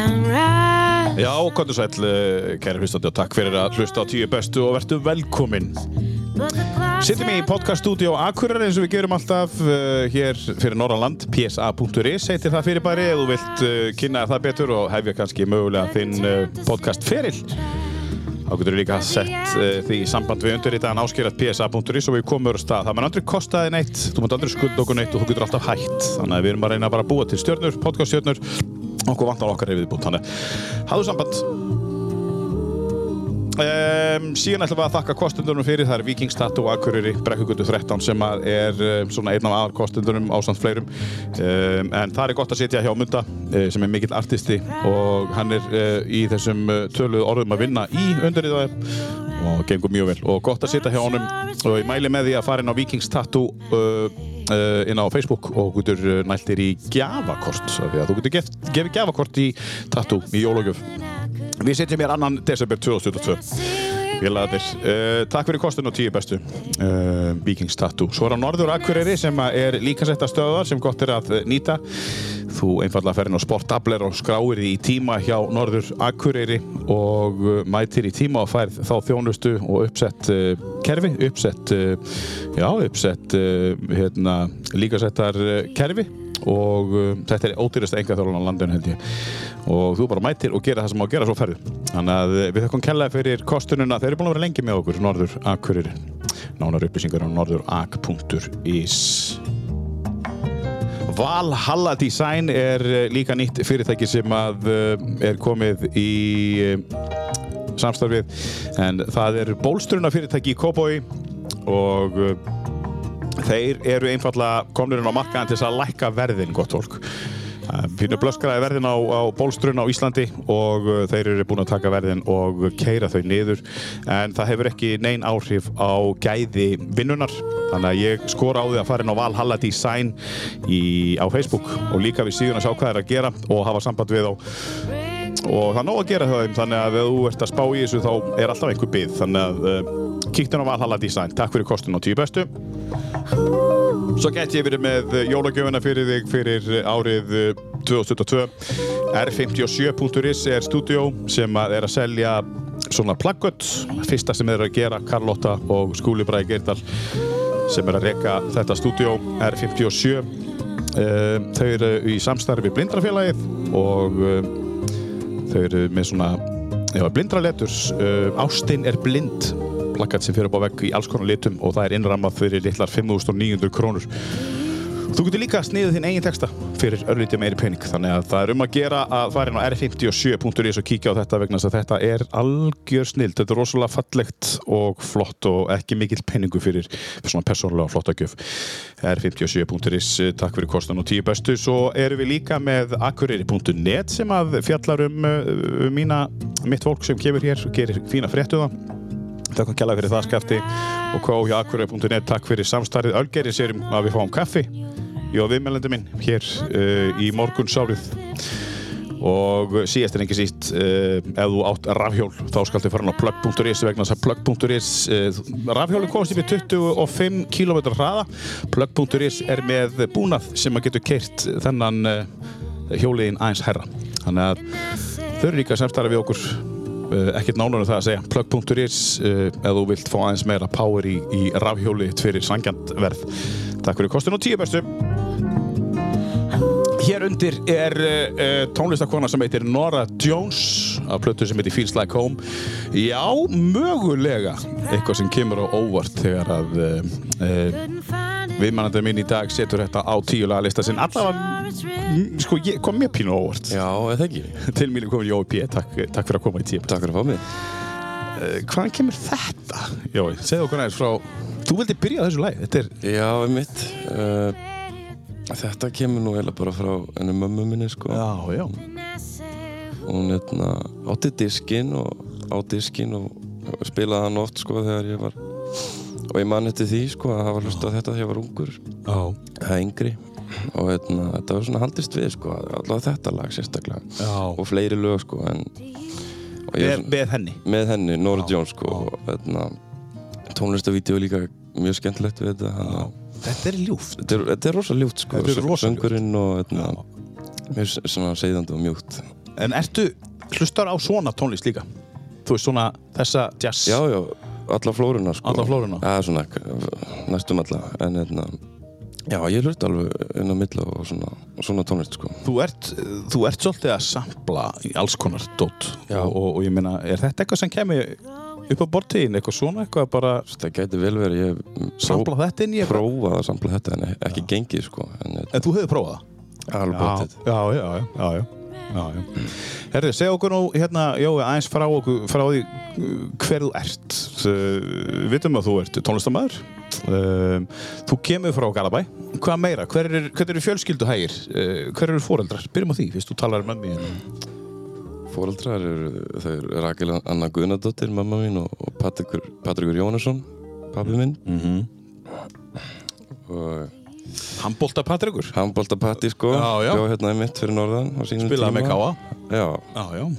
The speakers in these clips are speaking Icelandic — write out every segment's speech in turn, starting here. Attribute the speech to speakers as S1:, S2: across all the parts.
S1: sunrise.
S2: Já, kontur sæl, eh, kæri hlustandi og takk fyrir að hlusta á tíu bestu og verðu velkomin.
S1: But the clouds
S2: Sittum í
S1: hang-
S2: podcaststudió Akureyri eins og við gerum alltaf uh, hér fyrir Norranland, psa.is heitir það fyrir bæri eða þú vilt uh, kynna þér það betur og hefja kannski mögulega þinn uh, podcastferil. Þá getur við líka sett uh, því í samband við undirritaðan áskýrat psa.is og við komum öru stað. Það mun aldrei kosta þig neitt, þú mun aldrei skulda okkur neitt og þú getur alltaf hætt. Þannig að við erum að reyna bara að búa til stjörnur, podcaststjörnur, okkur vantar okkar hefur viðbútt. Þannig að hafðu samband. Um, síðan ætlum við að þakka kostendunum fyrir það er Vikings Tattoo Akureyri, Brekkugutu 13 sem að er um, svona einn af aðal kostendunum ásamt fleirum um, en það er gott að sitja hjá Munda uh, sem er mikill artisti og hann er uh, í þessum uh, töluðu orðum að vinna í undirriðaði og gengur mjög vel og gott að sitja hjá honum og ég mæli með því að fara inn á Vikings Tattoo uh, uh, inn á Facebook og þú getur uh, næltir í gjafakort af því að þú getur gef, gefið gjafakort í Tattoo í jólagjöf Við setjum hér annan desember 2022 Félagarnir, uh, takk fyrir kostun og tíu bestu uh, Vikings Tattoo Svo er á Norður Akureyri sem að er líkansetta stöðar sem gott er að eh, nýta Þú einfallega ferinn á sportabler og skráir því í tíma hjá Norður Akureyri og eh, mætir í tíma og færð þá þjónustu og uppsett uh, kerfi, uppsett uh, já, uppsett uh, hérna, líkansettar uh, kerfi og uh, þetta er ódýrasta enga á landinu held ég og þú bara mætir og gera það sem má gera svo ferðu þannig að eh, við þökkum kellaði fyrir kostununa þeir eru búin að vera lengi með okkur Norður Akurir nánar upplýsingar á norðurak.is Valhalla Design er eh, líka nýtt fyrirtæki sem að eh, er komið í eh, samstarfið en það er bólstruna fyrirtæki í Kóboi og eh, þeir eru einfalla komnurinn á markaðan til þess að lækka verðin gott fólk Pínu blöskraði verðin á, á bólstrun á Íslandi og uh, þeir eru búin að taka verðin og keira þau niður en það hefur ekki nein áhrif á gæði vinnunar þannig að ég skora á því að fara inn á Valhalla Design í, á Facebook og líka við síðan að sjá hvað er að gera og hafa samband við á og það er nóg að gera það þeim þannig að ef þú ert að spá í þessu þá er alltaf einhver bið þannig að uh, kíktu inn á Valhalla Design Takk fyrir kostun á tíu bestu Svo gæti ég verið með eh, jólagjöfuna fyrir þig fyrir eh, árið eh, 2022. R57.is er stúdió sem að er að selja svona plaggött. Fyrsta sem þeir eru að gera, Karlotta og Skúli Bræði Geirdal sem er að reka þetta stúdió R57. Eh, Þau eru í samstarfi við Blindrafélagið og eh, þau eru með svona já, blindra letur uh, Ástin er blind plakat sem fyrir upp á vegg í alls konar litum og það er innramað fyrir litlar 5.900 krónur Þú getur líka sniðið þinn eigin texta fyrir örlítið meiri pening þannig að það er um að gera að fara inn á r57.is og kíkja á þetta vegna þess að þetta er algjör snild þetta er rosalega fallegt og flott og ekki mikill peningu fyrir svona persónulega flotta gjöf r57.is, takk fyrir kostan og tíu bestu svo erum við líka með akureyri.net sem að fjallar um, uh, um mína, mitt fólk sem kemur hér og gerir fína fréttuða Takk að kjalla fyrir það skafti og kó hjá akureyri.net E takk fyrir samstarfið Ölgeri sérum að við fáum kaffi Jó, viðmælandi minn hér uh, í morgun sárið og síðast en ekki síst uh, ef þú átt rafhjól þá skaltu fara hann á plug.is vegna þess að plug.is uh, rafhjóli komst upp í 25 km hraða plug.is er með búnað sem að getur keirt þennan uh, hjóliðin aðeins herra þannig að þau eru líka samstæra við okkur uh, ekkert nánar um það að segja plug.is uh, ef þú vilt fá aðeins meira power í, í rafhjóli þitt fyrir sangjant verð takk fyrir kostun og tíu bestu Hér undir er uh, tónlistakona sem heitir Nora Jones af plötu sem heitir Feels Like Home Já, mögulega eitthvað sem kemur á óvart þegar að uh, uh,
S1: couldn't find it.
S2: viðmannandi minn í dag setur þetta á tíulega lista sinn allavega,
S1: It's
S2: mm, sko, ég kom mér pínu á óvart
S3: Já, eða ekki.
S2: Til mínu komin Jói P, takk, takk fyrir að koma í tíu
S3: Takk fyrir að fá mig.
S2: uh, Hvaðan kemur þetta? Jói, segðu okkur aðeins frá Þú vildi byrja á þessu lagi, þetta er
S3: Já, einmitt. Uh, þetta kemur nú eiginlega bara frá henni mömmu minni, sko.
S2: Já, já,
S3: Hún hérna, átti diskinn og á diskinn og spilaði hann oft, sko, þegar ég var... Og ég man eftir því, sko, að hafa hlustað á þetta þegar ég var ungur,
S2: já,
S3: eða yngri. Og hérna, þetta var svona haldist við, sko, allavega þetta lag sérstaklega.
S2: já.
S3: Og fleiri lög, sko, en... og ég er
S2: Með,
S3: svona-
S2: með henni
S3: með henni, Nora
S2: Já,
S3: Jones sko, og hérna, tónlistavídeó er líka mjög skemmtilegt við þetta hann, og,
S2: Þetta er ljúft
S3: þetta, er, þetta er rosa ljúft sko,
S2: Þetta er rosa
S3: söngurinn og hérna,
S2: Já.
S3: mjög s- svona seiðandi og mjúkt
S2: En ertu hlustar á svona tónlist líka? Þú veist svona þessa jazz
S3: Já, já, alla flóruna sko.
S2: Alla flóruna?
S3: Já, svona, k- næstum alla En hérna, já, ég hlut alveg inn á milla og svona, og svona tónlist sko.
S2: Þú ert, þú ert svolítið að sampla í alls konar dót
S3: Já.
S2: og, og ég meina, er þetta eitthvað sem kemur upp á bortiðin, eitthvað svona eitthvað að bara
S3: Það gæti vel verið, ég hef
S2: sampla þetta inn í eitthvað
S3: prófað að sampla þetta en ekki gengið sko. En hérna,
S2: En þú hefur prófað það?
S3: alveg
S2: já,
S3: bóttið
S2: já, já, já, já, já. Já, já. Herri, segja okkur nú hérna, Jói, aðeins frá, okkur, frá því uh, hver þú ert. Uh, vitum að þú ert tónlistamæður. Um, þú kemur frá Galabæ. Hvað meira? Hver er, hver eru fjölskylduhægir? Uh, hver eru foreldrar? Byrjum á því, fyrst þú talar með mér.
S3: Fóreldrar eru, þau eru Rakel Anna Guðnadóttir, mamma mín og, og Patrikur, Patrikur Jónasson, pabbi minn
S2: Mm -hmm. Mhm.
S3: og
S2: Hann bolta Patrikur.
S3: handbólta Patti sko
S2: Já, já.
S3: bjó hérna í mitt fyrir norðan á sínum
S2: Spilaði
S3: tíma.
S2: með Káa.
S3: Já,
S2: Já, já.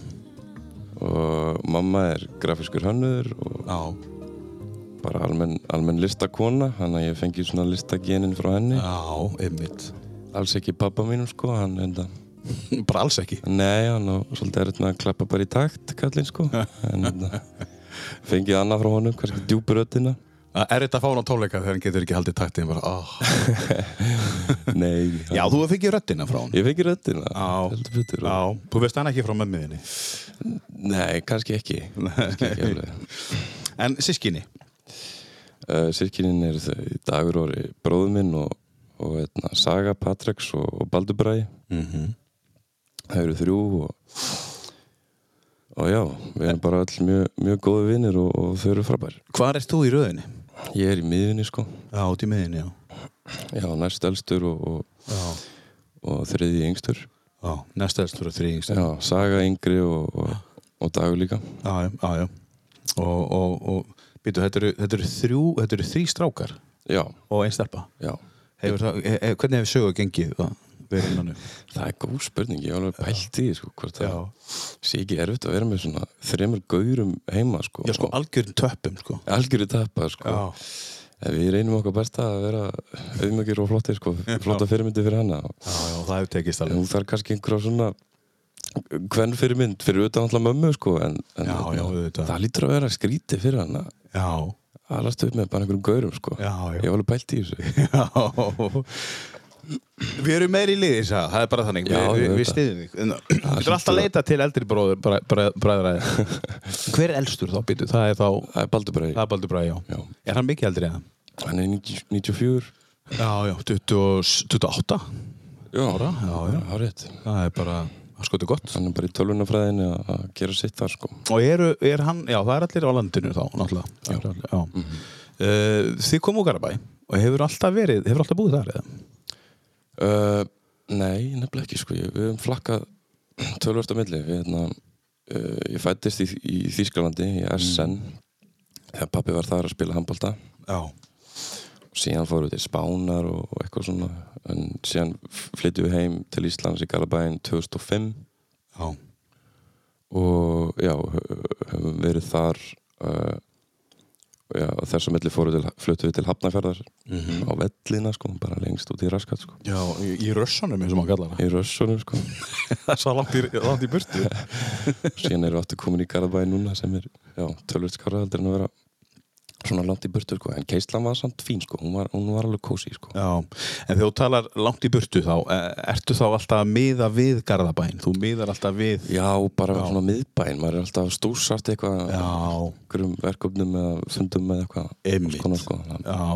S3: og mamma er grafiskur hönnur og
S2: Já,
S3: bara almenn almen listakona þannig að ég fengi svona listagenin frá henni
S2: já, einmitt.
S3: alls ekki pappa mínum sko hann enda
S2: Bara alls ekki.
S3: nei hann og svolítið er þetta að klappa bara í takt kallinn sko en enda fengið annað frá honum kannski djúbrötina
S2: Er þetta að fá hann á tónleika þegar hann getur ekki haldið taktið? Bara, oh.
S3: nei
S2: Já, þú fengið röddina frá hann.
S3: ég fengi rötina
S2: Já.
S3: heldur betur og-
S2: Já, þú veist hann ekki frá mömmuðinni
S3: nei kannski ekki kannski ekki alveg
S2: En sískinni
S3: uh, sirkinin er þau í dagur orði bróður minn og, og eitna, Saga, Patreks og, og Baldur Bræ
S2: Mhm.
S3: það eru þrjú og, og já, við erum bara all mjög, mjög góði vinnir og, og þau eru frábær
S2: Hvar ert þú í röðinni?
S3: ég er í miðvinni sko
S2: Já, út í miðinni, já
S3: já, næst elstur og, og,
S2: Já,
S3: og þriði yngstur
S2: já næsta elstur og þrýingst
S3: já, Saga yngri og, og, og dagur líka
S2: já, já, já Og, og, og býtu, þetta eru, þetta eru þrjú, þetta eru þrý strákar
S3: já,
S2: og einn stelpa
S3: já
S2: hefur það, he, he, Hvernig hefur sögu gengið það? Við erum hannu
S3: Það er góð spurning, ég hef alveg pælt í því sko, hvort það
S2: Já.
S3: sé ekki erfitt að vera með svona þremur gaurum heima sko,
S2: Já, sko, algjörn töppum, sko
S3: og algjöru tappa sko. En við reynum okkar besta að vera auðmjögir og flottir sko, flotta fyrirmyndi fyrir hana en
S2: já, já, það hefur tekist alveg
S3: hún þarf kannski einhverja svona hvern fyrirmynd fyrir utan alltaf mömmu sko, en, en
S2: Já, já, auðvitað.
S3: það lítur að vera skríti fyrir hana
S2: Já,
S3: að lasta upp með bara einhverjum gaurum sko.
S2: Já, já.
S3: ég var alveg pælt í þessu
S2: Já Við erum meiri í liði, sagði, það er bara þannig
S3: Já,
S2: Við, við,
S3: auðvitað.
S2: við stiðum þig En Þú
S3: hlýtur
S2: getur alltaf að leita til eldri bróður bræ- bræ- bræðra þér. Hver er elstur þá, býtu? Það er þá
S3: það er Baldur Brei,
S2: Það er Baldur Bræði, já.
S3: Já.
S2: Er hann mikið eldri eða?
S3: hann er 90 94
S2: Já, já, 28
S3: já,
S2: ára Já, já,
S3: hárétt
S2: það er bara það er skoðu gott
S3: hann er bara í tölvunafræðinu að- að gera sitt þar sko.
S2: Og eru, er hann, já, það er allir á landinu þá, náttúrulega Já, já. Mm Þið komu úr Garabæ og hefur alltaf verið, hefur alltaf búið þar eða?
S3: Uh, nei, nefnilega ekki sko. Ég- Við höfum flakkað tölvörst á milli við, hérna, uh, Ég fættist í, í Þýskalandi í SN þegar pappi var þar að spila handbalta
S2: Já,
S3: og síðan fórum við til Spánar og, og eitthvað svona en síðan flyttum við heim til Íslands í Galabæin 2005
S2: já,
S3: og já, hö- höfum verið þar uh, já, og þess að milli fórum við til, fluttum við til Hafnarferðar á vellina sko, bara lengst út í raskat sko.
S2: já í, í rössunum eins og maður kallar það
S3: í rössunum sko.
S2: Það er svo langt í, langt í burtu
S3: síðan erum við aftur komin í Garðabæði núna sem er já, tölvöld skáraðaldur en að vera svona langt í burtu sko. en keislan var samt fín sko. hún, var, hún var alveg kósi sko.
S2: Já, en þegar þú talar langt í burtu þá eh, ertu þá alltaf að miða við Garðabæn, þú miðar alltaf við
S3: já, bara svona miðbæinn maður er alltaf stúsart eitthvað einhverjum verkefnum eða fundum með eitthvað
S2: Einmitt.
S3: alls konar, sko. Þannig-
S2: já,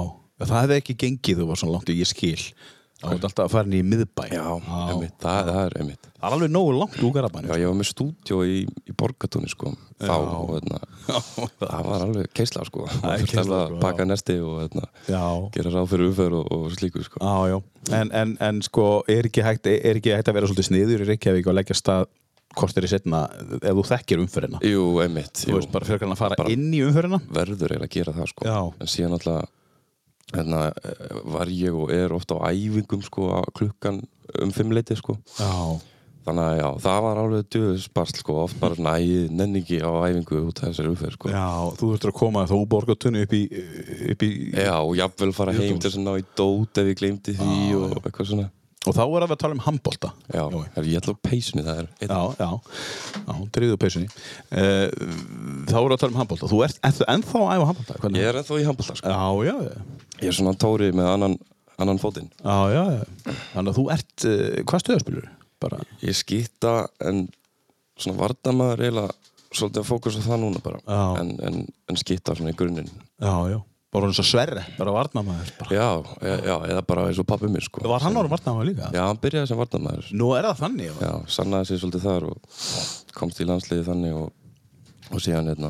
S2: það hefði ekki gengið þú var svona langt í ég skil þá ertu alltaf að fara inn í miðbæn
S3: já, einmitt, það, það er einmitt
S2: Það er alveg nógu langt úr Garðabæn
S3: já, ég var með stúdjó í, í Borgatúni sko, þá og þarna það var alveg keisla sko.
S2: er
S3: þurfti
S2: keisla,
S3: alveg að
S2: sko,
S3: baka nesti og þarna,
S2: Já,
S3: gera ráð fyrir umferð og, og slíku sko.
S2: já, já En, en, en sko, er ekki, hægt, er ekki hægt að vera svolítið sniður í Reykjavík og leggja stað hvort er í setna ef þú þekkir umferðina
S3: jú, einmitt
S2: Þú
S3: jú.
S2: veist bara fyrir að fara
S3: Bara-
S2: inn í umferðina
S3: verður eiginlega að gera það sko.
S2: Já.
S3: en síðan alltaf hérna, eh, var ég og er ofta á æfingum sko, á klukkan um fimmleiti sko.
S2: Já,
S3: þannig að já, það var alveg döðsparsl sko, oft bara svona, æ, nenni ekki á æfingu út af þessari umferð sko. já.
S2: Já, þú þurftur að koma þá úr borgatunni upp í, upp í
S3: og jafnvel fara heim til þess að ná í dót ef ég gleymdi því og eitthvað svona
S2: Og þá er að við að tala um handbolta.
S3: Já,
S2: Jói.
S3: Jói. ég ætla á peysunni það er einn-
S2: Já, já, já, drýðu peysunni. Uh, þá er að tala um handbolta. Þú ert ennþá, ennþá að æfa handbolta? hvernig?
S3: Ég er ennþá í handbólta sko.
S2: Já, já, já,
S3: Ég er svona tóri með annan, annan fótinn
S2: já, já. Þannig að þú ert, uh, hvað stöðarspilur? Bara,
S3: Ég skýta en svona vardamaður eiginlega svolítið að fókusa á það núna bara
S2: Já.
S3: en, en, en skýta svona í grunninn
S2: já, já. Bara eins og sverre, bara varnamæður. Bara.
S3: Já, e, já, já, eða bara eins og pappi mér sko
S2: Var hann ára varnamæður líka?
S3: Já, hann byrjaði sem vardamaður
S2: Nú er það þannig, já.
S3: Já, sannaði sér svolítið þar og komst í landsliði þannig og, og síðan hérna,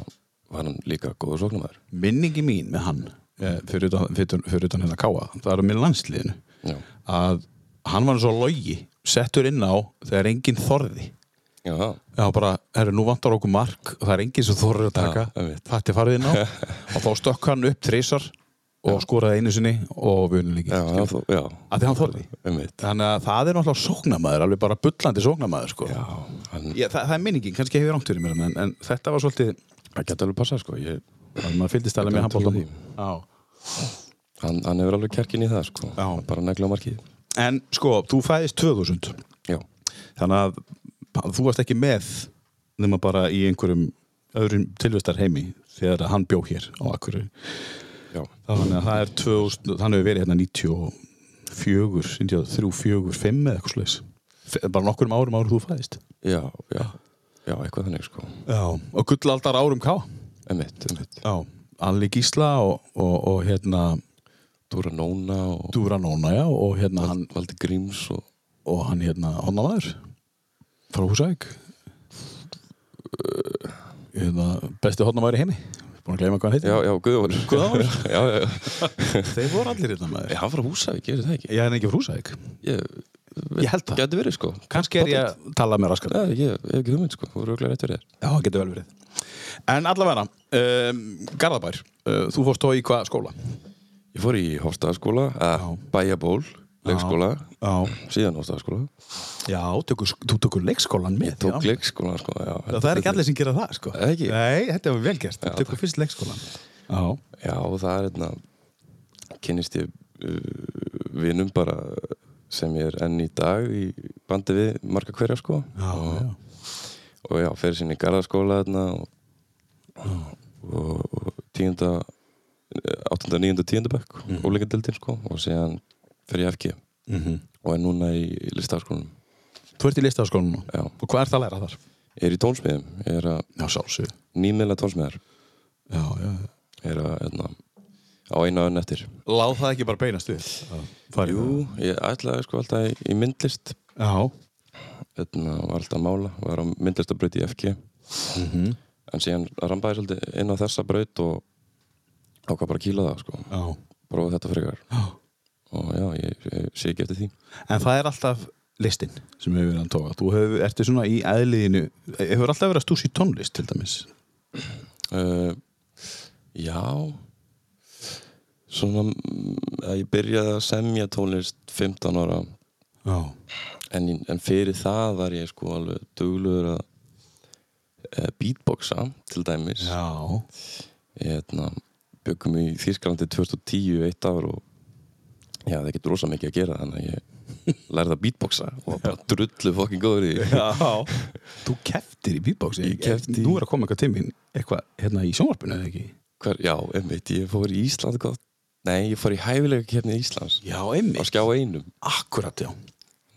S3: var hann líka góður sóknamaður
S2: minningi mín með hann eh, fyrir utan, fyrir, fyrir utan hérna Káa það er með landsliðinu
S3: Já.
S2: að hann var eins og logi settur inn á þegar enginn þorði
S3: Já,
S2: Já, bara, herru, nú vantar okkur mark og það er enginn sem þorður að taka
S3: Já, einmitt.
S2: Þetta er farið inn á og þá stökk hann upp treysar og skoraði einu sinni og við unum líki
S3: já, já, þó- já,
S2: að því hann þorði
S3: um mitt
S2: Þannig að það er náttúrulega sóknamaður, alveg bara bullandi sóknamaður sko.
S3: Já, hann,
S2: Já, það, það er minningin, kannski hefur rangt fyrir mér en, en þetta var svolítið,
S3: það getur alveg passað sko ég,
S2: þannig að maður fylgdist alveg með
S3: Ég trúi
S2: handbóltum
S3: því.
S2: Já
S3: hann, hann hefur alveg kjarkin í það sko
S2: Já.
S3: Bara negla á markið
S2: En sko, þú fæðist 2000
S3: Já,
S2: Þannig að þú varst ekki með nema bara í einhverjum öðrum tilvistar heimi þegar að hann bjó hér á Akkur
S3: já,
S2: Þannig að það er 2000, hann hefur verið hérna 94, 93, 4, 5 eða eitthvað slags bara nokkurum árum árum þú fæðist
S3: já, já, já, eitthvað þannig sko
S2: Já, og gullaldar árum ká
S3: Um mitt, um mitt
S2: Já, Alli Gísla og, og, og hérna
S3: Dúra Nóna og
S2: Dúra Nóna, já, og hérna hann,
S3: Valdi Gríms og
S2: og hann hérna honnamaður frá Húsæk hérna, besti honnamaður í heimi búin að gleyma hvað hann heitir
S3: Já, já, Guðjóður
S2: Guðjón.
S3: Já, já, já
S2: þeir voru allir hérna maður
S3: Ég, Hann frá Húsavík, ég veit það ekki
S2: ég er ekki frá Húsæk
S3: Ég,
S2: Ég held það.
S3: Gæti verið sko
S2: kannski er ég að tala með raskat
S3: Já, ég ég hef ekki hugmynd sko, þú eru auðvitað rétt fyrir þér.
S2: já, getur vel verið en allavega, um, Garðabær uh, þú fórst þá í hvað skóla
S3: Ég fór í Hofstaðaskóla,
S2: Já.
S3: eða Bæjaból, leikskóla,
S2: já,
S3: síðan Hofstaðaskóla.
S2: já tökur, þú tökur leikskólan
S3: Ég
S2: með
S3: tók
S2: já.
S3: leikskóla, sko, já.
S2: það er ekki allir sem gera það sko.
S3: Ekki?
S2: nei, þetta er vel gert, þú tökur fyrst leikskólan já,
S3: Já, og það er hérna, kynnist ég uh, vinum bara sem ég er enn í dag í bandi við marga hverja, sko.
S2: já, já.
S3: Og já, fer sinni í garðaskóla þarna og, og, og tíunda, áttunda, níunda, tíunda bekk, mm. óleikendeldin, sko, og síðan fer ég FG
S2: Mhm.
S3: og er núna í listaskólanum.
S2: Þú ert í listaskólanum
S3: Já.
S2: og hvað ert að læra þar?
S3: Ég er í tónsmiðum, ég er að
S2: Já, sálsug
S3: nýmiðla tónsmiðar
S2: já, já.
S3: ég er að, hérna, á eina önn eftir
S2: Láð það ekki bara beinast við
S3: Jú, ég ætlaði sko alltaf í, í myndlist
S2: Já,
S3: hérna, var alltaf að mála, var á myndlistabraut í FG
S2: Mhm.
S3: en síðan rambaði svolítið inn á þessa braut og ákvað bara að kýla það sko
S2: já,
S3: prófa þetta frekar
S2: já
S3: og já, ég, ég sé ekki eftir því
S2: En það er alltaf listin sem hefur verið að tóka Þú hefur, ertu svona í eðliðinu Hefur alltaf verið að stúsi tónlist til dæmis
S3: uh, Já svona mm, að ég byrjaði að semja tónlist 15 ára
S2: Já,
S3: en, en fyrir það var ég sko alveg duglugur að e, beatboxa til dæmis
S2: já,
S3: ég hérna, byggum í Þýskalandi 2010 eitt ár og já, það er ekki rosa mikið að gera þannig að ég lærði að beatboxa og var bara drullu fokkin góður í því.
S2: Þú keftir í beatboxi
S3: Ég keppti í-
S2: Nú er að koma eitthvað tíminn Eitthvað hérna í sjónvarpinu eða ekki
S3: Hver, já, einmitt, ég fór í Ísland gott. nei, ég fór í hæfileika kefni Íslands
S2: Já,
S3: á
S2: einmitt
S3: skjá einum
S2: Akkurat, já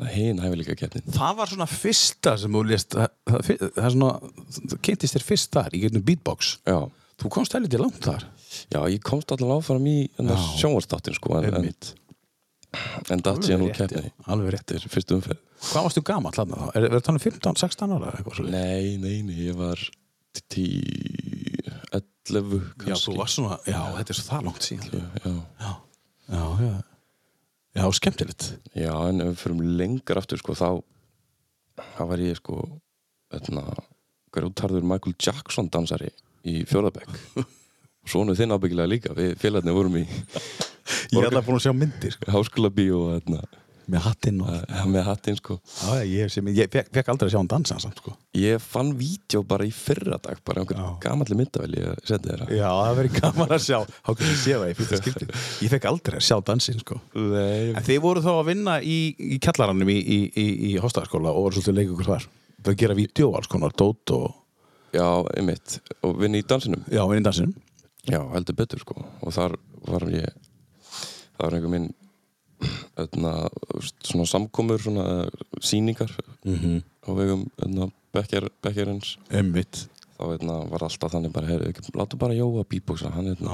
S3: Nei, hinn hæfileika kefnin
S2: Það var svona fyrsta sem þú lést Það, það, það er svona, þú kynntist þér fyrst þar í gegnum beatbox
S3: já,
S2: Þú komst helviti langt þar
S3: já, ég komst allan áfram í
S2: Já.
S3: sjónvarsdáttin sko, en, en,
S2: Einmitt.
S3: en datt síðan úr
S2: rétt,
S3: kefni
S2: já, Alveg rétt
S3: þetta er fyrstu umferð
S2: Hvað varstu gamall hann þá? Er það talað um 15, 16 ára? eða Eitthvað, svoleiðis?
S3: Nei, nei, nei, ég var 10, 11 kannski.
S2: já, þú varst svona, já, þetta er svo það langt síðan Já,
S3: Já,
S2: já, já, já skemmtilegt
S3: já en ef við fyrir lengur aftur sko, þá, þá var ég sko etna, grjótarður Michael Jackson dansari í fjóðabæk Sonu þinn ábyggilega líka, við félagarnir vorum í
S2: Ég er alltaf búin að sjá myndir sko.
S3: háskóla bíó og etna,
S2: með hattinn og
S3: uh, með hattinn sko
S2: Já, ég, hef séð- ég fekk, fekk aldrei að sjá hann dansa samt, sko.
S3: ég fann vídeo bara í fyrra dag bara einhver
S2: Já.
S3: gamalli myndavel ég sendi þér
S2: Já, það verið gaman að sjá Há kannski sé það í fyrsta skipti Ég fekk aldrei að sjá dansinn, sko
S3: Nei,
S2: En þið voru þá að vinna í, í kjallaranum í, í, í, í hostaðarskóla og voru svolítið leikur hvar Þau gera vídeo alls konar, dót og
S3: já, einmitt og vinni í dansinum
S2: Já, vinni dansinum
S3: já, heldur betur sko og þar var ég það var einhver minn öðna, svona samkomur svona sýningar
S2: Mhm.
S3: á vegum öðna, bekkjar, bekkjarins
S2: Einmitt
S3: þá öðna, var alltaf þannig bara hey, láta bara Jóa beatboxa hann, öðna,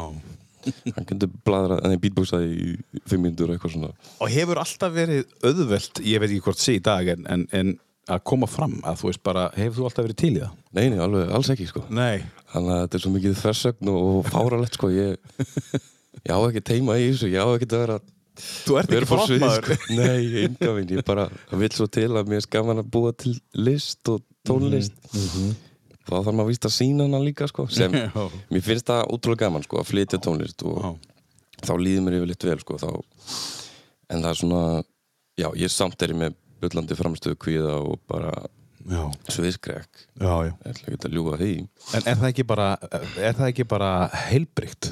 S2: Já.
S3: hann kundu bladra, nei, beatboxa í fimm mínútur eitthvað svona
S2: Og hefur alltaf verið auðvelt, ég veit ekki hvort sé í dag en, en, en að koma fram að þú veist bara, hefur þú alltaf verið til í það?
S3: nei, nei, alveg, alls ekki sko
S2: Nei
S3: Þannig að þetta er svo mikið þversögn og fáralegt sko ég, ég á ekki teima í þessu, ég á ekki að vera
S2: Þú ert
S3: vera
S2: ekki
S3: fór sviði
S2: frottmaður
S3: sko Nei, enga mín, ég bara það vill svo til að mér er skaman að búa til list og tónlist Þá þarf maður að vísta sína hana líka sko sem,
S2: Mhm, Já.
S3: mér finnst það ótrúlega gaman sko að flytja tónlist og
S2: Já.
S3: þá líður mér yfirleitt vel sko þá, en það er svona já, ég samt er ég með bullandi framstöðu kvíða og bara
S2: Já,
S3: sviðskrek,
S2: já, já
S3: ég ætla ekki að ljúga því
S2: En er það ekki bara, er það ekki bara heilbrygt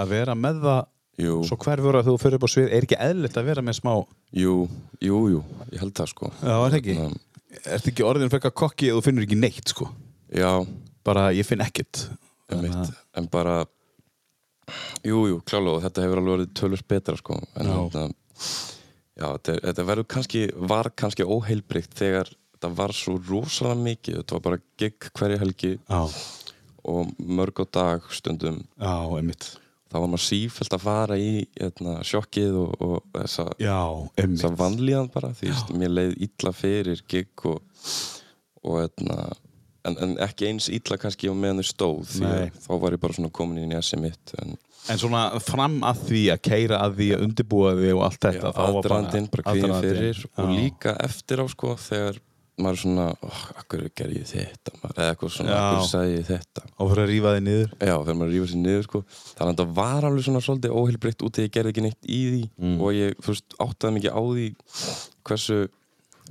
S2: að vera með það
S3: Jú.
S2: svo hverfur að þú fyrir upp á svið er ekki eðlitt að vera með smá Já,
S3: Jú, jú, jú, ég held það sko
S2: er það ekki?
S3: Þannig að-
S2: Er ekki orðin frekar kokki eða þú finnur ekki neitt sko
S3: Já,
S2: bara ég finn ekkert
S3: einmitt, en bara Jú, jú, klálega, og þetta hefur alveg verið tölvist betra sko En
S2: Já.
S3: þetta, já, þetta, er- þetta verður kannski, var kannski óheilbrikt Þegar þetta var svo rosalega mikið Þetta var bara gig hverja helgi
S2: Já,
S3: Og mörg á dag stundum
S2: já, einmitt
S3: Þá var maður sífælt að fara í hérna, sjokkið og, og þessa
S2: Já, einmitt
S3: þess að vanlíðan bara því veist, mér leið illa fyrir gig og, og etna, en, en ekki eins illa kannski á meðan þau stóð því að
S2: Nei.
S3: þá var ég bara svona komin inn í SM mitt en
S2: En svona fram að því að keira að því að undirbúa því og allt þetta þá var
S3: aðdraðandinn bara kvíðin
S2: aðdragandinn.
S3: fyrir og
S2: Já.
S3: líka eftir á sko þegar maður er svona, oh, akkur ger ég þetta maður, eða eitthvað svona,
S2: Já.
S3: akkur sagði ég þetta
S2: Og fyrir að rífa þig niður
S3: já, þegar maður rífur sér niður sko þannig að þetta var alveg svona svolítið óheilbreytt út þegar ég gerði ekki neitt í því
S2: Mm.
S3: og ég fyrst, áttaði mikið á því hversu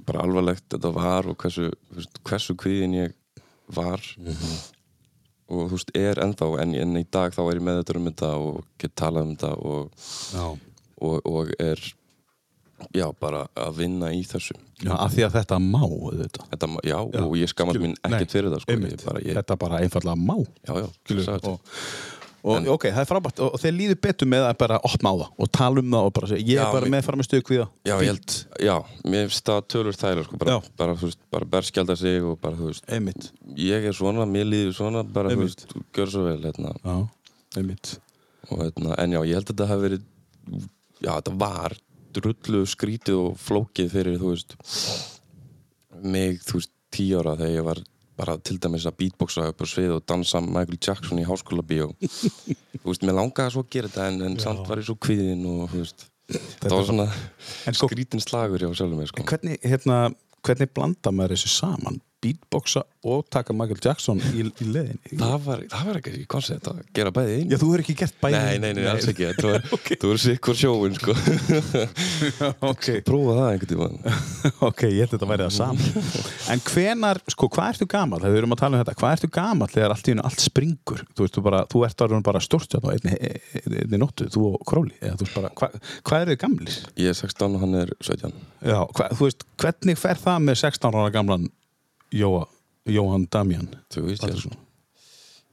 S3: bara alvarlegt þetta var og hversu, fyrst, hversu kvíðin ég var
S2: Mhm.
S3: og þú veist, er ennþá en, en í dag þá er ég með þetta um þetta og get talað um þetta og,
S2: Já
S3: og, og er já, bara að vinna í þessu
S2: Já, af því að þetta má auðvitað.
S3: þetta, ma- já,
S2: Já,
S3: og ég skammast
S2: skilur.
S3: mín ekkert
S2: Nei,
S3: fyrir það sko, ég
S2: einmitt.
S3: bara, ég,
S2: Þetta bara einfallega má
S3: já, já,
S2: skilur.
S3: sagði þetta.
S2: og, og, Ok, það er frábært og, og þeir líður betur með að bara opna á það og tala um það og bara segja, ég
S3: Já,
S2: er bara
S3: mér-
S2: með fara með stuðkvíða
S3: Já, ég held, já, mér finnst það tölur þægilega sko, bara,
S2: Já.
S3: bara, þú veist, bara berskjálda sig og bara, þú veist,
S2: Einmitt
S3: ég er svona, mér líður svona, bara, þú
S2: Einmitt.
S3: veist, þú gjör svo vel, hérna,
S2: Já, einmitt
S3: og hérna, en já, ég held að þetta hafi verið, já, þetta var drullu skrítið og flókið fyrir, þú veist, mig, þú veist, tíu ára þegar ég var bara til dæmis að beatboxa upp á svið og dansa Michael Jackson í háskóla bíó þú veist, mér langaði svo að gera þetta en, en samt var ég svo kviðin og, þú veist, þetta var svona
S2: En sko-
S3: skrítin slagur hjá sjálfum mér, sko
S2: Hvernig, hérna, hvernig blanda maður þessu saman? Beatboxa og taka Michael Jackson í, í leðin
S3: Það var, það var ekki koncept að gera bæði einu
S2: Já, þú hefur ekki gert bæði
S3: Nei, nei, nei, alls ekki Þú er, okay. er sikkur sjóin, sko
S2: Ok,
S3: Prófa það einhvern tímann
S2: ok, ég held að þetta væri það saman En hvenar, sko, hvað ertu gamall þegar við erum að tala um þetta, hvað ertu gamall þegar allt í hennu allt springur, þú veist, þú bara þú ert orðin bara stort á einni, einni nóttu þú og Króli, eða þú veist bara hva, hvað eru þið gamlir?
S3: Ég er 16 og hann er 17
S2: Já, hva, þú veist, hvernig fer það með 16 ára gamlan Jóa, Jóhann Damjan?
S3: Þú veist, ég,
S2: Patrickson?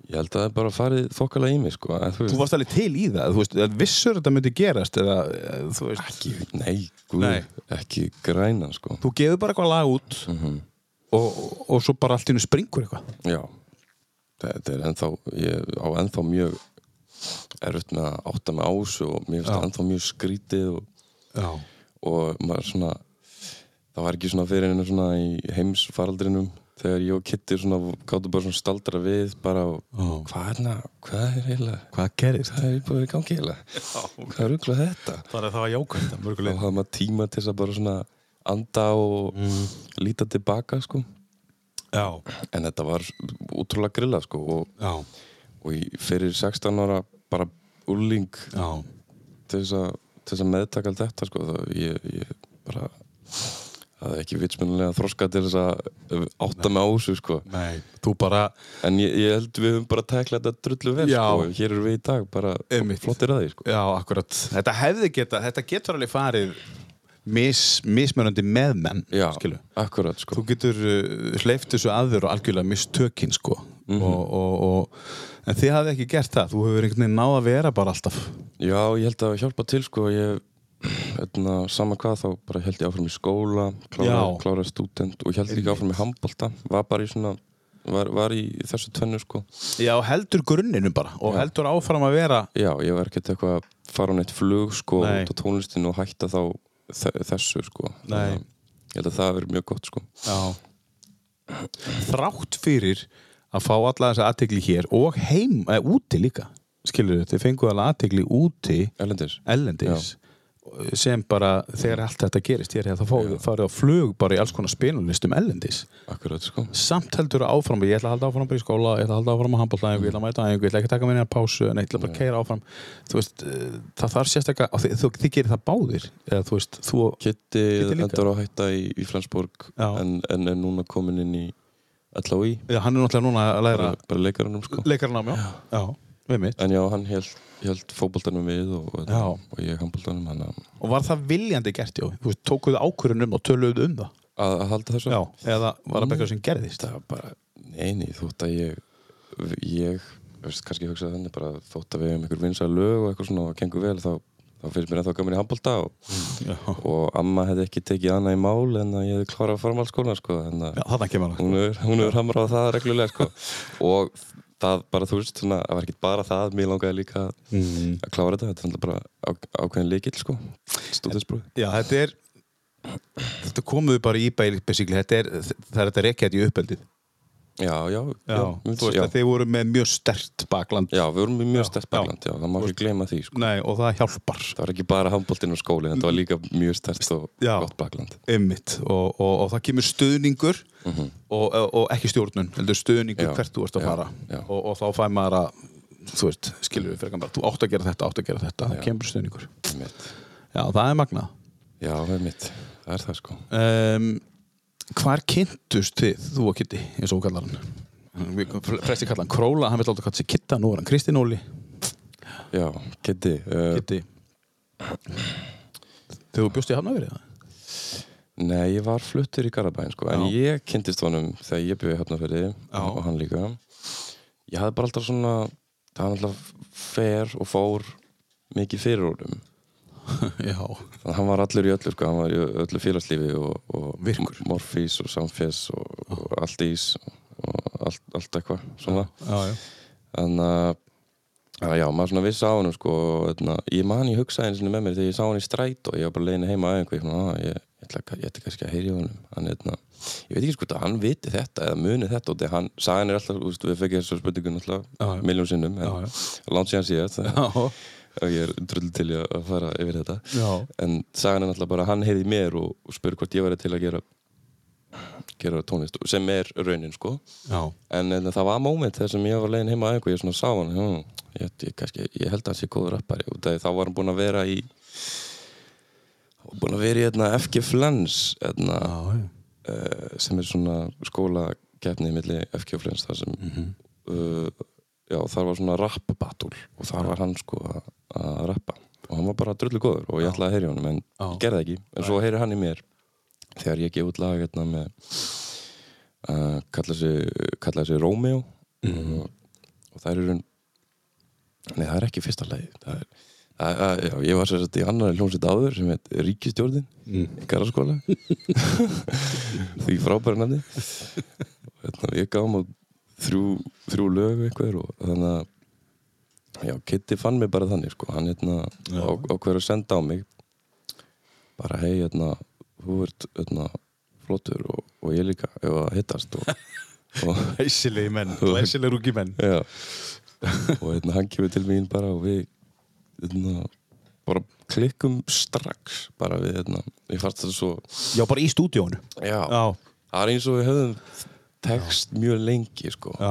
S3: ég held að það er bara farið þokkalega í mig, sko en,
S2: Þú varst alveg til í það, þú veist, en vissur þetta myndi gerast eða, eða þú veist,
S3: ekki Nei, guð,
S2: Nei.
S3: ekki græna, sko
S2: þú gefur bara eitthvað lag út og, og, og svo bara allt í hennu springur eitthvað
S3: Já Þetta er ennþá, ég á ennþá mjög erfitt með að átta mig á þessu og mér finnst það ennþá mjög skrítið og
S2: Já,
S3: og maður svona það var ekki svona fyrir henni svona í heimsfaraldrinum þegar ég og Kitty svona gáttu bara svona staldra við bara og
S2: Ó.
S3: hvað er hérna, hvað er heila
S2: hvað gerist?
S3: hvað er búið í gangi heila hvað er ruggla þetta
S2: Það er að það var jákvæmt að
S3: þá
S2: mörgulega
S3: hafði maður tíma til þess að bara svona anda og
S2: Mm.
S3: líta tilbaka sko
S2: Já,
S3: en þetta var útrúlega grilla sko og,
S2: já,
S3: og í- fyrir 16 ára bara úrling
S2: já
S3: til þess að, til þess að meðtaka allt þetta sko, það, ég, ég bara það er ekki vitsmennilega þroska til þess að átta með ásu sko.
S4: Nei, þú bara
S3: en ég, ég held við höfum bara tæklað þetta drullu vel
S4: Já.
S3: sko. hér eru við í dag bara
S4: Einmitt.
S3: flottir að því sko.
S4: Já, akkurat
S2: Þetta hefði geta, þetta getur alveg farið mis, mismunandi með menn
S3: já,
S2: skilur.
S3: akkurat sko.
S4: Þú getur
S2: eh,
S4: uh, hleyft þessu aður og algjörlega mistökin sko og, og, og En þið hafði ekki gert það Þú hefur einhvern veginn náð að vera bara alltaf
S3: já, ég held að hjálpa til sko. ég, etna, sama hvað þá bara held ég áfram í skóla
S4: Já.
S3: kláraði klára stúdent og ég held líka áfram í handbolta var bara í svona var, var í þessu tvennu sko.
S2: Já, heldur grunninu bara og heldur áfram að vera
S3: já, ég var ekkert eitthvað að fara á neitt flug sko,
S2: Nei.
S3: út á tónlistinu og hætta þá þe- þessu sko.
S2: Nei.
S3: ég held að það hafi verið mjög gott sko.
S2: Já. þrátt fyrir að fá alla þessa aðtegli hér og heim, eða úti líka skilur þið fenguð alla aðtegli úti
S3: Erlendis?
S2: ellendis sem bara þegar allt þetta gerist hér hefði það farið á flug bara í alls konar spilulistum ellendis
S3: Akkurat sko
S2: samt heldur að áfram, ég ætla að halda áfram bara í skóla, ég ætla að halda áfram að handbóltaðingu, ég ætla að mæta aðingu, ég ætla ekki að taka minni að pásu, en ég ætla bara að keira áfram þú veist, eh, það þarf sérstaklega og þið, þið, þið gerir það báðir eða þú veist, þú,
S3: Kitty
S2: líka.
S3: endar á að hætta í, í Flensborg
S2: Já.
S3: en, en er núna komin inn í LHI
S2: já, hann er náttúrulega núna að læra
S3: bara, bara leikaranum sko
S2: leikarnám, já, já, við mitt
S3: En já, hann held, held fótboltanum við og, og,
S2: Já.
S3: og ég handboltanum hann að,
S2: og var það viljandi gert, já, þú veist, tókuðu ákvörunum og töluðu um það,
S3: að að halda þessu
S2: já, eða var það bekkar sem gerðist,
S3: Það var bara, neini, þótt að ég ég, veist, kannski hugsaði þannig bara þótt að við hefum einhver vinsað lög og eitthvað svona og gengur vel þá, þá finnst mér ennþá gaman í handbolta og,
S2: já,
S3: og amma hefði ekki tekið annað í mál en að ég hefði klárað formálskóla sko, en að
S2: já þannig kemur hann
S3: hún er, hún er hamrað á það reglulega sko. og það bara þú veist svona, það var ekki bara það, mér langaði líka
S2: Mhm.
S3: að klára þetta, þetta er náttúrulega bara á, ákveðin líkil sko, stúdinspróf
S2: Já, þetta er þetta komuðu bara í bæli basically, þetta er, það er þetta rekkjætt í uppeldið
S3: já, já,
S2: Já,
S3: myndi-
S2: þú veist
S3: já,
S2: að þeir voru með mjög stert bakland
S3: já, við vorum í mjög
S2: Já,
S3: stert bakland, já, það má ekki gleyma því sko.
S2: Nei, og það hjálpar
S3: það var ekki bara handbóltinn og skóli, þetta var líka mjög stert og
S2: Já.
S3: gott bakland
S2: ymmit og, og, og það kemur stuðningur og, og, og ekki stjórnun heldur stuðningur
S3: Já,
S2: hvert þú ert
S3: já,
S2: að fara
S3: já.
S2: Og, og þá fæ maður að þú veist, skilur við fyrir bara þú átt að gera þetta, átt að gera þetta, það kemur stuðningur
S3: mitt.
S2: Já, það er magnað
S3: já, það er mitt, það er það sko
S2: um, Hvar kynntust þið, þú og Kitty, eins og hún kallar hann Við- Flesti kallar hann Króla, hann vil alltaf kalla sig Kitta, nú er hann Kristín Óli
S3: já, Kitty, uh,
S2: Kitty Þegar þú bjóst í Hafnaveri eða?
S3: nei, ég var fluttur í Garabæn sko, en ég kynntist honum þegar ég byrði hafnafyrði og hann líka ég hafði bara alltaf svona það var alltaf fer og fór mikið fyrir honum
S2: Já,
S3: þannig að hann var allur í öllu sko, hann var í öllu félagslífi og, og
S2: Virkur.
S3: m- morfís og samfés og, og allt ís og allt, allt eitthvað svona
S2: já, já
S3: þannig að þannig eh, að já, maður svona vissi á hann sko, og þarna, ég man ég hugsaði einu sinni með mér þegar ég sá hann í stræt og ég var bara leiðin heima að einhver svona, "Ah, ég, ég, ætla, ka- ég ætla kannski að heyri á honum hann, þarna, ég veit ekki sko að hann viti þetta eða muni þetta og þegar hann sagði hann alltaf, úst, við fekk þessu spurningun
S2: Já, já.
S3: alltaf miljón sinnum,
S2: Já, já.
S3: en langt síðan síðast
S2: Já,
S3: og ég er drull til í að fara yfir þetta
S2: Já.
S3: en sagan er náttúrulega bara að hann heyrði í mér og, og spurði hvort ég væri til að gera gera tónlist og- sem er raunin sko
S2: já,
S3: en, en það var moment þegar sem ég var leiðin heima að einhver ég svona sá hann hm, ég, ég, kannski, ég held að hann sé góður rappari og það, þá var hann búinn að vera í hann var búinn að vera í hérna, FG Flens hérna,
S2: já, já.
S3: uh, sem er svona skólakeppni milli FG og Flens þar sem uh, já, þar var svona rappbatúl og þar var hann sko að- að rappa og hann var bara drullu góður og ég ætlaði að heyri honum en
S2: Já.
S3: ég gerði það ekki, en svo heyri hann í mér þegar ég gef út lag hérna með uh, kallaði sig, kalla sig Romeo og, og það eru nei, það er ekki fyrsta lagi það er að, að, já, ég var sér satt í annar hljómsveit áður sem heit Ríkistjórnin í Garðaskóla því frábæra nafni Þannig að ég gaf maður þrjú, þrjú lög eitthvað og þannig að já, Kitty fann mig bara þannig sko, hann hérna á, á hverju að senda á mig bara hei hérna, þú ert hérna flottur og, og ég líka ef að hittast og, og
S2: Læsilegi menn, læsilegi rúki menn
S3: já og hérna hann kemur til mín bara og við hérna bara klikkum strax bara við hérna, ég fannst þetta svo
S2: Já, bara í stúdíónu
S3: já,
S2: Já,
S3: það er eins og við höfum text mjög lengi sko
S2: já,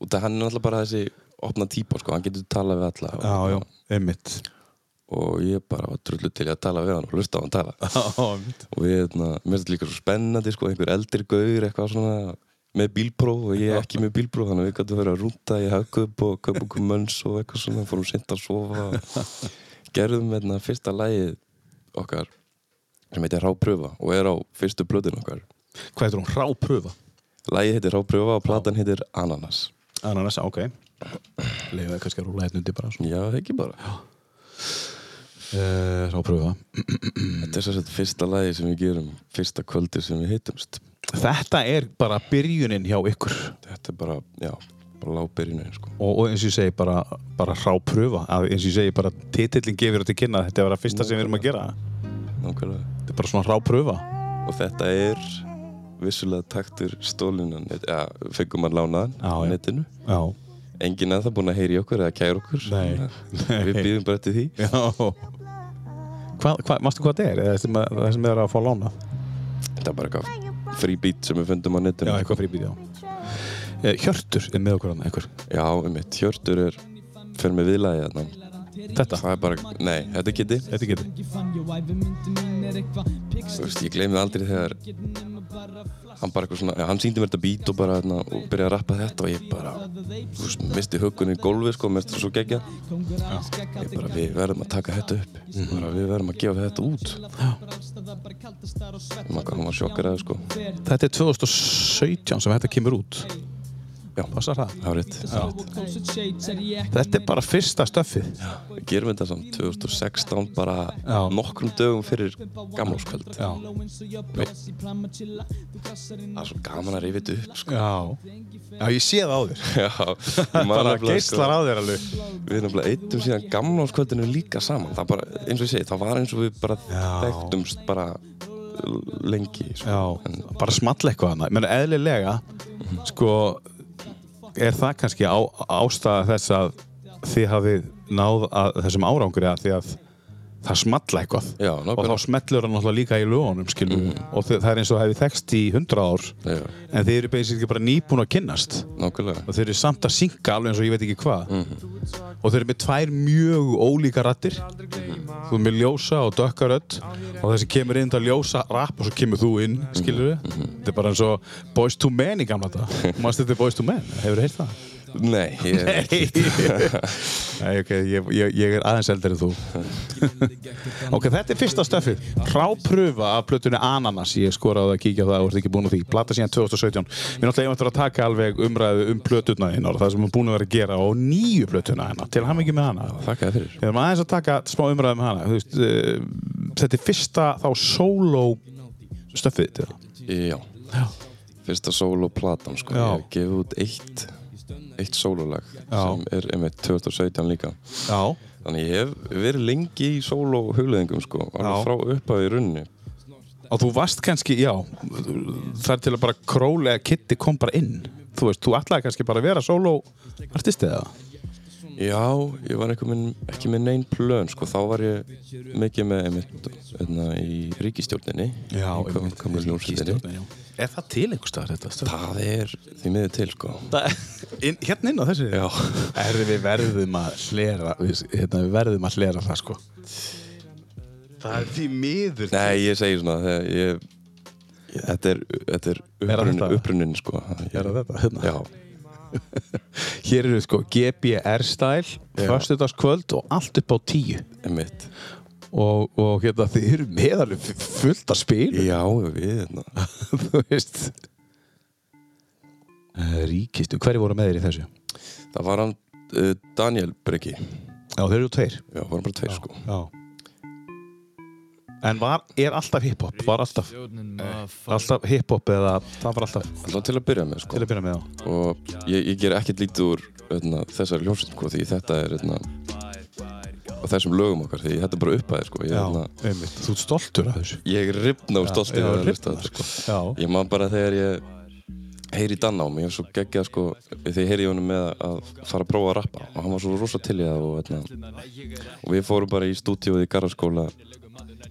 S3: og það hann er náttúrulega bara þessi opna típa sko, hann getur talað við alla
S2: já, já, einmitt
S3: og ég bara var trullu til í að tala við hann og hlusta á hann tala
S2: Já,
S3: og við, hérna, mér finnst þetta líka svo spennandi sko, einhver eldri gauður eitthvað svona með bílpróf og ég ekki með bílpróf þannig að við gætu verið að rúnta í hagkaup og kaup okkur mönns og eitthvað svona fórum sint að sofa gerðum hérna, fyrsta lagið okkar sem heitir Rápröfa og er á fyrstu blöðin okkar
S2: hvað heitir hún? Rápröfa
S3: lagið heitir Rápröfa og platan heitir Ananas
S2: Ananas, ok Leifum við kannski að rúla hérna undir bara svona.
S3: Já, ekki bara
S2: uh, Rápröfa
S3: Þetta er svo sett fyrsta lagi sem við gerum fyrsta kvöldi sem við hittumst
S2: Þetta er bara byrjunin hjá ykkur
S3: Þetta er bara, já, bara lábyrjunu sko.
S2: og, og eins og ég segi bara, bara rápröfa að eins og ég segi bara titillin gefur þetta til kynna að þetta er bara fyrsta sem við erum að gera
S3: Nákvæmlega
S2: Þetta er bara svona rápröfa
S3: og þetta er vissulega taktur stólunan ja, fengum að lána hann
S2: Já,
S3: á
S2: já.
S3: netinu
S2: Já,
S3: enginn að það búin að heyri okkur eða kæra okkur
S2: Nei.
S3: Þannig að við býðum bara eftir því
S2: já Hvað, hvað, mástu hvað þetta er? Eða sem að- Það sem þið er að fá lána
S3: þetta er bara eitthvað frí bít sem við fundum á netinu
S2: Já, eitthvað fríbýt, já Eh, Hjörtur er með okkur hann, einhver
S3: já mitt hjörtur er fyrir með viðlagi þarna.
S2: Þetta,
S3: það er bara, nei, þetta geti
S2: þetta getur
S3: Þú veist, ég gleymi það aldrei þegar hann bara eitthvað svona, ja, hann síndi mér þetta bít og bara hérna, og byrjaði að rappa þetta og ég bara þú veist, misti höggunni í gólfi sko, misti svo gegja ég bara, við verðum að taka þetta upp
S2: Mhm.
S3: bara, við verðum að gefa þetta út
S2: Oh
S3: Maka, hún var sjokkaraði sko
S2: Þetta er 2017 sem þetta kemur út
S3: Já.
S2: Passa það
S3: það var rétt,
S2: Þetta er bara fyrsta stöffið
S3: við gerum þetta samt 2016 bara
S2: Já.
S3: nokkrum dögum fyrir gamláskvöld
S2: Já.
S3: það er svo gaman að rifja þetta upp sko.
S2: Já Já, ég sé það á þér
S3: Já, ég man
S2: Bara
S3: nefnilega, sko.
S2: geislar á þér alveg
S3: Við nefnilega eittum síðan gamláskvöldinu líka saman Það bara, eins og ég segi, það var eins og við bara þekktumst bara l- lengi sko.
S2: Já,
S3: En- Mhm.
S2: bara small eitthvað annað. Menn eðlilega, sko, er það kannski á, ástæða þess að þið hafið náð að, þessum árangri að því að það small eitthvað.
S3: Já,
S2: og þá
S3: nákvæmlega
S2: smellur hann náttúrulega líka í lögunum, skilju, og þið, það er eins og hefði þekst í 100 ár,
S3: Já,
S2: en þið eru basically bara nýbúin að kynnast
S3: nákvæmlega
S2: og þeir eru samt að synga alveg eins og ég veit ekki hvað og þeir eru með tvær mjög ólíka rattir þú er með ljósa og dökka rödd og þessi kemur inn til að ljósa rap og svo kemur þú inn, skilur við þetta er bara eins og Boys to Men í gamla þetta mannst þetta er Boys to Men, hefur þú heyrt það?
S3: Nei, ég,
S2: Nei, ok, ég, ég, ég er aðeins eldar en þú Ok, þetta er fyrsta stöfið Rápröfa af plötunni Ananas Ég skoraði að kíkja á það og ert ekki búin að því Plata síðan 2017 Við náttúrulega eftir að taka alveg umræðu um plötuna þín og það sem við erum búin að vera að gera og nýju plötuna hennar til hann ekki með hana
S3: þakka þér fyrir
S2: Við erum aðeins að taka smá umræðu um hana Þú veist, uh, Þetta er fyrsta þá solo stöfið til það
S3: Já, fyrsta sóloplatan sko
S2: Já.
S3: Ég hef gefið út eitt eitt sólolag sem er einmitt 2017 líka
S2: Já,
S3: Þannig ég hef verið lengi í sóló hugleðingum sko,
S2: Já.
S3: alveg frá upphafi í runni
S2: og þú varst kannski, já þar til að bara króli eða kitti kom bara inn þú veist, þú ætlaði kannski bara að vera solo artist eða
S3: Já, ég var einhvern veginn ekki með neinn plön sko, þá var ég mikið með einmitt einna, í ríkistjórninni
S2: Já,
S3: í kom, komið ljónsindinni
S2: er það til einhver staðar þetta?
S3: Það er því miður til sko
S2: In, hérna inn á þessu
S3: Já,
S2: Erði við verðum að hlera við, hérna, við verðum að hlera það sko það er því miður
S3: nei ég segi svona þegar ég, ég, þetta er, þetta er
S2: það
S3: upprunnin,
S2: þetta?
S3: upprunnin sko
S2: Er það þetta? Hérna.
S3: Já,
S2: Hér eru sko GBR style, föstudagskvöld og allt upp á tíu
S3: einmitt
S2: og, og hérna þið eru meðalum fullt að spila
S3: Já, við einna.
S2: þú veist Eh, Ríkistu, hverju voru með þér í þessu?
S3: Það var hann uh, Daniel Breki
S2: Já, þeir eru tveir
S3: Já, vorum bara tveir sko
S2: Já En var, er alltaf hiphop? Var alltaf, Eh, alltaf hiphop eða það var alltaf
S3: Alltaf til að byrja með sko
S2: til að byrja með þá?
S3: og ég, ég ger ekkert lítið úr öðna, þessari hljómsveit sko, því þetta er öðna, og þessum lögum okkar því þetta er bara uppæði sko. ég,
S2: Hérna,
S3: öðna,
S2: einmitt. Þú ert stoltur af þessu?
S3: ég ripna úr stoltið
S2: já,
S3: þegar ég hlusta á
S2: rifnar,
S3: þetta,
S2: sko. Já.
S3: ég man bara þegar ég heyri Danna á mig, ég er svo geggjað sko, þegar ég heyri í honum með að fara að prófa að rappa og hann var svo rosa til í það og, öðna, og við fórum bara í stúdíóið í Garðaskóla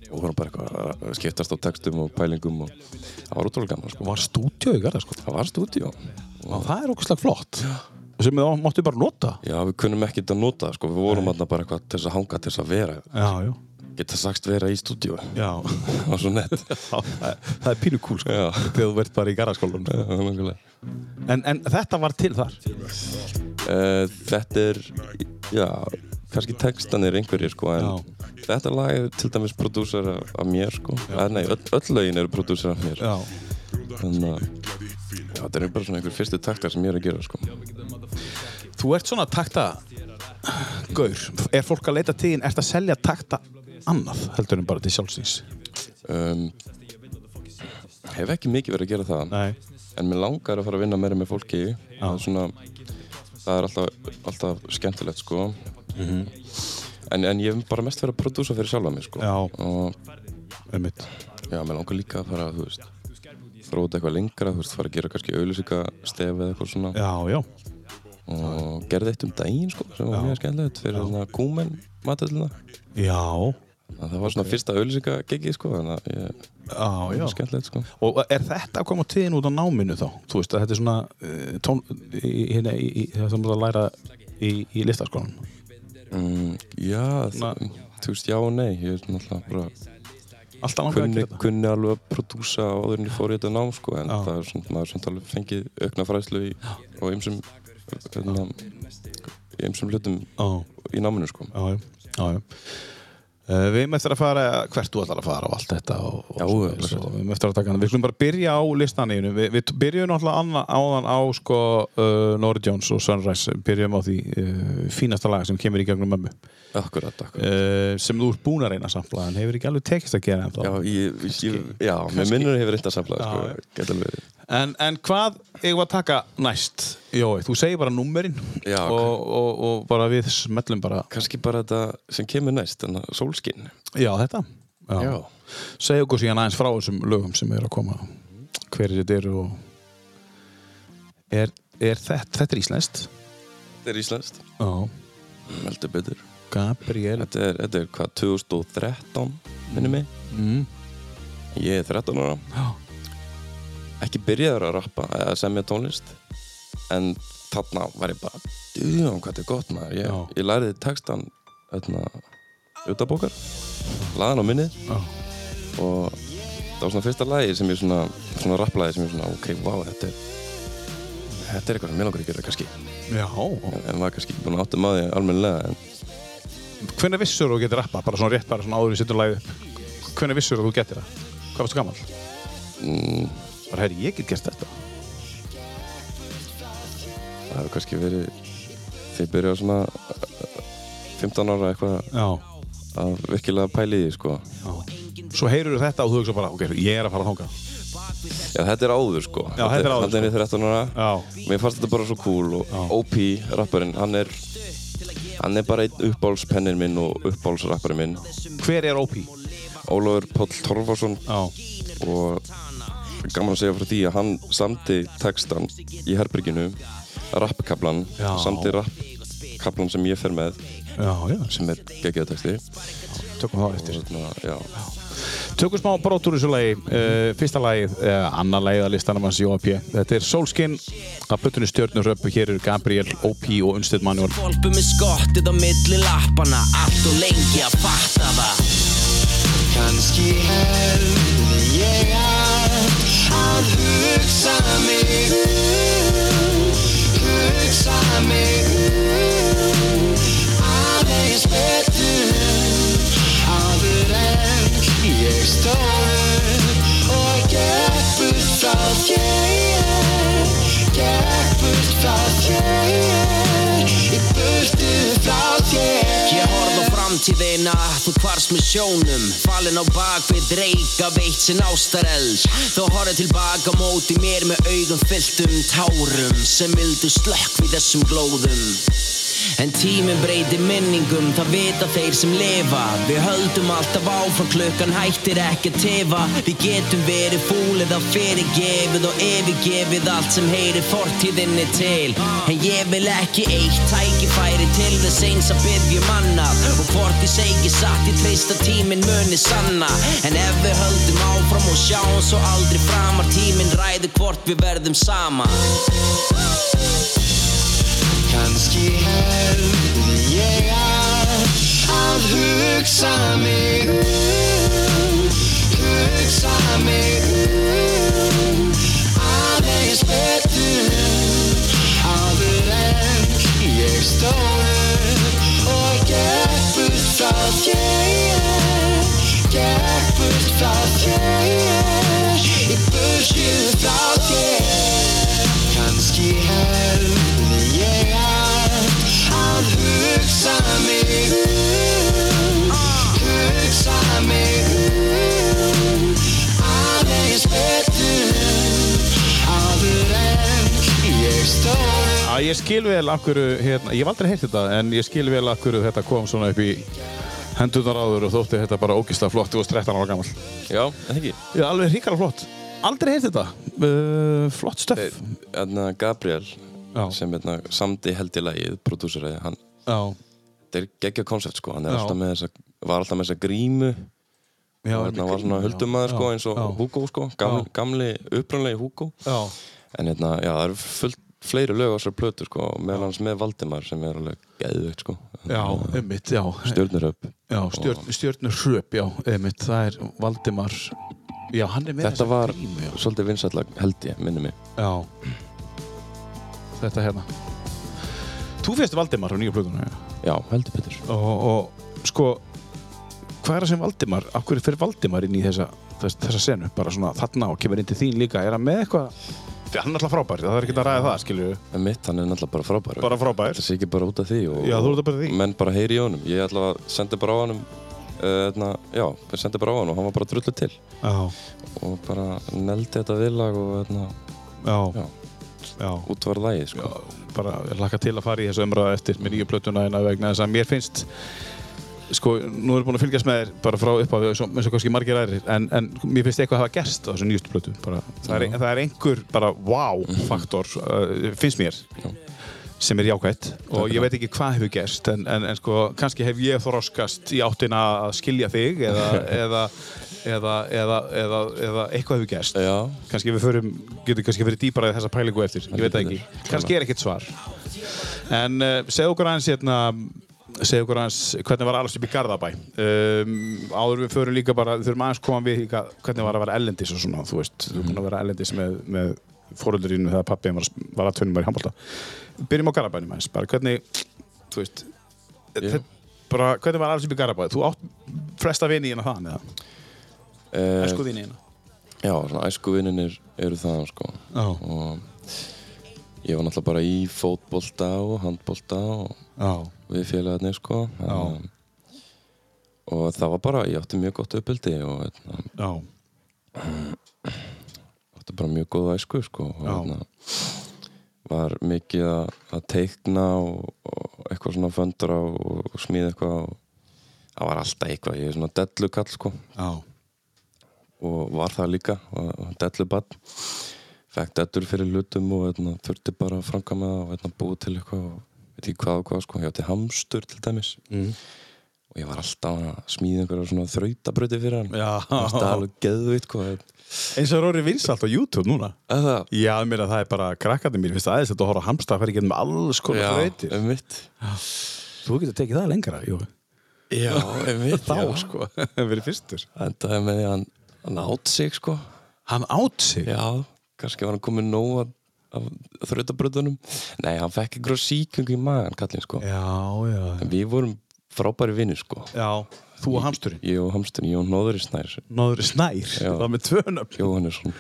S3: og vorum bara eitthvað að skiptast á textum og pælingum og það var útrúlega gaman sko.
S2: Var stúdíu í garða sko?
S3: það var stúdíó
S2: Já, það er okkur slag flott sem þú máttu bara nota
S3: Já, við kunnum ekkert að nota, sko, við vorum alltaf bara eitthvað til þess að hanga, til þess að vera,
S2: Já, já,
S3: geta sagst vera í stúdíu
S2: já.
S3: á svo nett.
S2: það, það er pínu kúl sko
S3: Já.
S2: þegar þú verðt bara í garðaskólan sko.
S3: Já, nákvæmlega.
S2: en, en þetta var til þar
S3: Eh, þetta er, já, kannski textan er einhverjir, sko, en þetta lag er til dæmis prodúsar af, af mér, sko. Já. Nei, öll, öll lögin eru prodúsar af mér.
S2: Já
S3: Þannig að, já, þetta er bara svona einhver fyrstu taktar sem ég er að gera, sko.
S2: Þú ert svona takta Gaur, er fólk að leita til þín Ert að selja takta annað heldur en bara til sjálfsins
S3: Um, hef ekki mikið verið að gera það.
S2: Nei,
S3: en mér langar að fara að vinna meira með fólki það er svona það er alltaf, alltaf skemmtilegt sko
S2: Mhm.
S3: en, en ég hef bara mest verið að prodúsa fyrir sjálfa mig sko
S2: Já.
S3: og
S2: einmitt
S3: já, mér langar líka að fara þú veist þróta eitthvað lengra, þú veist, fara að gera kannski auðlýsika stefi eða eitthvað svona
S2: Já, já,
S3: og gerði eitt um daginn sko sem var mjög skemmtilegt fyrir þarna kúmen matallina
S2: já,
S3: það var svona fyrsta auðlýsika geggi sko þannig að ég,
S2: já, já.
S3: skemmtilegt sko
S2: Og er þetta að koma til þín út á náminu þá? Þú veist að þetta er svona uh, tón, í, hérna, í, í, það sem þú ert að læra í, í listaskólanum
S3: mm, já, það, þú veist, já og nei ég er náttúrulega bara
S2: Alltaf langar að
S3: kunni,
S2: gera þetta
S3: kunni alveg að prodúsa áður en ég fór í þetta nám sko, en það er svona, maður samt alveg fengið aukna fræðslu í, á ymsum hérna, í ymsum hlutum
S2: Já,
S3: í náminu sko.
S2: já, já, já, já. Uh, Við erum eftir að fara hvert þú ætlar að fara og allt þetta og, og
S3: Já,
S2: svoleiðis
S3: örugglega.
S2: og við erum eftir að taka hana Við skulum bara byrja á listaneginu Við, við byrjum náttúrulega anna, áðan á sko, uh, Norri Jones og Sunrise byrjum á því uh, fínasta laga sem kemur í gegnum mömmu uh,
S3: Akkurat, akkurat.
S2: sem þú ert búin að reyna að sampla en hefur ekki alveg tekist að gera ennþá
S3: Já, ég, ég, já með minnur hefur reynt að safla sko,
S2: Já,
S3: geta alveg verið.
S2: En, en hvað eigum við að taka næst? Jói, þú segir bara nummerinn
S3: Já, ok.
S2: og, og, og bara við smellum bara
S3: Kannski bara þetta sem kemur næst, þannig að sólskinn.
S2: Já, þetta Segðu okkur síðan aðeins frá þessum lögum sem eru að koma Hverjir þetta eru og Er, er þetta, þetta er íslenskt?
S3: Þetta er íslenskt,
S2: Já
S3: heldur betur.
S2: Gabriel
S3: Þetta er, þetta er hvað, 2013, minnum mig.
S2: mm.
S3: Ég er 13 ára
S2: Já.
S3: Ekki byrjaður að rappa eða semja tónlist En þarna var ég bara Duðum hvað þetta er gott maður Ég,
S2: Já.
S3: ég læriði textan Þarna Utabókar Laðan á minni
S2: Já.
S3: Og það var svona fyrsta lagi sem ég svona Svona rapplagi sem ég svona Ok, vá, þetta er Þetta er eitthvað sem ég langar að gera kannski
S2: Já
S3: En var kannski ekki búin að áttum að því almennilega En
S2: Hvernig vissur þú getur rappa? Bara svona rétt, bara svona áður í sitturlæðu Hvernig vissur þú getur það? Hvað varstu gammal?
S3: mm,
S2: Bara, herri, ég get gert þetta
S3: það hefur kannski verið Þegar ég byrjaði svona eh, 15 ára eitthvað
S2: Já
S3: að virkilega pæli í því sko
S2: Svo heyrur þetta og þú hugsa bara, ok, ég er að fara að þangað
S3: Já, þetta er áður sko
S2: Já, þetta er áður,
S3: Þannig er ég 13 ára
S2: Já.
S3: Mér fannst þetta bara svo cool og OP, rapparinn, hann er Hann er bara einn uppbálspennin minn og uppbálsrapparinn minn
S2: Hver er OP?
S3: Ólafur Páll Torfarsson
S2: Já,
S3: og gaman að segja frá því að hann samti textan í herberginu rappkablan,
S2: Já.
S3: samti rappkablan sem ég fer með
S2: já, já,
S3: sem er geggjaða texti
S2: tökum það eftir
S3: Þannig að, já,
S2: Tökum smá brot úr þessu lagi uh, Fyrsta lagið, uh, annar lagið að listanum hans í OP Þetta er Solskin að plötunni stjörnuröppu, hér eru Gabriel OP og Unstedt Manuel
S5: Volpu með skottið á milli lappana Allt og lengi að fatta það
S6: Kanski hefði ég átt að hugsa mig um, hugsa mig um, aðeins betur. Áður en ég stóð upp og gekk burt frá þér, gekk burt frá þér, í burtu frá þér.
S5: Ég horfði á framtíðina, þú hvarst með sjónum Fallin á bakvið reyka, veitt sinn ástareld Þá horfði tilbaka á móti mér með augum fylltum tárum Sem vildu slökk við þessum glóðum En tíminn breytir minningum, það vita þeir sem lifa Við höldum alltaf áfram, klukkan hættir ekki að tefa Við getum verið fúl eða fyrirgefið og yfirgefið allt sem heyrir fortíðinni til En ég vil ekki eitt tækifæri til þess eins að byggjum annað Og hvort ég segi satt, ég treysta tíminn muni sanna En ef við höldum áfram og sjáum svo aldrei framar Tíminn ræður hvort við verðum saman
S6: Kanski heldur ég að Að hugsa mig um Hugsa mig um Aðeins betur Áður en ég stóð upp Og gekk burt frá þér Gekk burt frá þér Í burtu frá þér Kanski heldur ég að Að hugsa mig um Hugsa mig um Aðeins betur Áður en ég stóð upp
S2: Já, ég skil vel af hverju, hérna, ég hef aldrei heyrt þetta en ég skil vel af hverju þetta kom svona upp í hendunar áður og þótti þetta bara ógislega flott þú varst 13 ára gammal
S3: Já, en ekki
S2: Já, alveg hrikalega flott Aldrei heyrt þetta uh, Flott stöf
S3: Þannig Gabriel
S2: Já.
S3: sem hérna, samdi held í lagið, prodúseraði hann
S2: Já,
S3: þetta er geggja koncept sko, hann er
S2: Já.
S3: alltaf með þessa var alltaf með þessa grímu
S2: já,
S3: og hérna var svona höldumæður sko, eins og
S2: já.
S3: Hugo sko, gamli, gamli upprannlegi Hugo
S2: Já,
S3: en hérna, já, það eru fullt fleiri lög á þessar plötu sko, og meðal hans með Valdimar sem er alveg geðveikt sko
S2: já, einmitt, já
S3: stjörnur upp
S2: Já, stjörn, stjörnur hröp, já, einmitt Það er Valdimar Já, hann er með
S3: þetta
S2: þessa
S3: var
S2: grímu, já.
S3: svolítið vinsætlag held ég, minnum mig
S2: já Þetta hérna Þú fyrst Valdimar á nýju plötuna já.
S3: já, heldur betur
S2: og, og sko Hvað er það sem Valdimar, af hverju fyrir Valdimar inn í þessa, þess, þessa senu, bara svona þarna og kemur inn til þín líka, er hann með eitthvað Því hann er alltaf frábær, það er ekki að ræða það, skilju
S3: en mitt, hann er náttúrulega bara frábær
S2: Bara frábær
S3: þetta sé ekki bara út af því og,
S2: Já, þú ert að bara því
S3: menn bara heyri í honum ég ætla að senda bara á honum uh, hérna, já, ég sendi bara á honum og hann var bara drullu til
S2: Já,
S3: og bara neldi þetta viðlag og hérna,
S2: já,
S3: já,
S2: já
S3: útvar lagið sko.
S2: bara laka til að fara í þessu umræða eftir með nýju plötuna hérna vegna þess að mér finnst sko, nú erum við búin að fylgjast með þér bara frá upphafi eins og eins og kannski margir aðrir en, en mér finnst eitthvað að hafa gerst á þessu nýjustu plötu bara, það, er, það er einhver bara wow-faktor uh, finnst mér sem er jákvætt og ég veit ekki hvað hefur gerst en, en, en sko, kannski hef ég þroskast í áttina að skilja þig eða, eða, eða, eða, eða, eða eitthvað hefur gerst
S3: já,
S2: kannski við förum, getur kannski verið dýpara í þessa pælingu eftir, ég veit það
S3: getur
S2: ekki kannski er ekkert svar en uh, segð okkur aðeins hérna segð okkur aðeins hvernig var að alast upp í Garðabæ um, áður við förum líka bara við þurfum aðeins koma við líka hvernig var að vera ellendis og svona, þú veist, þú er búin að vera ellendis með, með fóröldurinn þegar pappi var, var að tönnum í handbólta byrjum á Garðabænum aðeins, bara hvernig þú veist, þetta bara hvernig var að alast upp í Garðabæ, þú átt flesta vini hérna þann, eða,
S3: uh,
S2: esku vini hérna
S3: já, svona æskuvinninir eru það sko.
S2: já,
S3: og ég var náttúrulega bara í fótbolta og handbolta og
S2: já,
S3: við félagarnir sko.
S2: Já.
S3: og það var bara, ég átti mjög gott uppbildi og hérna,
S2: já.
S3: átti bara mjög góða æsku sko, og
S2: Já.
S3: hérna, var mikið að, að teikna og, og eitthvað svona föndra og, og smíða eitthvað og það var alltaf eitthvað, ég er svona dellukall sko,
S2: Já,
S3: og var það líka var, var dellubann fekk dellur fyrir hlutum og hérna, þurfti bara að franga með það og hérna, búið til eitthvað og veit ekki hvað og hvað sko, ég átti hamstur til dæmis mm. og ég var alltaf að smíða einhverja svona þrautabröti fyrir hann
S2: Já.
S3: þetta er alveg sko. geðvitt hvað er
S2: eins og það er orðið vinsalt á YouTube núna
S3: það?
S2: Já, ég meina það er bara krakkandi mér finnst aðeins þetta að horfa á hamsta að fara í getum alls konar þrautir
S3: um mitt
S2: Þú getur tekið það lengra, jú
S3: Já, um mitt
S2: Þá, sko, verið fyrstur
S3: Þetta er með því að hann, hann átt sig sko
S2: Hann átt sig
S3: Já, kannski var hann komið nóg af, af þrautabröðunum Nei, hann fekk einhverja síkingu í magan kallinn sko
S2: já, já,
S3: En við vorum frábæri vinnir sko
S2: Þú og hamsturinn
S3: Ég og Hamstun, ég og Nóðri Snær
S2: Nóðri Snær, það var með tvönöfn
S3: Jóhannesson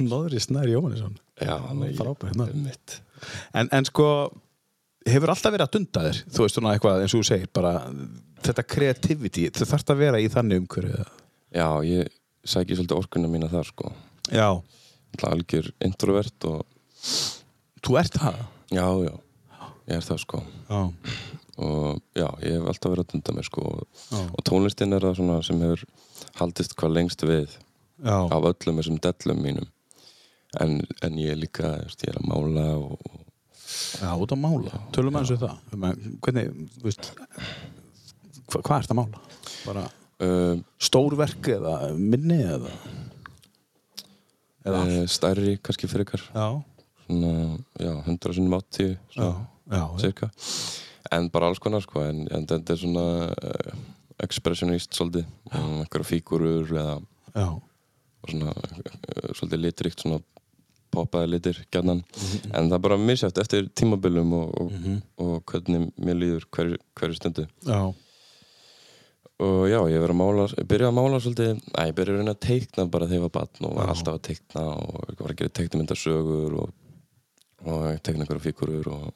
S2: Nóðri Snær Jóhannesson
S3: Já, hann er
S2: Frábært nafn.
S3: mitt
S2: hérna. en, en sko, hefur alltaf verið að dunda þér Þú veist svona eitthvað, eins og þú segir, bara þetta creativity, þú þarft að vera í þannig umhverju
S3: Já, ég sæki svolítið orkunna mína þar sko
S2: Já,
S3: Náttúrulega Algjör introvert og
S2: þú ert það
S3: Já, já, ég er það sko
S2: Já,
S3: og já, ég hef alltaf verið að dunda mér sko
S2: Já.
S3: og tónlistin er það svona sem hefur haldist hvað lengst við
S2: já,
S3: af öllum þessum dellum mínum en, en ég er líka, þú veist, ég er að mála og, og
S2: Já, út að mála. Tölum aðeins um það. Men Hvernig, þú veist, hva, hvað ert að mála? Bara
S3: uh,
S2: stórverk eða minni eða? Eða allt?
S3: stærri eh, kannski frekar
S2: Já,
S3: svona, já, 100 sinum 80
S4: já,
S3: svona,
S4: já,
S3: cirka en bara alls konar sko en, en þetta er svona uh, expressionist svolítið um, einhverja fígurur eða
S4: já,
S3: og svona uh, svolítið litrikt svona poppaði litir gjarnan en það er bara misjæft eftir tímabilum og, og, og hvernig mér líður hverju hver stundu
S4: já,
S3: og já, ég verið að mála, ég byrjaði að mála svolítið, að ég byrjaði að reyna að teikna bara þegar ég var batn og var alltaf að teikna og ég var að gera teiknumyndasögur og, og teikna einhverja fíkurur og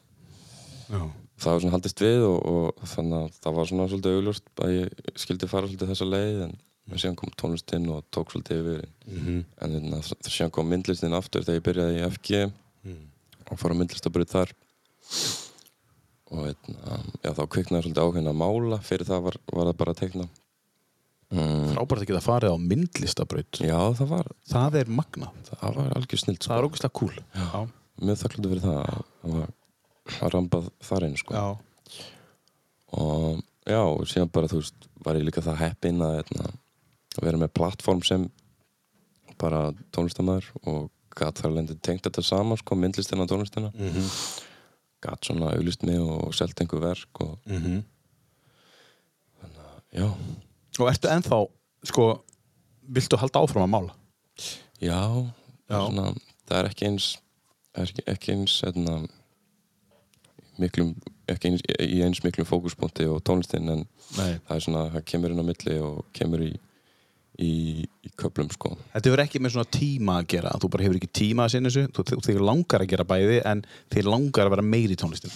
S4: já,
S3: það var svona haldist við og, og þannig að það var svona svolítið augljóst að ég skildi fara svolítið þessa leið en en síðan kom tónlistinn og tók svolítið yfir
S4: Mhm.
S3: en þannig að það síðan kom myndlistinn aftur þegar ég byrjaði í FG
S4: Mhm.
S3: og fór á myndlistabrið þar og eitna, já, þá kviknaði svolítið ákveðin að mála fyrir það var, var það bara að tekna mm,
S4: frábært að geta farið á myndlistabraut
S3: já það var,
S4: það er magnað,
S3: það var algjör snilt
S4: það
S3: sko.
S4: er ógeðslega cool já,
S3: mjög þakklútið fyrir það að- að að rambað þar inn sko.
S4: já,
S3: og já, og síðan bara þú veist, var ég líka það heppinn að, hérna, að vera með plattform sem bara tónlistamæður og gat þar lendur tengt þetta saman sko, myndlistina og tónlistina gat svona auglist mig og selt einhver verk og
S2: Mm.
S4: Mhm.
S3: þannig að, já
S4: og ertu ennþá sko, viltu halda áfram að mála
S3: já,
S4: Já.
S3: Svona, það er ekki eins það er ekki, ekki eins hérna, miklum ekki eins, í eins miklum fókuspunkti og tónlistin en
S4: Nei.
S3: það er svona, það kemur inn á milli og kemur í í, í köplum sko
S4: Þetta hefur ekki með svona tíma að gera þú bara hefur ekki tíma að sinna þessu þú, þú, þig langar að gera bæði en þig langar að vera meiri í tónlistinu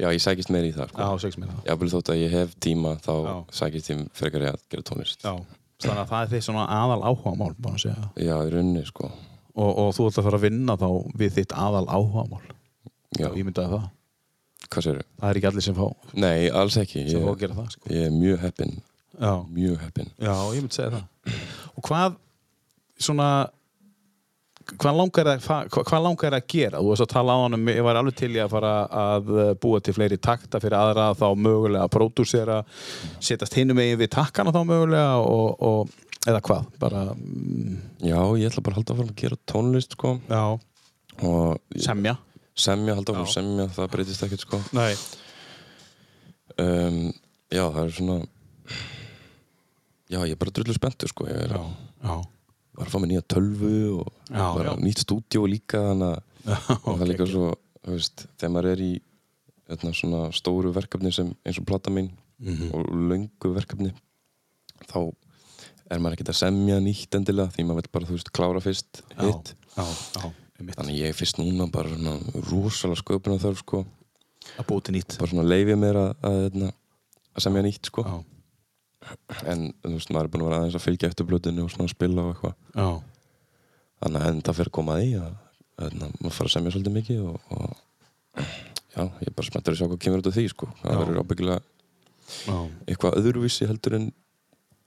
S3: já, ég sækist meir í það sko
S4: Já, sex mér það
S3: já, vel þótt að ég hef tíma þá
S4: Já.
S3: sækist ég frekar í að gera tónlist
S4: Já, þannig að það er þitt svona aðal áhugamál búin að segja
S3: já, í rauninni sko
S4: og, og þú ætla að fara að vinna þá við þitt aðal áhugamál
S3: já,
S4: Ég myndaði það
S3: hvað séru?
S4: Það er ekki allir sem fá,
S3: nei, alls ekki
S4: sem
S3: ég,
S4: fá að gera það sko.
S3: ég er mjög heppinn
S4: Já,
S3: mjög heppinn
S4: já, ég myndi segja það Og hvað svona hvað langar það hvað, hvað langar það að gera? Þú veist að tala á hann ég var alveg til í að fara að eh, búa til fleiri takta fyrir aðra þá mögulega að pródúsera, setjast hinum megin við takkana þá mögulega og, og eða hvað, bara mm,
S3: já, ég ætla bara að halda áfram að gera tónlist sko
S4: já,
S3: og
S4: semja
S3: semja, halda áfram
S4: Já.
S3: að semja það breytist ekkert sko
S4: Nei.
S3: um, já, það er svona já, ég er bara drullu spenntur sko ég er
S4: Já, já,
S3: var að fá mér nýja tölvu og
S4: Já,
S3: bara
S4: já.
S3: nýtt stúdíó líka þannig að
S4: Já,
S3: það er líka svo þú veist, þegar maður er í eitna, svona stóru verkefni sem eins og plata mín
S4: Mhm.
S3: og löngu verkefni þá er maður ekkert að semja nýtt endilega því maður vil bara þú veist klára fyrst hitt
S4: já, já, einmitt.
S3: þannig að ég er fyrst núna bara svona rosalega sköpuna þarf sko
S4: að búa til nýtt
S3: bara svona leifið mér að, að, eitna, að semja nýtt sko
S4: Já,
S3: en þú veist maður er búin að vera aðeins að fylgja eftir blöðinu og svona spila og eitthvað
S4: já,
S3: þannig að enda fyrir koma að því að, að na, maður fara að semja svolítið mikið og, og já, ég er bara spenntur að sjá hvað kemur út af því sko. það verður ábyggilega
S4: já,
S3: eitthvað öðruvísi heldur en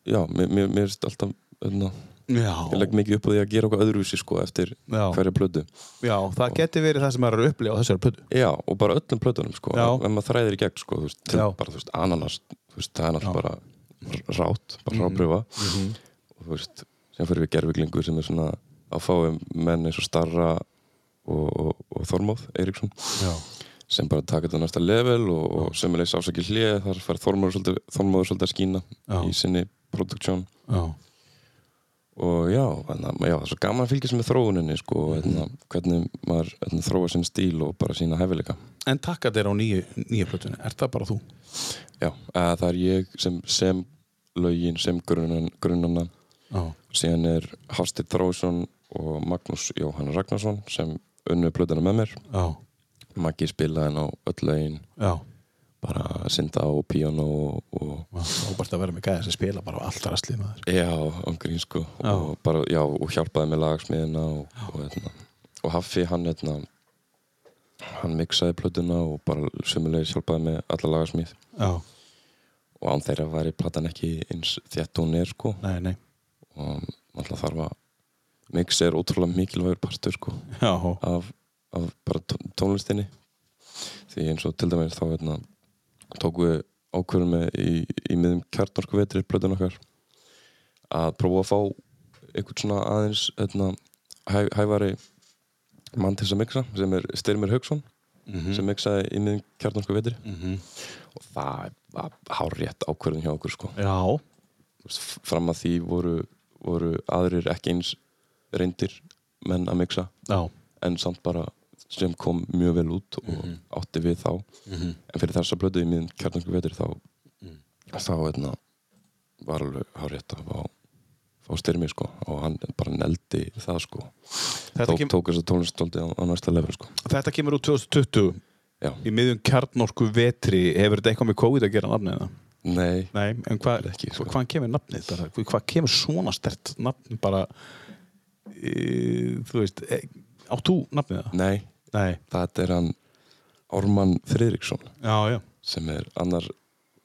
S3: já, mér, mér, mér erst alltaf na, ég
S4: já,
S3: legg mikið upp á því að gera eitthvað öðruvísi sko, eftir
S4: Já.
S3: hverja plötu
S4: já, það geti verið það sem maður er að upplifa á þessari plötu
S3: já, og bara öllum plötunum sko,
S4: Já.
S3: ef maður þræðir í gegn sko, þú veist, til,
S4: Já.
S3: bara, þú veist, ananas þú veist, það er náttúrulega bara rátt bara rápröfa og þú veist, sem fyrir við gerfuglingu sem er svona að fá um menn eins og starra og, og, og Þormóð Eiríksson
S4: Já,
S3: sem bara taka þetta á næsta level og, og sömulegis ásaki hlið þar fær Þormóður svolítið, Þormóður svolítið að skína
S4: Já.
S3: í sinni production
S4: já,
S3: og já, en, já, það er svo gaman að fylgjast með þróuninni sko, og
S4: Mhm.
S3: hérna, hvernig maður hérna, þróa sinn stíl og bara sína hæfileika
S4: en takka þér á nýju, nýju plötunni er það bara þú?
S3: já, að það er ég sem, sem lögin, sem grunan, grunana
S4: Já,
S3: síðan er Hafstir Þrósson og Magnús Jóhann Ragnarsson sem unnu plötuna með mér
S4: já,
S3: Maggi spilaði hann á öll lögin
S4: já
S3: bara synda og píano og, og
S4: Óbært að vera með gæðir sem spila bara á allt rastlið maður
S3: Já, omgrín sko og, bara, já, og hjálpaði með lagsmiðina og, og, hérna. og Haffi hann hérna, hann mixaði plötuna og bara sömulegis hjálpaði með alla lagasmið
S4: Já,
S3: og án þeirra væri platan ekki eins þétt og hún er sko
S4: nei, nei
S3: og alltaf þarf að mix er ótrúlega mikilvægur partur sko
S4: Já,
S3: af, af bara tón- tónlistinni því eins og til dæmis þá hérna, tóku við ákvörðum með í, í miðum kjartnorku vetri blöðun okkar að prófa að fá einhvern svona aðeins hérna, hæ, hæfari mann til þess að mixa sem er Styrmir Haugsson sem mixaði í miðin kjarnorku vetri og það var hárétt ákvörðin hjá okkur sko.
S2: Já,
S3: Þú veist, f- fram að því voru, voru aðrir ekki eins reyndir menn að mixa
S2: já,
S3: en samt bara sem kom mjög vel út og átti við þá en fyrir þess að blödu í miðin kjarnorku vetri þá þá hérna var alveg hárétt að fá, fá Styrmi sko og hann bara neldi það sko
S2: Þetta
S3: Tók,
S2: kem-
S3: tók þess að tónlistóldi á, á næsta level sko
S2: þetta kemur úr 2020
S3: Já.
S2: í miðjum kjarnorku vetri hefur þetta eitthvað með COVID að gera nafnið það?
S3: Nei,
S2: Nei, en hvað
S3: Ekki, sko.
S2: hvaðan kemur nafnið bara, Hva- hvað kemur svona stert nafn bara e, þú veist e, átt þú nafnið það?
S3: nei,
S2: Nei,
S3: þetta er hann Orman Friðriksson
S2: já, já
S3: sem er annar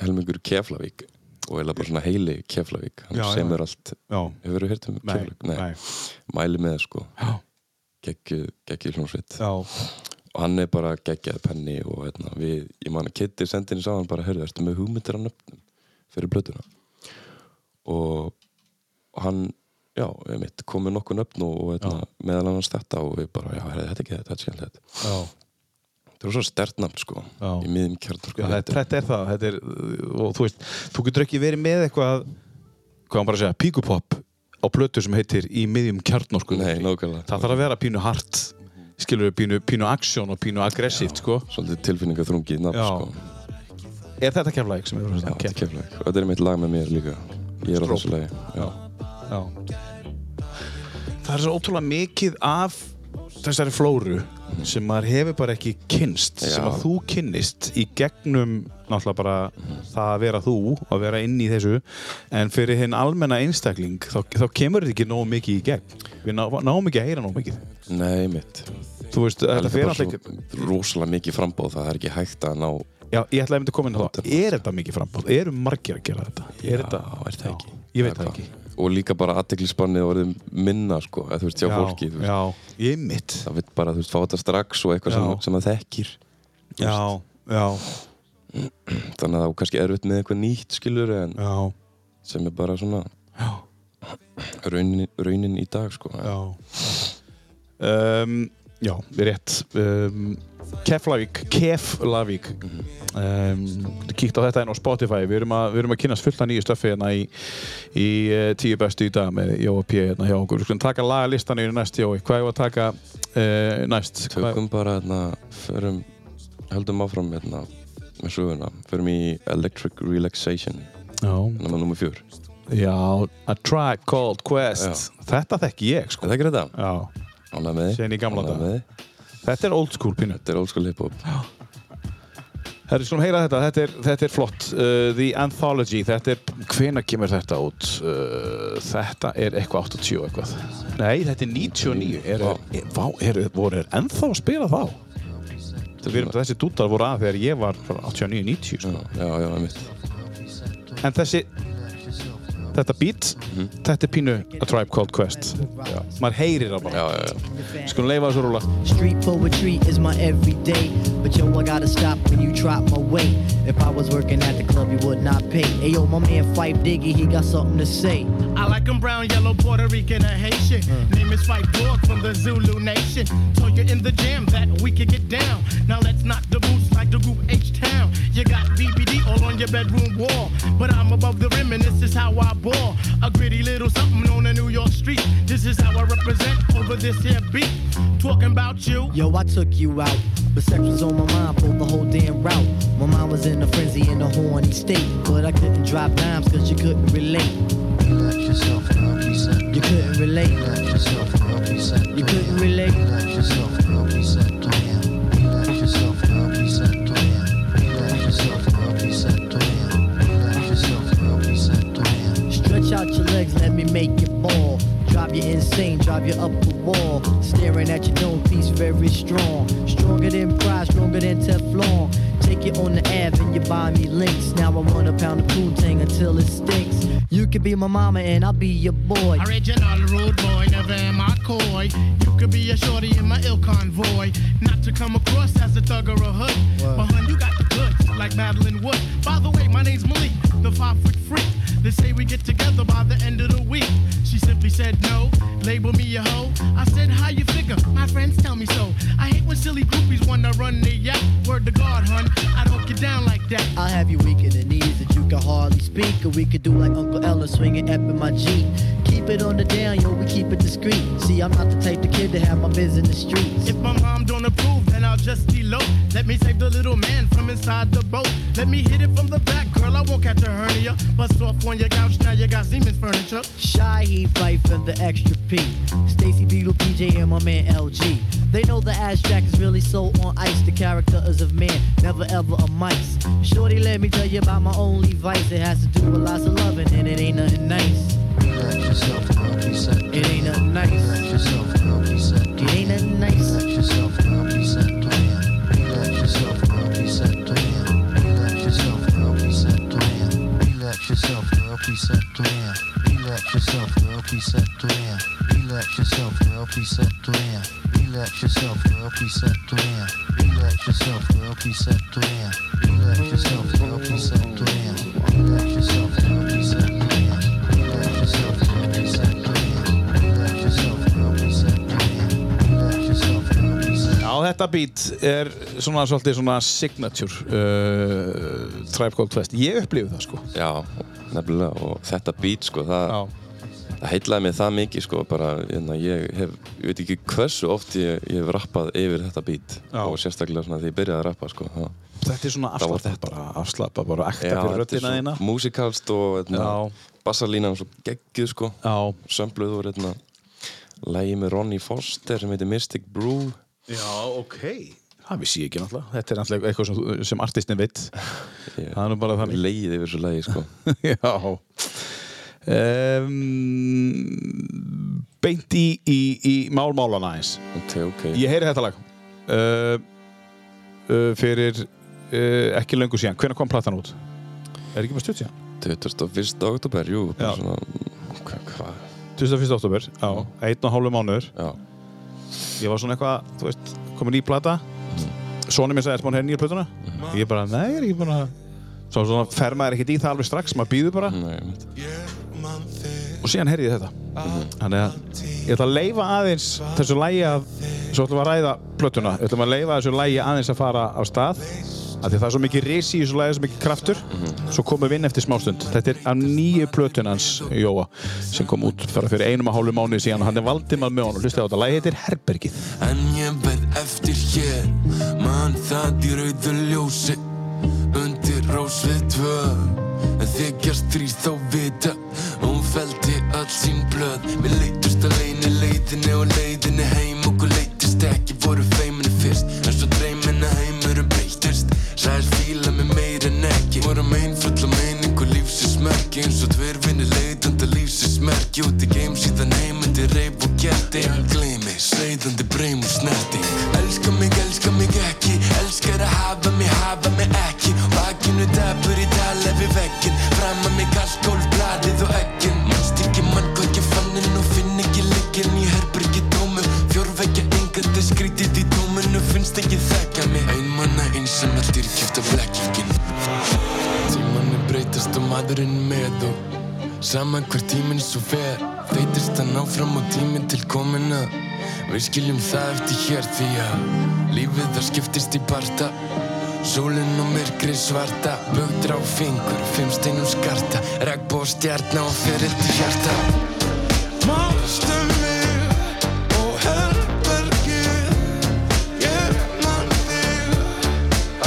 S3: helmingur Keflavík og eiginlega bara svona heili Keflavík hann
S2: Já, já.
S3: semur allt,
S2: Já,
S3: hefur þú heyrt um
S2: nei,
S3: Keflavík?
S2: nei
S3: Mæli með það, sko,
S2: Já,
S3: geggju, geggju hljómsveit
S2: já,
S3: og hann er bara geggjað penni og hérna, við, ég man að Kitty sendi henni sá hann bara, heyrðu, ertu með hugmyndir á nöfnum fyrir blöðuna og og hann já, ég mitt, kom með nokkuð nöfn og, og hérna, meðal annars þetta og við bara, já, heyrðu, þetta er ekki þetta, þetta er skemmtilegt
S2: já,
S3: þetta er svo stertnafn, sko,
S2: Já.
S3: í miðum kjarnorku
S2: já þetta, þetta er það þetta er, og þú veist, þú getur ekki verið með eitthvað hvað hann bara að segja, píkupopp á plötu sem heitir í miðjum kjarnorku
S3: Nei, Mhm.
S2: vetri.
S3: nákvæmlega.
S2: Það þarf að vera pínu hart skilur við pínu, pínu aksjón og pínu aggressíft sko.
S3: svolítið tilfinningaþrungið nafn,
S2: Já.
S3: sko
S2: Er þetta keflæk sem er
S3: já, þetta er
S2: keflæk?
S3: keflaðið, og þetta er mitt lag með mér líka ég er á
S2: Strók.
S3: þessu lagi, já,
S2: Já. Það er svo ótrúlega mikið af þessari flóru sem maður hefur bara ekki kynst
S3: Já.
S2: sem að þú kynnist í gegnum náttúrulega bara það að vera þú að vera inn í þessu en fyrir hinn almenna einstakling þá, þá kemur þetta ekki nógu mikið í gegn við ná, náum ekki að heyra nógu mikið
S3: nei, mitt
S2: þú veist, þetta
S3: er bara
S2: fyrir alltaf ekki
S3: svo rosalega mikið frambóð það er ekki hægt að ná
S2: já, ég ætlaði að mynda að koma inn á það er þetta mikið frambóð, eru margir að gera þetta er þetta,
S3: er það ekki?
S2: ég veit það ekki
S3: og líka bara aðteklisbannið orðið minna sko, eða þú veist, hjá fólki þú veist,
S2: já, ég mitt
S3: það vil bara, þú veist, fá þetta strax og eitthvað sem,
S2: Já.
S3: sem það þekkir
S2: já, já,
S3: þannig að það er kannski erfitt með eitthvað nýtt skilur en
S2: já
S3: sem er bara svona
S2: Já.
S3: raunin, raunin í dag sko
S2: Já um, Já, rétt um, Keflavík Keflavík um, Kíkt á þetta enn á Spotify Við erum að, við erum að kynast fullt af nýju stöfi hérna í, í eh, tíu bestu í dag með Jóa P. hérna hjá okkur Við skulum taka lagalistan yfir næst Jói Hvað er að taka uh, næst? Hvað-
S3: tökum bara, hérna, förum höldum áfram, hérna, með söguna förum í Electric Relaxation
S2: Já,
S3: hérna með nummer fjör er
S2: já A Tribe Called Quest Þetta þekki ég sko
S3: það ekki þetta?
S2: Já,
S3: ánæg með þig
S2: Síðan í gamla
S3: Ánægð
S2: daga.
S3: með þig.
S2: þetta er old school pínut
S3: þetta er old school hiphop
S2: Herri, skulum heyra þetta, þetta er, þetta er flott uh, The Anthology, þetta er hvena kemur þetta út uh, þetta er eitthvað 80 og eitthvað nei, þetta er 99 er, er, vá, er, voru er ennþá að spila þá
S3: Þetta er
S2: Við erum, þessi dútar voru að þegar ég var 89-90 sko.
S3: svona- já, já, mitt
S2: en þessi þetta beat, þetta er pínu A Tribe Called Quest Mhm. Já. maður heyrir það bara,
S3: já, já, já
S2: skulum leifa þessu rúla
S7: Street poetry is my everyday. But yo, I gotta stop when you drop my weight. If I was working at the club, you would not pay. Hey yo, my man Fife Diggy, he got something to say. Hmm.
S8: I like 'em brown, yellow, Puerto Rican, and Haitian. Name is White Dog from the Zulu Nation. Told you in the jam that we could get down. Now let's knock the boots like the group H Town. You got BBD all on your bedroom wall. But I'm above the rim, and this is how I ball. A gritty little something on a New York street. This is how I represent over this here beat. Talking about you.
S7: Yo, I took you out. But sex was on my mind for the whole damn route. My mind was in a frenzy in a horny state. But I couldn't drop dimes cause you couldn't relate.
S9: Relax yourself and I'll be set.
S7: You couldn't relate.
S9: Relax yourself and I'll be set.
S7: You couldn't relate.
S9: Relax yourself and I'll be set. Relax Oh, yourself and I'll be set. Relax Oh, yourself and I'll be set. Relax Oh, yourself and I'll be set.
S7: Stretch out your legs, let me make you fall. Drive you insane, drive you up the wall. Staring at your dome piece, very strong. Stronger than pride, stronger than Teflon. Take it on the Ave and you buy me links. Now I want a pound of cool tang until it stinks. You could be my mama and I'll be your boy.
S8: Original rude boy, never am I coy. You could be a shorty in my ill convoy. Not to come across as a thug or a hood. But hun, you got the goods. like Madeline Wood. By the way, my name's Malik, the five foot freak. They say we get together by the end of the week. She simply said no, label me a hoe. I said, how you figure? My friends tell me so. I hate when silly groupies wanna run the yap. Word to God, hun, I don't get down like that.
S7: I'll have you weak in the knees that you can hardly speak. Or we could do like Uncle Ella swinging up in my Jeep. Keep it on the down, yo, we keep it discreet. See, I'm not the type of kid to have my biz in the streets.
S8: If my mom don't approve, then I'll just elope. Let me save the little man from inside the boat. Let me hit it from the back, girl. I won't catch a hernia. Bust off on your couch, now you got Siemens furniture.
S7: Shy, he fight for the extra P. Stacy Beetle, PJ, and my man LG. They know the abstract is really so on ice. The character is of man, never ever a mice. Shorty, let me tell you about my only vice. It has to do with lots of loving, and it ain't nothing nice.
S9: Relax yourself and I'll be set.
S7: It ain't nothing
S9: Relax
S7: nice.
S9: yourself and I'll be set.
S7: It ain't nothing nice.
S9: Relax yourself and I'll be set. Relax yourself and I'll be set. Relax yourself and I'll be set. Relax yourself and I'll be set. Relax yourself and I'll be set. Relax yourself and I'll be set. Relax yourself and I'll be set. Relax yourself and I'll be set. Relax yourself and I'll be set. Relax yourself and I'll be set. Relax yourself and I'll be set. Relax yourself and I'll be set. Relax yourself and I'll be set.
S2: Já, þetta beat er svona svolítið svona signature uh, Tribe Called Quest. Ég upplifið það sko.
S3: Já, nefnilega og þetta beat sko, það, það heitlaði mig það mikið sko, bara hérna, ég hef, ég veit ekki hversu oft ég, ég hef rappað yfir þetta beat
S2: Já.
S3: og sérstaklega svona þegar ég byrjaði að rappa sko, það,
S2: Þetta er svona
S3: Það var
S2: afslappa
S3: þetta.
S2: bara, afslappa bara, ekta
S3: Já,
S2: fyrir
S3: þetta er
S2: röddina þína.
S3: svo músikalst og hérna,
S2: Já.
S3: bassalínan svo geggjuð sko,
S2: Já,
S3: sömbluð úr hérna, lægi með Ronnie Foster sem heitir Mystic Brew
S2: Já, ok Það vissi ég ekki náttúrulega Þetta er náttúrulega eitthvað sem, þú- sem artistin veit
S3: Ég-
S2: Það er nú bara þannig
S3: leið yfir þessu lægi sko.
S2: Já um, Beint í, í, í málmálana eins
S3: ok, ok,
S2: Ég heyri þetta lag uh, uh, Fyrir uh, ekki löngu síðan Hvenær kom platan út? Er ekki bara stutt síðan?
S3: 21. oktober, jú bara
S2: Já.
S3: svona, hvað, hvað,
S2: 21. oktober, já, einn og hálfu mánuður
S3: já
S2: Ég var svona eitthvað, þú veist, komin í plata Sónum minn sagði, er búin að hefði nýja plötuna? Ég bara, nei, ég er ekki búin að Svo svona fer maður ekkert í það alveg strax, maður býður bara
S3: Nei, einmitt.
S2: og síðan heyrði ég þetta þannig að ég ætla að leifa aðeins þessu lægi að svo ætlum við að ræða plötuna, ég ætlum að leifa þessu lægi aðeins að fara af stað af því það er svo mikið risi í þessu lægi, svo mikið kraftur svo komum við inn eftir smástund þetta er af nýju plötun hans Jóa sem kom út bara fyrir einum og hálfu mánuði síðan og hann er Valdimar með honum, hlustaði á þetta lægi heitir Herbergið
S10: En ég beð eftir hér Man það í rauðu ljósi Undir rós við tvö En þykjast þrýr þá vita Hún feldi öll sín blöð Við leittust að leini leiðinni og leiðinni heim Okkur leittist ekki voru feiminu fyrst En svo dreyminna heimurum breytist Sæðist fíla mig meir en ekki Vorum einfulla meiningu lífsins merki Eins og tver vinni leitandi lífsins merki Út í geim síðan heimandi reif og geti Ég gleymi, seiðandi breym og snerting Elskar mig, elskar mig ekki Elskar að hafa mig, hafa mig ekki Vakinu dapur í dala við veggin Framma mig allt gólf, bladið og eggin Manst ekki mann hvað ekki fannin og finn ekki leggin Í herbergi tómu, fjórveggja engandi skrítið í tóminu Finnst ekki þekka mig Einmanna einsam allt er kjöft af blekkingin Tímanni breytast og maðurinn með og Saman hver tíminn svo fer Þeitist hann áfram og tíminn til komina Við skiljum það eftir hér því að Lífið það skiptist í parta Sólinn og myrkri svarta Bögdra á fingur, fimmstinn og skarta Regnbó og stjarna og fyrir til hjarta Mástu mig og herbergið Ég man þig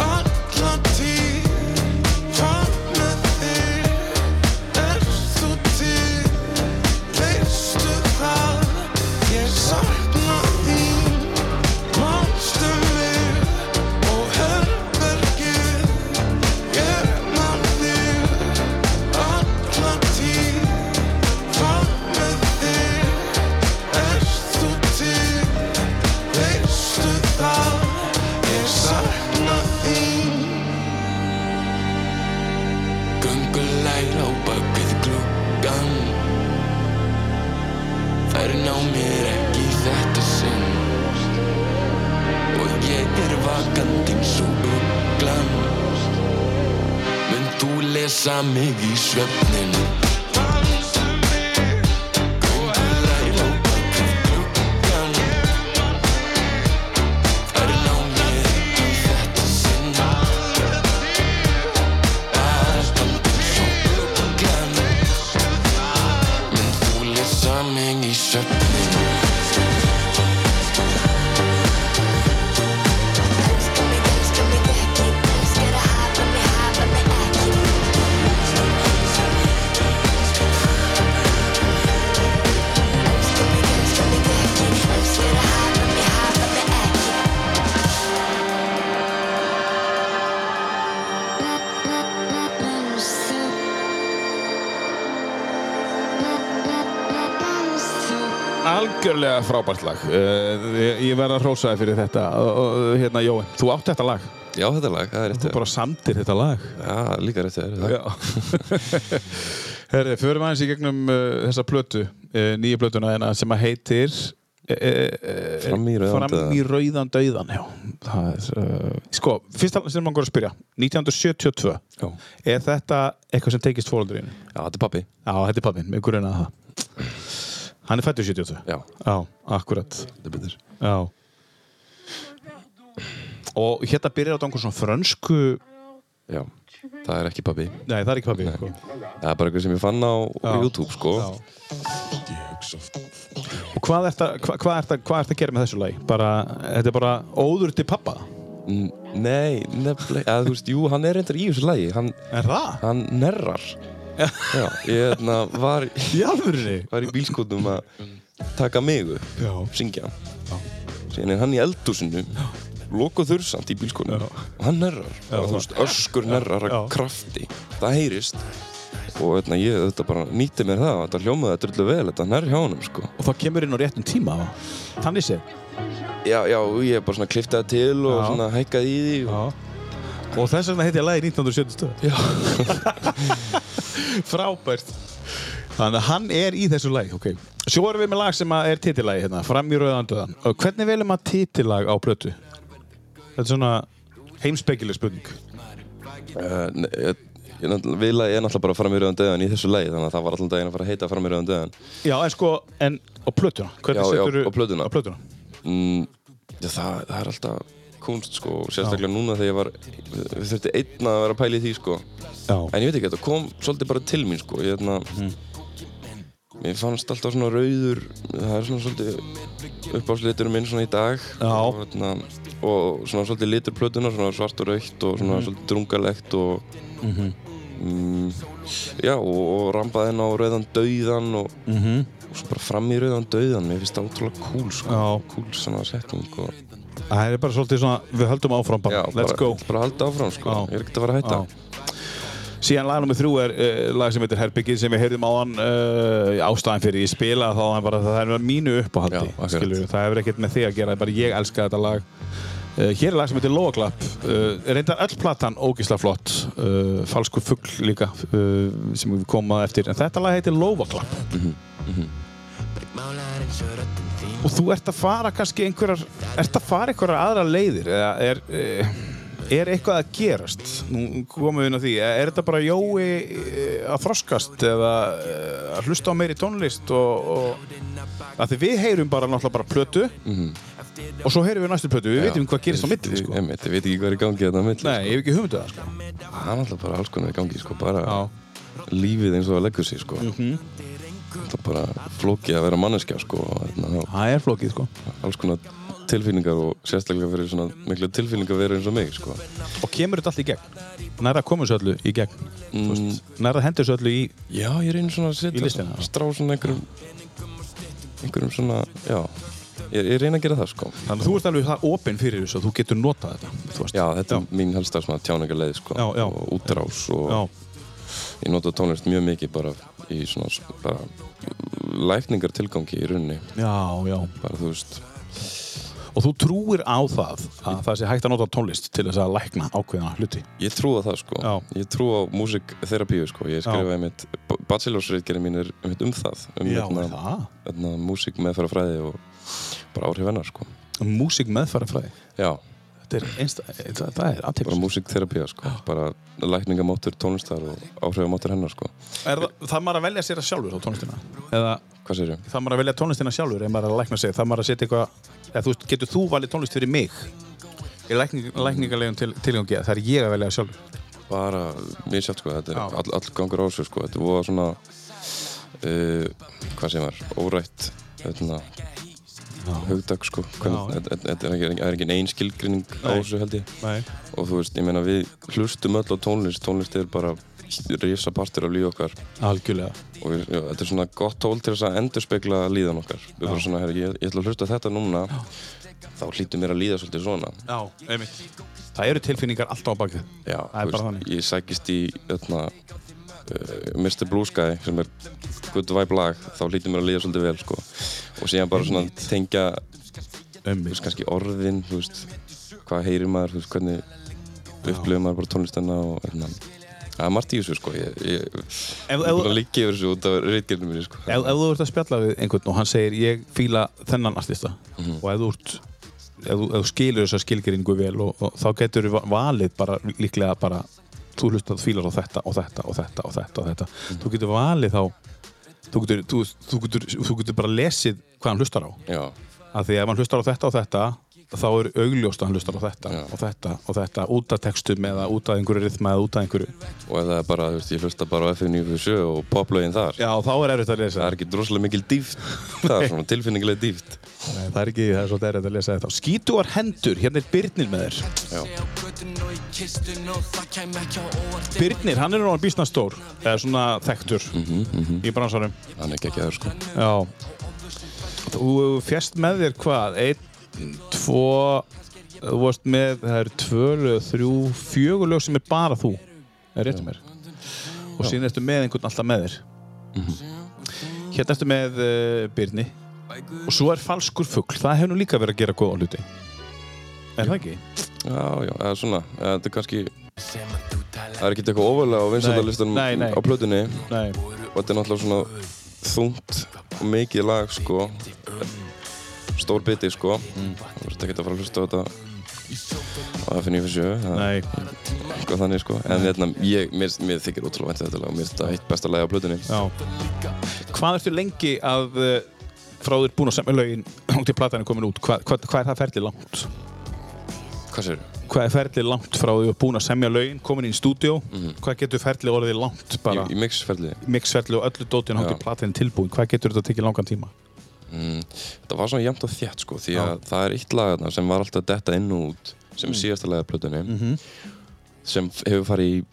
S10: allan tíð Hvað með þig Erstu til, veistu það, ég sakna þín Manstu mig og herbergið Ég man þig alla tíð Hvað með þig, erstu til, veistu það, ég sakna þín Göngulæg á bakið gluggan Þær ná mér ekki í þetta sinn Og ég er vakandi eins og uglan dansa mig í svefninu Dansa mig Göngulega í lópakir gluggan Þær láni ekki þetta sinna Bara stundir svo gluggan Menn þú lesa mig í svefninu
S2: Algjörlega frábært lag. Uh, ég ég verð að hrósa þér fyrir þetta. Uh, uh, hérna, Jói, þú átt þetta lag.
S3: Já, þetta er lag, það er rétt
S2: Þú bara samtir þetta lag.
S3: Já, líka rétt hjá þér.
S2: Herri, förum aðeins í gegnum uh, þessa plötu, uh, nýja plötuna hérna sem að heitir uh, uh,
S3: Fram í rauðan
S2: Fram í rauðan dauðan, já. Það er, uh, sko, fyrst að sem langar að spyrja, 1972,
S3: Já.
S2: er þetta eitthvað sem tekist fóröldurinn?
S3: Já, þetta er pappi
S2: Já, þetta er pappinn, með grunna að það. Hann er fættur 72.
S3: Já,
S2: Já, akkurat.
S3: þetta er betur
S2: Já. Og hérna byrjar þetta á einhver svona frönsku...
S3: Já, það er ekki pappi
S2: Nei, það er ekki pappið, sko.
S3: Það er bara eitthvað sem ég fann á
S2: Já.
S3: YouTube, sko
S2: Já. Og hvað ert að, hva, hvað ert að, hvað ert að gera með þessu lagi? Bara, þetta er bara óður til pappa?
S3: N- Nei, nefnilega, eða þú veist, jú, hann er reyndar í þessu lagi Hann,
S2: Er það?
S3: hann nerrar Já, ég hérna, var,
S2: Í alvörunni?
S3: var í bílskotum að taka mig upp,
S2: Já.
S3: syngja Síðan er hann í eldúsinu Lokuð þurrsand í bílskotum Og hann nerrar, bara, þú veist, öskur nerrar að
S2: Já.
S3: krafti Það heyrist Og hérna, ég þetta bara nýtti mér það Þetta hljómaði að drullu vel, þetta nerr hjá honum, sko
S2: Og þá kemur inn á réttum tíma? Þannig sé?
S3: Já, já, ég bara svona kliftaði til og
S2: Já.
S3: svona hækkaði í því og...
S2: Og þess vegna heiti ég lagi 1972? Já. Frábært. Þannig að hann er í þessu lagi, ok. Svo erum við með lag sem að er titillagi hérna, Fram í rauðandöðan. Og hvernig velum að titillag á plötu? Þetta er svona heimspekileg spurning.
S3: Uh, ne- ég, ég, náttúrulega- við lagið er náttúrulega bara fram í rauðan um döðan í þessu lagi þannig að það var alltaf daginn að fara að heita fram í rauðan döðan
S2: Já, en sko, en á plötuna Hvernig
S3: Já, já,
S2: seturðu-
S3: á plötuna.
S2: Á plötuna
S3: mm, já, það, það er alltaf kunst sko og sérstaklega núna þegar ég var við þurfti einn að vera að pæla í því sko
S2: Já,
S3: en ég veit ekki, þetta kom svolítið bara til mín sko ég, na,
S2: Mhm.
S3: ég fannst alltaf svona rauður það er svona svolítið uppáðsliturum minn svona í dag
S2: Já.
S3: og, na, og svona svolítið litur plötuna svona svart og raukt og
S2: Mhm.
S3: svona svolítið drungalegt og mm, já og, og rambaði henn á rauðan dauðan og,
S2: Mhm.
S3: og svo bara fram í rauðan dauðan mér finnst það ótrúlega cool
S2: Já.
S3: sko cool svona setting og
S2: það er bara svolítið svona Við höldum áfram bara,
S3: sko. já,
S2: let's
S3: bara,
S2: go
S3: bara halda áfram sko
S2: Já.
S3: ég er ekkert að fara að hætta
S2: Já. Síðan lag nummið þrjú er uh, lag sem heitir Herbyggið sem við heyrðum á hann uh, ástæðan fyrir ég spila þá hann bara það er með mínu uppáhaldi
S3: Já, akkurat.
S2: skilurðu. það hefur ekkert með þig að gera bara ég elska þetta lag uh, Hér er lag sem heitir Lóaklapp uh, reyndar öll platan ógisla flott uh, falsku fugl líka uh, sem við komum að eftir en þetta lag heitir Lóaklapp og þú ert að fara kannski einhverjar ert að fara einhverjar aðra leiðir eða er eh, er eitthvað að gerast nú komum við inn á því er þetta bara Jói eh, að þroskast eða eh, að hlusta á meiri tónlist og, og að því við heyrum bara náttúrulega bara plötu og svo heyrum við næstu plötu Mhm. við veitum hvað gerist á milli
S3: sko.
S2: sko.
S3: ég, ég veit ekki hvað er í gangi þetta á milli
S2: nei, ég hef ekki hugmyndu það sko.
S3: það er alltaf bara alls konar í gangi sko bara
S2: Já. Mhm.
S3: lífið eins og það leggur sig sko það er bara flókið að vera manneskja sko og þarna,
S2: það er flókið sko.
S3: þá alls konar tilfinningar og sérstaklega fyrir svona miklu tilfinningar verið eins og mig sko
S2: og kemur þetta allt í gegn nærða komum þessu öllu í gegn
S3: mm,
S2: nærða hendur þessu öllu í
S3: já ég reynir svona að
S2: Í listina, já.
S3: setja strá svona einhverjum einhverjum svona já ég, ég reynir að gera það sko
S2: þannig að þú ert alveg það opinn fyrir þessu að þú getur notað þetta þú veist.
S3: Já, þetta er mín helsta svona tjáningarleið sko
S2: Já, já.
S3: og útrás og
S2: Já.
S3: ég nota tónlist mjög mikið bara í svona s- bara lækningar í rauninni
S2: Já, já.
S3: bara þú veist
S2: Og þú trúir á það að það sé hægt að nota tónlist til þess að lækna ákveðina hluti.
S3: ég trú á það sko
S2: Já.
S3: ég trú á músikþerapíu sko ég
S2: Já.
S3: skrifa einmitt bachelorsreitgerinn mín er einmitt um það um
S2: er
S3: hérna,
S2: það.
S3: hérna músik meðfæra fræði og bara áhrif hennar sko
S2: Músík meðfæra fræði.
S3: já,
S2: Þetta er einsta, það, það er
S3: bara
S2: aðtæmst.
S3: músikþerapía sko bara lækningamáttur tónlistar og áhrifamáttur hennar sko.
S2: Er það, það maður að velja sér að sjálfur á tónlistina? Eða
S3: Hvað segir ég?
S2: það maður að velja tónlistina sjálfur ef maður er að lækna sig? Það maður að setja eitthvað... Eða þú veist, getur þú valið tónlist fyrir mig? Í lækning, lækningalegum til, tilgangi að það er ég að velja sjálfur.
S3: Bara mjög sjátt sko, þetta er
S2: Já.
S3: all, all gangur á þessu sko, þetta er voða svona, uh, hvað segir maður, órætt, hérna, hugdag sko, hvernig, þetta- þetta þetta er ekki, það er ekki ein skilgrinning á þessu held ég.
S2: Nei.
S3: Og þú veist, ég meina við hlustum öll á tónlist, tónlist er bara risa partur af líf okkar
S2: Algjörlega.
S3: og við- já, þetta er svona gott tól til þess að endurspegla líðan okkar við bara svona, herri, ég, ég ætla að hlusta á þetta núna þá hlýtur mér að líða svolítið svona
S2: Já, einmitt. Það eru tilfinningar alltaf á bakið.
S3: Já,
S2: Það er
S3: þú
S2: bara
S3: veist,
S2: þannig.
S3: ég sækist í öðna, uh, Mr. Blue Sky sem er good vibe lag þá hlýtur mér að líða svolítið vel sko. og síðan bara svona tengja þú veist, kannski orðin þú veist, hvað heyrir maður, þú veist, hvernig upplifir maður bara tónlistana og öðna. Það er margt í þessu sko, ég, ég, ég er
S2: ef-
S3: bara líkja yfir þessu út af reitgjörnum minni sko.
S2: Ef, ef þú ert að spjalla við einhvern og hann segir ég fíla þennan artista og ef þú, ert, ef, þú, ef þú skilur þessa skilgjöringu vel og, og þá getur þú valið bara líklega bara þú hlustar þú fílar á þetta og þetta og þetta og þetta og þetta þú getur valið þá þú getur, þú, þú, getur, þú getur bara lesið hvað hann hlustar á
S3: Já,
S2: af því að ef hann hlustar á þetta og þetta þá er augljóst að hann hlustar á þetta
S3: Já.
S2: og þetta og þetta út af textum eða út af einhverju rithma eða út af einhverju
S3: og ef það er bara, þú veist, ég hlusta bara á F957 og poplögin þar
S2: Já, þá er erfitt að
S3: það
S2: lesa
S3: er ekki droslega mikil dýft það er svona tilfinningilega dýft
S2: Nei, það er ekki, það er svolítið erfitt að lesa þetta Skítuar hendur, hérna er Byrnir með þér Byrnir, hann er náttúrulega býsna stór eða svona þekktur í bransanum
S3: hann er ekki aður sko
S2: Já Þú fjast með þér hvað? Einn, tvo Þú varst með, það eru tvö lög, þrjú, fjögur lög sem er bara þú er rétt um mér og síðan ertu með einhvern alltaf með þér Hérna ertu með uh, Byrni og svo er falskur fugl, það hefur nú líka verið að gera góða hluti Er það ekki?
S3: Já, já, eða svona, eða þetta er kannski Það er ekki eitthvað ofalega á vinsættarlistanum
S2: Nei, nei, nei.
S3: á plötunni
S2: Nei,
S3: og þetta er náttúrulega svona þungt og mikið lag, sko Stór biti, sko
S2: Mm.
S3: Þú veist ekki að fara að hlusta á þetta og það finn ég fyrir sjö það er
S2: nei,
S3: eitthvað þannig, sko En hérna, ég, mér, mér þykir ótrúlega vænt um þetta lag og mér finnst þetta eitt besta lag á plötunni
S2: já Hvað ertu lengi að uh, frá þér búin að semja lögin og til platan er komin út, hvað, hvað, hvað er það ferlið langt?
S3: Hvað sérðu?
S2: hvað er ferlið langt frá því að búin að semja lögin, komin inn í stúdíó, hvað getur ferlið orðið langt bara,
S3: Í, í mixferli
S2: mixferlið og öllu dótin hátt
S3: Já.
S2: í platinu tilbúin, hvað getur þetta tekið langan tíma?
S3: Þetta var svona jæmt og þétt sko því að það er eitt lag þarna sem var alltaf detta inn og út sem er síðasta lag af plötunni sem f- hefur farið í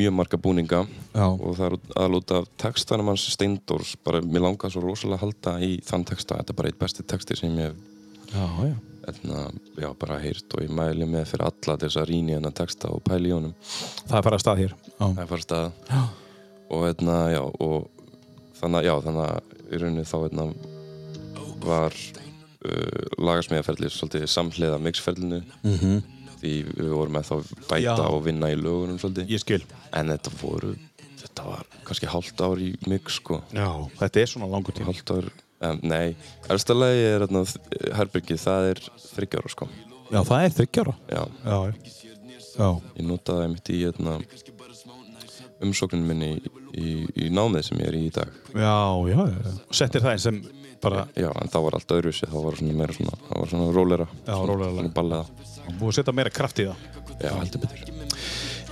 S3: mjög marga búninga
S2: Já.
S3: og það er aðlúta af textanum hans Steindors bara mér langaði svo rosalega að halda í þann texta þetta er bara eitt besti texti sem ég hef
S2: Já, já.
S3: etna, já, bara heyrt og ég mæli með fyrir alla til þess að rýna í hennar texta og pæli í honum
S2: Það er bara að stað hér. Já.
S3: það er bara stað og etna, já og þannig að, já, þannig að í rauninni þá etna, var uh, lagasmiðaferli svolítið samhliða mixferlinu
S2: Mhm.
S3: -hmm. því við vorum með þá bæta
S2: Já.
S3: og vinna í lögunum svolítið
S2: Ég skil.
S3: en þetta voru, þetta var kannski hálft ár í mix sko
S2: Já. Þetta er svona langur tíma.
S3: hálft ár, um, nei elsta lagi er etna, herbyrgi, það er þryggjára sko
S2: Já, það er þryggjára.
S3: já,
S2: Já, já.
S3: ég notaði það mitt í etna, umsókninu minni í, í, í námið sem ég er í í dag
S2: Já, já, já. Settir það einn sem bara,
S3: Já, en það var alltaf öðruvísi, það var svona meira svona, það var svona rólera
S2: Já, rólera lag.
S3: Svona ballaða
S2: búið að setja meira kraft í það.
S3: Já, heldur betur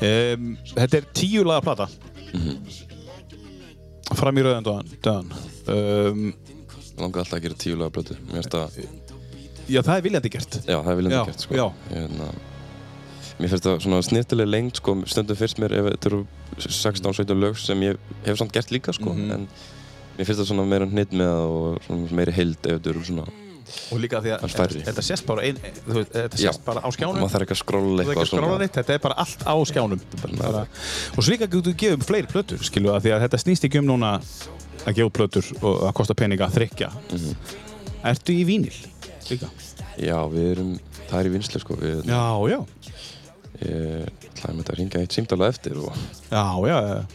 S2: Um, þetta er tíu laga plata. Mhm. Fram í rauðan döðan. döðan. Um,
S3: Ég langaði alltaf að gera tíu laga blötu Mér finnst það,
S2: já, það er viljandi gert.
S3: já, það er viljandi
S2: Já,
S3: gert, sko
S2: já.
S3: Hérna, Mér finnst það svona snirtileg lengt, sko Stundum fyrst mér ef þetta eru 16-17 lög sem ég hef samt gert líka, sko
S2: Mhm.
S3: En mér finnst það svona meira hnitt með það og svona meiri heild ef þetta eru svona
S2: Og líka því að
S3: Allt færri.
S2: þetta sést bara, ein, þú veist, þetta
S3: Já.
S2: sést bara á skjánum.
S3: Maður þarf ekki að skrolla
S2: Það er ekki
S3: eitthvað
S2: að skrála neitt, þetta er bara allt á skjánum bara. og svo líka getur við gefið um fleiri plötur skilu að því að þetta snýst ekki um núna að gefa út plötur og að kosta peninga að þrykja
S3: Mhm.
S2: Ertu í vínil? Líka
S3: Já, við erum, það er í vinslu, sko Við,
S2: Já, já,
S3: ég ætlaði með þetta að ringa eitt símdala eftir og
S2: já, já, já.
S3: og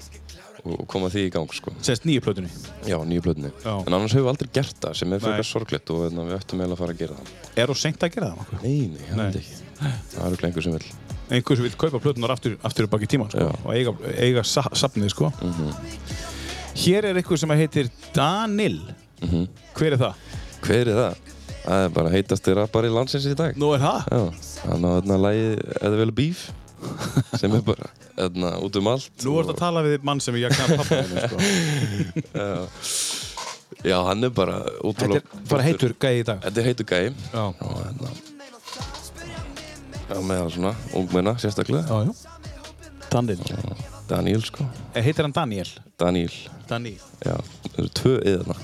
S3: og koma því í gang sko.
S2: Sest nýju plötunni.
S3: Já, nýju blöðinni.
S2: Já.
S3: En annars hefur við aldrei gert það sem er
S2: Nei.
S3: fyrir sorglegt og hérna, við ættum eiginlega að fara að gera það.
S2: Er þú seint að gera það? nokkuð?
S3: Nei, nei, það er ekki. Það eru ekki einhver sem vil.
S2: Einhver sem vil kaupa plötunar aftur, aftur baki tíman sko,
S3: Já. Mhm.
S2: og eiga, eiga sa safnið sko. Hér er einhver sem heitir Danil.
S3: Mhm.
S2: Hver er það?
S3: Hver er það? Það er bara heitasti rappari landsins í dag.
S2: Nú er það?
S3: Já, hann á þarna lagið Eða vel bíf sem er bara þarna út um allt.
S2: Nú ert
S3: og-
S2: að tala við mann sem ég kannar pappa henni sko.
S3: Já, hann er bara
S2: Þetta
S3: útrúlega...
S2: er bara heitur gæði í dag.
S3: Þetta er heitur gæi.
S2: Já.
S3: Og hérna... Já, meðal svona, ungmenna sérstaklega.
S2: Já, já. Danil.
S3: Daniel, sko.
S2: Heitir hann Daniel?
S3: Daniel,
S2: Danil.
S3: já. Það eru tvö yðna.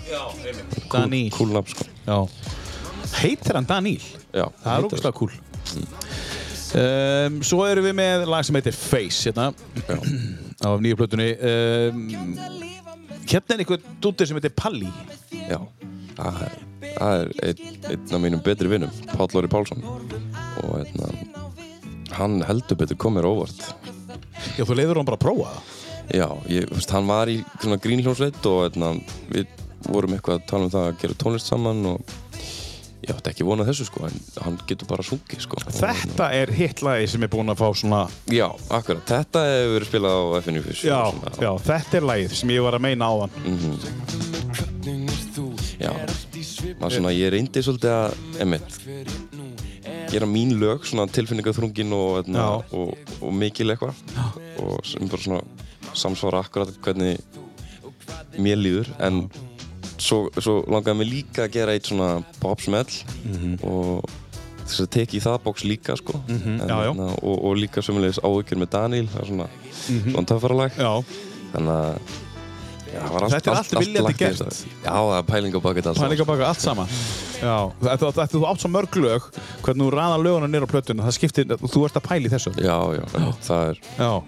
S2: Danil.
S3: Kúl nafn, sko.
S2: Já. Heitir hann Danil?
S3: Já.
S2: Það er ógustlega cool. Um, svo erum við með lag sem heitir Face hérna af nýju plötunni um, hérna er einhver dúttir sem heitir Palli
S3: Já. Það er, það er einn, einn af mínum betri vinnum, Páll Lóri Pálsson. Og hérna... Hann heldur betur komir óvart.
S2: Já, þú leiður hann bara að prófa það
S3: Já, ég, þú veist, hann var í svona grínhljómsveit og hérna, við vorum eitthvað að tala um það að gera tónlist saman og ég átti ekki vona þessu sko, en hann getur bara sungið sko.
S2: Þetta er hitt lagi sem er búin að fá svona
S3: Já, akkurat, þetta hefur verið spilað á FNU fyrst.
S2: Já, já, þetta er lagið sem ég var að meina á hann
S10: Hvernig er þú?
S3: Já.
S10: Er allt í svip
S3: Maður svona, ég reyndi svolítið að, emitt,
S10: hver er nú? Er
S3: gera mín lög, svona tilfinningaþrungin og, hérna,
S2: Já.
S3: og, og mikil eitthvað og sem bara svona samsvara akkurat hvernig mér líður en svo, svo langaði mig líka að gera eitt svona popsmell
S2: Mhm.
S3: og þess að teki í það bóks líka sko en,
S2: já, já.
S3: hérna, og, og líka sömulegis áhyggjur með Daniel það er svona, svona töffara lag
S2: Mhm. Já,
S3: þannig að já, það var allt,
S2: Þetta er allt viljandi
S3: lagt í
S2: gert.
S3: þetta. Já, það er pæling á baki þetta allt
S2: hann er ekki að baka allt saman Já, þetta þetta- þú átt svo mörg lög hvernig þú raða löguna nýra á plötuna það skiptir, þú ert að pæli þessu
S3: Já, já, það er
S2: Já,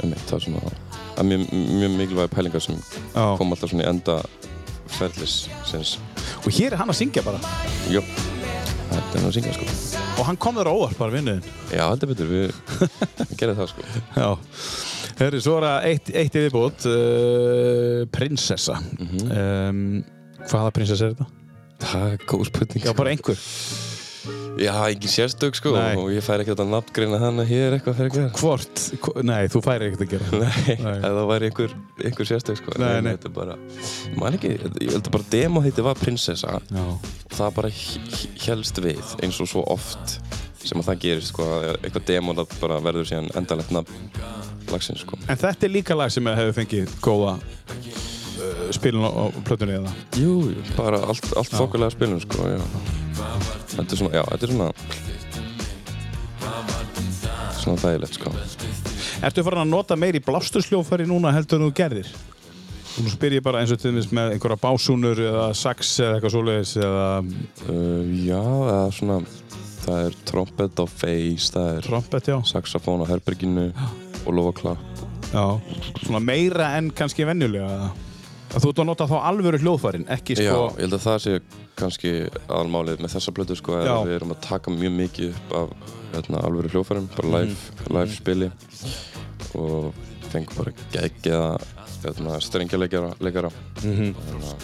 S3: Einmitt, það er svona það er mjög, mjög mikilvægi pælingar sem
S2: já
S3: kom alltaf svona í enda ferlis sinns
S2: Og hér er hann að syngja bara
S3: Jó, þetta er nú að syngja sko
S2: og hann kom þér á óvart bara vinnuðin
S3: Já, heldur betur, við, við gerum það sko
S2: Já, herri, svo er það eitt, eitt yfirbútt uh, Prinsessa um, Hvaða prinsessa er þetta?
S3: Það er góð spurning sko.
S2: Já, bara einhver
S3: Já, ekki sérstök sko
S2: Nei.
S3: og ég fær ekkert að nafngreina hana hér eitthvað fyrir ekki
S2: Hvort? Hvo- Nei, þú færi ekkert að gera það.
S3: Nei,
S2: Nei.
S3: ef það væri einhver, einhver sérstök sko
S2: Nei,
S3: En
S2: nei.
S3: Þetta er bara, ég man ekki, ég held að bara demo heiti var prinsessa
S2: Já,
S3: og það bara helst við eins og svo oft sem að það gerist sko að eitthvað demon að bara verður síðan endalegt nafn lagsins sko
S2: En þetta er líka lag sem hefur fengið góða uh, spilun á, á plötunni hérna. eða
S3: Jú, jú, bara allt, allt þokkulega spilum sko já. Þetta er svona, já, þetta er svona svona þægilegt sko
S2: Ertu farin að nota meiri blástursljófari núna heldur en þú gerðir? Nú spyr ég bara eins og til dæmis með einhverja básúnur eða sax eða eitthvað svoleiðis eða
S3: uh, Já, það er svona það er trompet á face það er
S2: trompet, já.
S3: saxofón á herberginu og lofa klapp
S2: já Svona meira en kannski venjulega eða? að þú ert að nota þá alvöru hljóðfærin ekki
S3: Já,
S2: sko
S3: ég held að það sé kannski aðalmálið með þessa blötu sko er
S2: Já.
S3: að við erum að taka mjög mikið upp af hérna, alvöru hljófarum, bara
S2: Mhm.
S3: live, live spili og fengum bara geggjaða hérna, strengjarleikara leikara.
S2: Mhm.
S3: Hérna,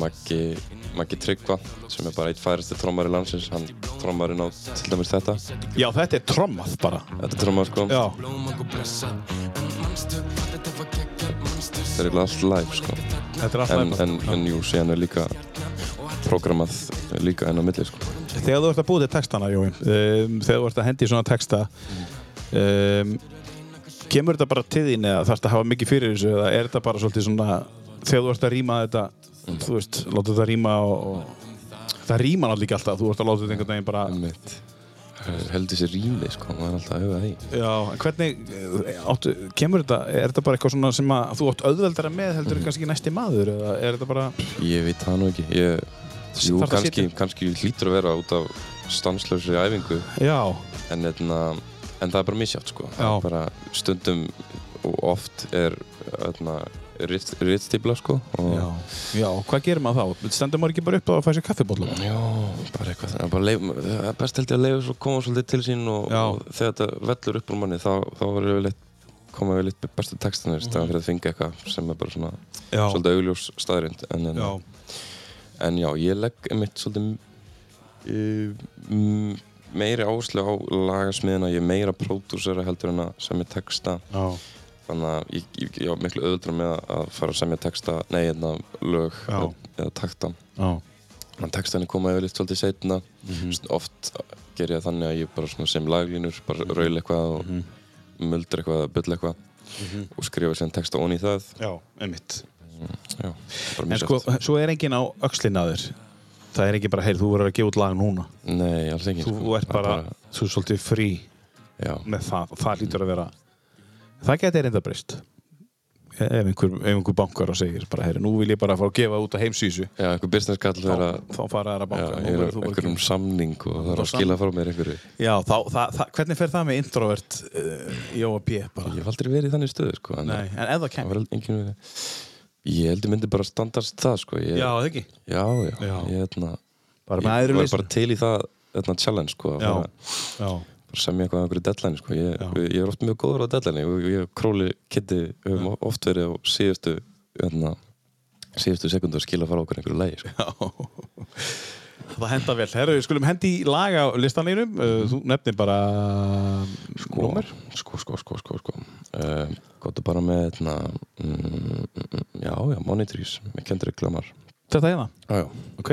S3: Maggi, Maggi Tryggva sem er bara eitt færasti trommari landsins hann trommarinn á til dæmis þetta
S2: Já, þetta er trommað bara.
S3: þetta trommar sko,
S2: Já,
S10: blóma og blessa En manstu hvað þetta var geggja Manstu
S3: það er eiginlega allt live sko
S2: þetta er
S3: en,
S2: alltaf
S3: en, en jú, síðan er líka programmað líka enn á milli sko
S2: Þegar þú ert að búið til textana, Jóin, um, þegar þú ert að hendi í svona texta, um, kemur þetta bara til þín eða þarfst að hafa mikið fyrir þessu eða er þetta bara svolítið svona, þegar þú ert að rýma þetta, þú veist, láta þetta rýma og, og það rýma náttúrulega ekki alltaf, þú ert að láta þetta einhvern veginn bara,
S3: mitt Eh, heldur sér rými sko, maður er alltaf að huga að því
S2: já, en hvernig, eh, áttu, kemur þetta, er þetta bara eitthvað svona sem að þú átt auðveldara með heldur en kannski næsti maður eða er þetta bara,
S3: ég veit það nú ekki ég, jú,
S2: Þarf það að
S3: kannski,
S2: sitja?
S3: kannski hlýtur að vera út af stanslausri æfingu
S2: já,
S3: en, etna, en það er bara misjátt sko. Það
S2: Já.
S3: er bara stundum og oft er hérna, etna, ritt, rittstípla sko, og
S2: já, já, hvað gerir maður þá? Stendur maður ekki bara upp og fæ sér kaffibólla?
S3: Já, bara eitthvað það er bara leif, það er best held ég að leifa svo koma svolítið til sín og,
S2: Já.
S3: og þegar þetta vellur upp úr manni þá, þá er yfirleitt koma við litt bestu textanir í staðan fyrir að finga eitthvað sem er bara svona
S2: Já.
S3: svolítið augljós staðrind en, hérna- en,
S2: Já.
S3: en já, ég legg einmitt svolítið uh, m- meiri áherslu á lagasmiðina, ég er meira pródúsera heldur en að semja texta
S2: Já.
S3: þannig að ég, ég, ég var miklu öðuldur með að fara að semja texta, nei, hérna lög
S2: Já.
S3: eða, eða takta
S2: Já.
S3: en textanir koma yfirleitt svolítið setna
S2: Mhm.
S3: oft ger ég það þannig að ég bara svona sem laglínur, bara
S2: Mhm.
S3: raul eitthvað og mm muldur eitthvað eða bull eitthvað
S2: Mhm.
S3: og skrifa sér texta onni í það
S2: Já, einmitt.
S3: já, bara
S2: En
S3: mjög
S2: sko,
S3: sko,
S2: svo er enginn á öxlinn að þér. Það er enginn bara, heyrðu, þú verður að gefa út lag núna.
S3: nei, alls ekki
S2: Þú
S3: sko.
S2: ert
S3: Það er
S2: bara, þú er svolítið frí
S3: já,
S2: með það og það lítur að vera. Það geti reynda breyst. E- Ef einhver, ef einhver bankar og segir bara, heyrðu, nú vil ég bara fara að gefa út á heimsýsu.
S3: já, einhver business kall
S2: Þá,
S3: vera
S2: þá fara þær að
S3: já,
S2: banka. Nú
S3: ég er á
S2: verður þú bara að
S3: einhverjum
S2: gefa-
S3: samning og það er
S2: Þú
S3: að
S2: ert á
S3: skila frá mér einhverju
S2: Já, þá, það, það, hvernig fer það með introvert uh, Jóa P. bara?
S3: ég hef aldrei verið í þannig stöðu sko en
S2: Nei, en ef það
S3: það
S2: kemur.
S3: var engin verið ég heldur myndi bara standast það sko ég,
S2: Já, það ekki.
S3: já, já,
S2: Já.
S3: ég hérna
S2: Bara
S3: ég
S2: með æðri
S3: var
S2: leysin.
S3: bara til í það hérna challenge sko að
S2: Já.
S3: fara-
S2: Já,
S3: bara semja eitthvað á einhverju deadline sko. ég,
S2: Já.
S3: ég er oft mjög góður á deadline og ég og króli kitti höfum oft verið á síðustu hérna, síðustu sekundu að skila fara okkur einhverju lægi sko.
S2: já. Það henda vel. Herru, við skulum hendi í lag á listanlínum. Uh, þú nefnir bara sko. númer.
S3: sko, sko, sko, sko, sko. Uh, gott bara með hérna, mm, mm, já, já, Monitors með Kendrick Lamar
S2: Þetta hérna.
S3: já, já.
S2: Ok.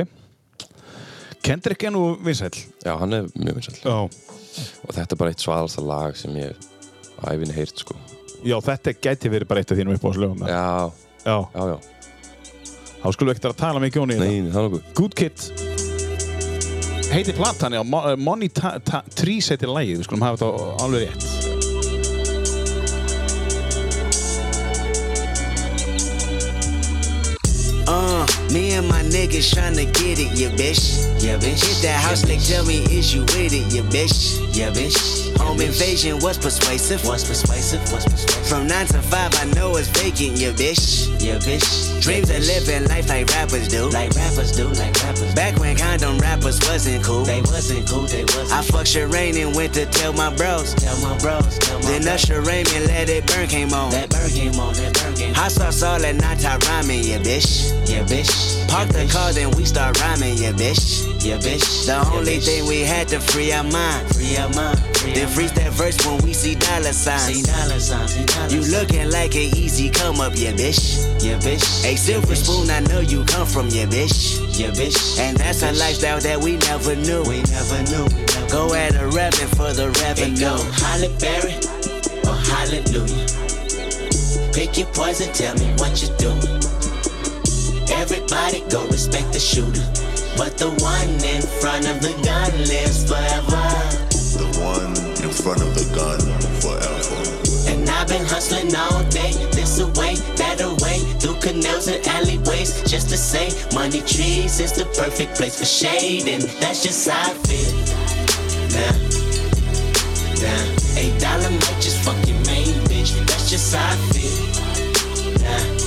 S2: Kendrick er nú vinsæl.
S3: já, hann er mjög vinsall
S2: Já.
S3: og þetta er bara eitt svalasta lag sem ég hef ævinni heyrt sko.
S2: Já, þetta gæti verið bara eitt af þínum uppáðslögum. Já.
S3: já,
S2: Já.
S3: já, já,
S2: Þá skulum við ekkert að tala mikið um í þetta.
S3: nei, það er nokkuð
S2: Good Kid heiti platan, já, Mo- eh, Money Ta- Ta- Trees heitir lagið, við skulum hafa þetta á- alveg rétt
S11: Uh, me and my niggas tryna get it, ya bitch. Yeah, bitch. Hit that house, they tell me is you with it, ya bitch. Yeah, bitch. Home invasion was persuasive. Was persuasive. Was persuasive. From nine to five, I know it's vacant, ya bitch. Yeah, bitch. Dreams of living life like rappers do. Like rappers do. Like rappers. Back when condom rappers wasn't cool. They wasn't cool. They wasn't. I fucked Shireen and went to tell my bros. Tell my bros. Tell my then Usher Raymond let it burn came on. That burn came on. That burn came on. Hot sauce all and not rhyming, yeah, bitch. Yeah, bitch. Park the car, then we start rhyming, yeah, bitch. Yeah, bitch. The only thing we had to free our mind. Free our mind. then freeze that verse when we see dollar signs. See dollar signs. you looking like an easy come up, yeah, bitch. Yeah, bitch. A silver spoon, I know you come from, yeah, bitch. Yeah, bitch. And that's a lifestyle that we never knew. We never knew. Go at a revenue for the revenue. It go Holly Berry or Hallelujah. Pick your poison, tell me what you do. Everybody go respect the shooter. But the one in front of the gun lives forever.
S12: The one in front of the gun forever.
S11: And I've been hustling all day, this away, that away, through canals and alleyways, just to say, money trees is the perfect place for shade, and that's just how I feel. Nah, nah, a dollar might just fuck your main bitch, that's just how I feel. Nah.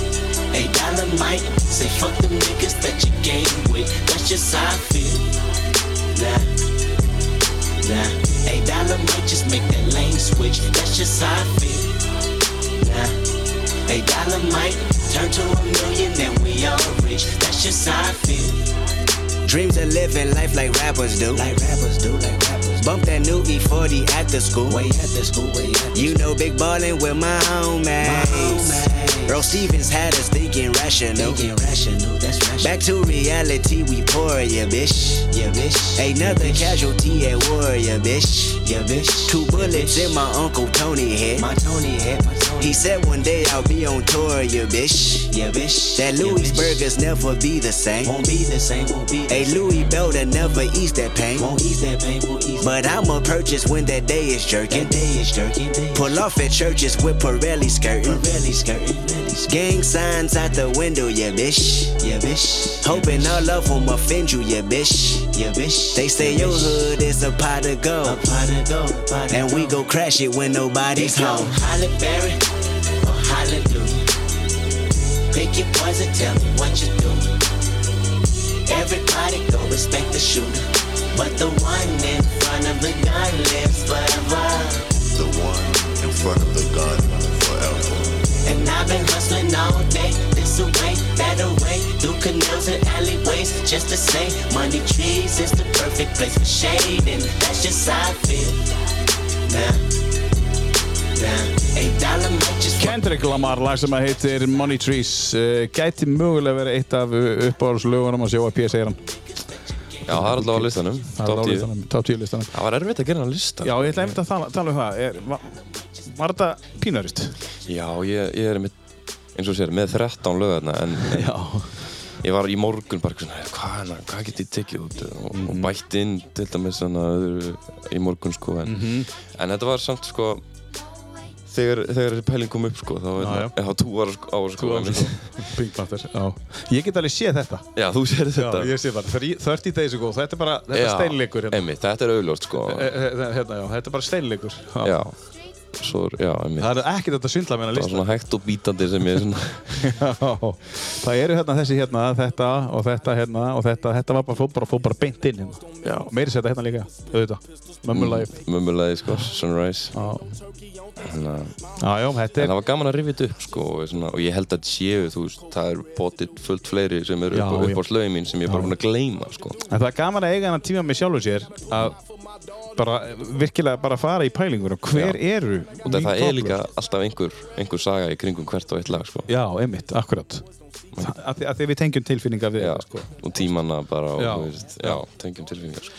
S11: A dollar might say fuck them niggas that you game with. That's just how I feel. Nah, nah. A dollar might just make that lane switch. That's just how I feel. Nah. A dollar might turn to a million and we all rich. That's just how I feel. Dreams of living life like rappers do. Like rappers do, like rappers. Bump that new E E40 after school. Way after school, way after You know, big ballin' with my homies. Bro Stevens had us thinking rational. Thinking rational, that's rational. Back to reality, we pour, yeah, bitch. Yeah, bitch. Another casualty at war, yeah, bitch. Yeah, bitch. Two bullets in my uncle Tony head. My Tony head, my Tony. He said one day I'll be on tour, yeah, bitch. Yeah, bitch. That Louisburg burgers never be the same. Won't be the same, won't be the A Louis belt that never ease that pain. Won't ease that pain, won't ease But I'ma purchase when that day is jerking. That day is jerking, day Pull off at churches with Pirelli skirting. Pirelli skirting, Gang signs out the window, yeah, bitch. Yeah, bitch. Hoping all of them offend you, yeah, bitch. Yeah, bitch. They say your hood is a pot of gold. A pot of gold, And we go crash it when nobody's home. Holly Berry or Hallelujah. Pick your poison, tell me what you do. Everybody go respect the shooter. But the one in front of the gun lives forever.
S12: The one in front of the gun forever.
S11: And I've been hustling all day, this away, that away, through canals and alleyways, just to say, money trees is the perfect place for shade, and that's just how I feel. Now, now, eight dollar might just
S2: Kendrick Lamar, lag sem að heitir Money Trees uh, gæti mögulega verið eitt af eh, uppáhaldslögunum að sjá að PSA hann
S3: Já, það er alltaf á listanum.
S2: Það
S3: Top
S2: er á
S3: 10.
S2: listanum, top 10 listanum
S3: Það var erfitt að gera hann listan.
S2: Já, ég ætla einmitt að tala, tala um það er, var, var þetta pínarist?
S3: Já, ég, ég er mitt, eins og sér, með 13 lögarna en Já. ég var í morgun bara eitthvað svona, "Heyrðu, hvað, hérna, hvað get ég tekið út og, og
S2: Mhm.
S3: bætt inn til dæmis þannig að öðru í morgun sko en,
S2: Mhm.
S3: en þetta var samt sko þegar, þegar þessi pæling kom upp sko þá
S2: Já, já.
S3: var það tú ára sko, ára, sko,
S2: ára,
S3: en-
S2: sko. Pink Panther, já Ég get alveg séð þetta
S3: Já, þú sér þetta
S2: Já, ég sé bara, 30 days ago, þetta er bara þetta er
S3: Já,
S2: steinleikur hérna.
S3: einmitt, þetta er auðljóst sko
S2: E, e, hérna, já, Þetta er bara steinleikur já.
S3: Já, svo, er- já, einmitt
S2: Það er ekkert þetta svindla meina
S3: Það var
S2: lista
S3: svona hægt og bítandi sem ég svona
S2: Já, það eru hérna þessi hérna, þetta og þetta hérna og þetta, þetta var bara fór bara, fór bara beint inn hérna. Já. Meiri setja hérna líka, auðvitað,
S3: Mm.
S2: mömmulagi.
S3: mömmulegði sko, Sunrise
S2: Já,
S3: Þannig að
S2: já, þetta
S3: En
S2: er,
S3: það var gaman að rifja þetta upp sko og, svona, og ég held að séu, þú veist, það er potið fullt fleiri sem eru
S2: Já,
S3: upp,
S2: já.
S3: upp á slögin mín sem ég er bara búin að gleyma sko.
S2: en það er gaman að eiga hennar tíma með sjálfur sér að bara virkilega bara fara í pælingur og hver eru
S3: Og það, það er líka alltaf einhver, einhver saga í kringum hvert og eitt lag sko.
S2: Já, einmitt, akkurat. Það, að, því, að því við tengjum tilfinningar við
S3: Já,
S2: þetta, sko.
S3: og tímanna bara og,
S2: Já.
S3: þú veist, já, tengjum tilfinningar sko.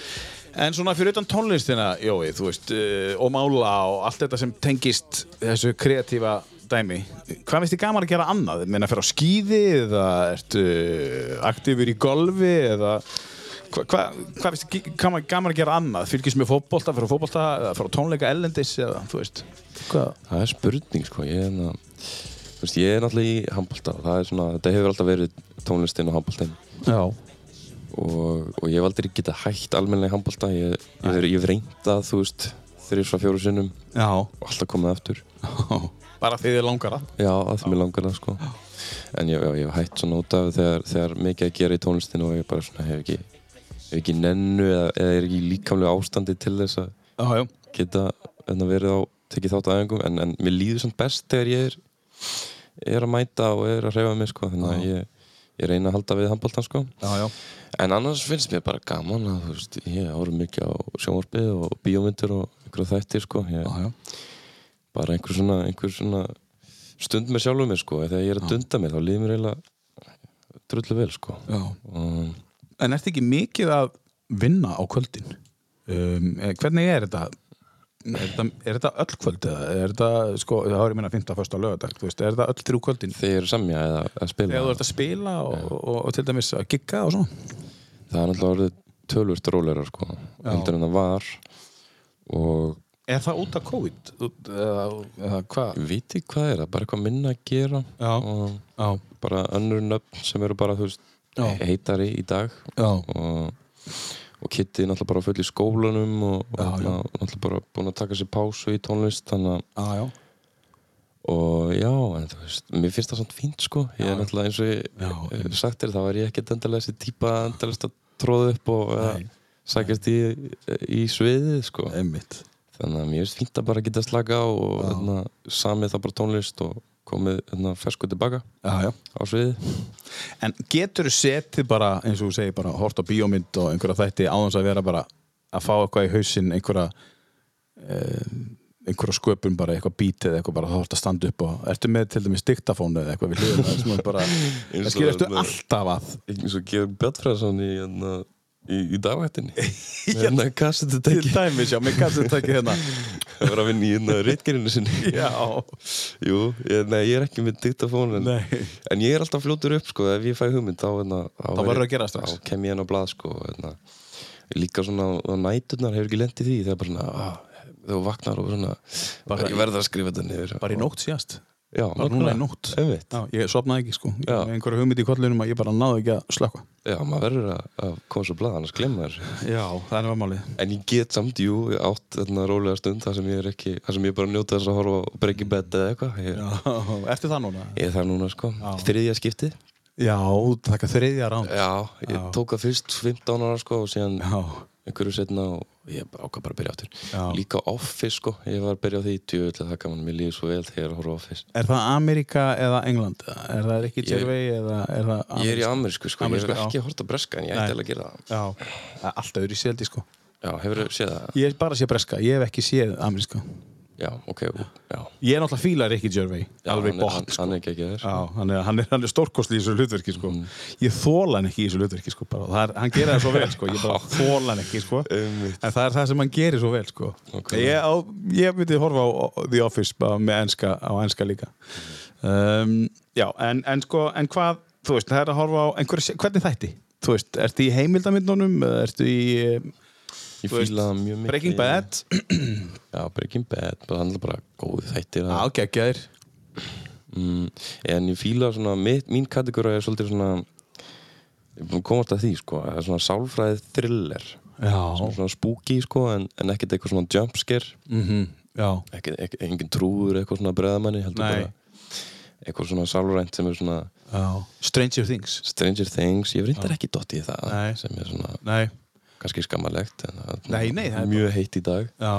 S2: En svona fyrir utan tónlistina, Jói, þú veist, uh, og mála og allt þetta sem tengist þessu kreatífa dæmi, hvað finnst þið gaman að gera annað? Meina að fyrir á skíði eða ertu aktífur í golfi eða hva, hva, hvað finnst þið gaman, gaman að gera annað? Fylgist með fótbolta, fyrir á fótbolta eða fyrir á tónleika ellendis eða, þú veist, hvað?
S3: Það er spurning sko, ég er na, þú veist, ég er náttúrulega í handbólta og það er svona, þetta hefur alltaf verið tónlistin og handbóltin
S2: Já.
S3: og, og ég hef aldrei getað hætt almennilega handbólta, ég, ég, hef- ég hef reyndað þú veist, þrjusra fjóru sinnum
S2: Já.
S3: og alltaf komið aftur
S2: Bara því þið langar að.
S3: Já, að því mér langar það sko En ég, já, ég hef hætt svona út af þegar, þegar mikið að gera í tónlistinu og ég bara svona hef ekki hef ekki nennu eða, eða er ekki í líkamlegu ástandi til þess að
S2: Já, já.
S3: geta en verið á, tekið þátt á æfingum en, en mér líður samt best þegar ég er er að mæta og er að hreyfa mig sko þannig að ég, ég reyna að halda við handbóltan sko
S2: Já, já.
S3: En annars finnst mér bara gaman að þú veist, ég ára mikið á sjónvarpið og bíómyndir og ykkur þættir sko ég,
S2: Já, já.
S3: bara einhver svona, einhver svona stund með sjálfum mér sko þegar ég er að dunda mér þá líður mér eiginlega drullu vel sko
S2: Já.
S3: og
S2: En ertu ekki mikið að vinna á kvöldin? Um, eh, hvernig er þetta? Er þetta, er þetta öll kvöld eða? Er þetta, sko, það er ég minna 15. fyrsta lögadag, þú veist, er þetta öll þrjú kvöldin?
S3: þegar ég er að semja eða að spila
S2: Þegar þú ert að spila og, og, og til dæmis að gigga og svona?
S3: það er alltaf orðið tölvöld rólera sko heldur en það var og
S2: Er það út af COVID? Út- Eða, eða hvað?
S3: ég veit ekki hvað er það, bara eitthvað minna að gera
S2: Já.
S3: og
S2: Já,
S3: bara önnur nöfn sem eru bara þú veist
S2: Já.
S3: heitari í dag
S2: já,
S3: og, og Kitty er náttúrulega bara full í skólanum og, og
S2: Já, já.
S3: hérna, náttúrulega bara búin að taka sér pásu í tónlist þannig að
S2: já, já.
S3: og já, en þú veist, mér finnst það svona fínt sko, ég er náttúrulega eins og
S2: Já,
S3: ég hef
S2: einmitt.
S3: sagt þér, þá er ég ekkert endalega þessi típa endalast að tróða upp og uh,
S2: Nei.
S3: sækast í, í sviðið sko,
S2: Einmitt.
S3: þannig að mér finnst fínt að bara geta slaka á og hérna, samið það bara tónlist og komið hérna, fersku tilbaka
S2: Já, já.
S3: á sviðið
S2: En getur þú setið bara, eins og þú segir, bara hort á bíómynd og einhverja þætti áðans að vera bara að fá eitthvað í hausinn, einhverja eh, einhverja sköpun bara, eitthvað bítið eða eitthvað bara þá ertu að standa upp og ertu með til dæmis diktafónu eða eitthvað við hliðum það sem er bara,
S3: Eins og
S2: það skiljastu
S3: með-
S2: alltaf að
S3: eins og gefur Bjartfræðarsson í, hérna, í, í dagvættinni hérna kassetu tekið
S2: til dæmis, já, mér kannski þetta ekki hérna
S3: að vera að vinna í hérna rítgerinu sinni
S2: já,
S3: Jú, ég, nei, ég er ekki með diktafón en,
S2: Nei.
S3: en ég er alltaf fljótur upp sko, ef ég fæ hugmynd þá, hérna,
S2: Þá
S3: er-
S2: verður að gera strax.
S3: þá kem ég inn á blað sko, hérna. líka svona á á næturnar hefur ekki lent í því þegar bara svona ah, þegar þú vaknar og svona
S2: Bara
S3: ég
S2: í-
S3: verður að skrifa þetta niður
S2: bara í nótt síðast
S3: já,
S2: bara núna í nótt
S3: einmitt.
S2: já, ég sopnaði ekki, sko, ég,
S3: Já.
S2: með einhverja hugmynd í kollunum að ég bara náði ekki að slökka
S3: já, maður verður að, að koma svo blað annars glemma þér
S2: já, það er málið
S3: En ég get samt, jú, ég átt þarna rólega stund þar sem ég er ekki, þar sem ég bara njóta þess að horfa og breyki betta eða eitthvað ég,
S2: ertu það núna?
S3: ég er það núna sko, þriðja skipti
S2: já, þakka þriðja rán
S3: Já, ég tók það fyrst 15 ára sko og síðan
S2: já.
S3: einhverju setna og og ég bara ákvað bara að byrja áttur líka Office sko, ég var að byrja á því djöfull að það gaman, mér líður svo vel þegar ég er að horfa á Office
S2: Er það Amerika eða England? Er það Ricky
S3: Ég-
S2: Gervais eða er það
S3: ég er í amerísku sko,
S2: Amerísku,
S3: ég
S2: já.
S3: er ekki að horta breska en ég ætti alveg að gera það
S2: Já, það er alltaf öðru í seldi sko
S3: já, hefur þú séð það?
S2: Ég er bara að sé breska, ég hef ekki séð ameríska
S3: já, ok, ú, já,
S2: Ég er náttúrulega fíla Ricky Gervais,
S3: já
S2: alveg
S3: hann, er-
S2: bótt
S3: hann, hann er ekki ekki þér
S2: Já, hann er, hann er, hann er stórkostli í þessu hlutverki sko. Ég þóla hann ekki í þessu hlutverki sko, bara. Það er, Hann gera það svo vel, sko. ég bara þóla hann ekki sko.
S3: Einmitt.
S2: En það er það sem hann gerir svo vel sko.
S3: Ok.
S2: Ég, á, ég myndi horfa á á The Office bara með enska, á enska líka um, Já, en, en, sko, en hvað þú veist, það er að horfa á einhverja, hvernig þætti? Þú veist, ertu í heimildamindunum? Ertu í eh,
S3: ég
S2: þú veist,
S3: fýla mjög mikið
S2: Breaking Bad?
S3: já, Breaking Bad, bara hann er bara góð þættir
S2: Já,
S3: að-
S2: geggjaðir
S3: Mm, en ég fíla svona, mitt, mín kategóra er svolítið svona ég er búinn að komast að því sko, það er svona sálfræðið thriller
S2: Já,
S3: svona, svona spooky sko, en, en ekkert eitthvað svona jumpscare
S2: mhm, já,
S3: ekki, ekki, engin trúður eitthvað svona breðamanni heldur
S2: Nei.
S3: bara eitthvað svona sálrænt sem er svona
S2: já Stranger Things
S3: Stranger Things, ég reyndar ekki dott í það
S2: Nei.
S3: sem er svona
S2: Nei,
S3: kannski skammalegt en það er
S2: Nei, nei, það er
S3: mjög heitt í dag
S2: já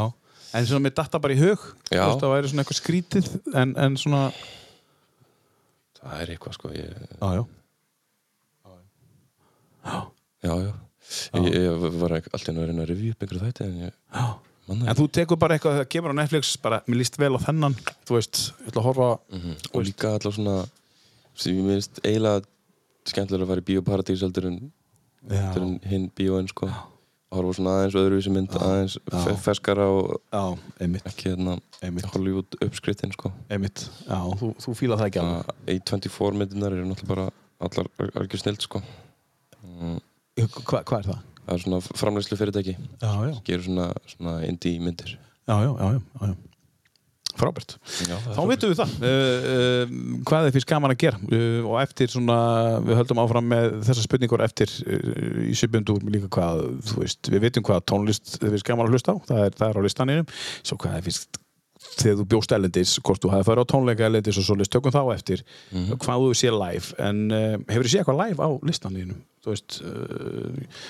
S2: En svona mér datta bara í hug Þú
S3: Já.
S2: veist, Það væri svona eitthvað skrítið En, en svona
S3: það er eitthvað sko ég,
S2: Já, já
S3: já, já, Ég, ég var ekki- allt í enn að reyna að review upp einhverju þætti en ég manna
S2: En þú tekur bara eitthvað þegar það kemur á Netflix bara, mér líst vel á þennan Þú veist, ég ætla að horfa Mm.
S3: og líka allar svona sem ég minnst eiginlega skemmtilega að fara í bíóparadís heldur en, heldur en hinn bíóin sko að horfa á svona aðeins öðruvísi mynd aðeins fe- ferskara og
S2: Já, einmitt,
S3: ekki hérna
S2: Einmitt.
S3: Hollywood uppskrittin sko
S2: einmitt Já, þú, þú fíla það ekki alveg
S3: Að A24 myndinar eru náttúrulega bara allar al- algjör snilt sko
S2: Hva, Hvað er það?
S3: það er svona framleyslu fyrirtæki
S2: Já, já,
S3: gerur svona, svona indie myndir
S2: já, já, já, já, já. Frábært
S3: Já,
S2: Þá veitum við það uh, uh, hvað þeir finnst gaman að gera uh, og eftir svona, við höldum áfram með þessar spurningur eftir uh, í sjöbundúr líka hvað, þú veist, við veitum hvað tónlist þeir finnst gaman að hlusta á, það er, það er á listaninum svo hvað þeir finnst þegar þú bjóst elendis, hvort þú hafði farið á tónleika elendis og svo list tökum þá eftir hvað þú sé live, en uh, hefur þið sé eitthvað live á listaninum, þú veist uh,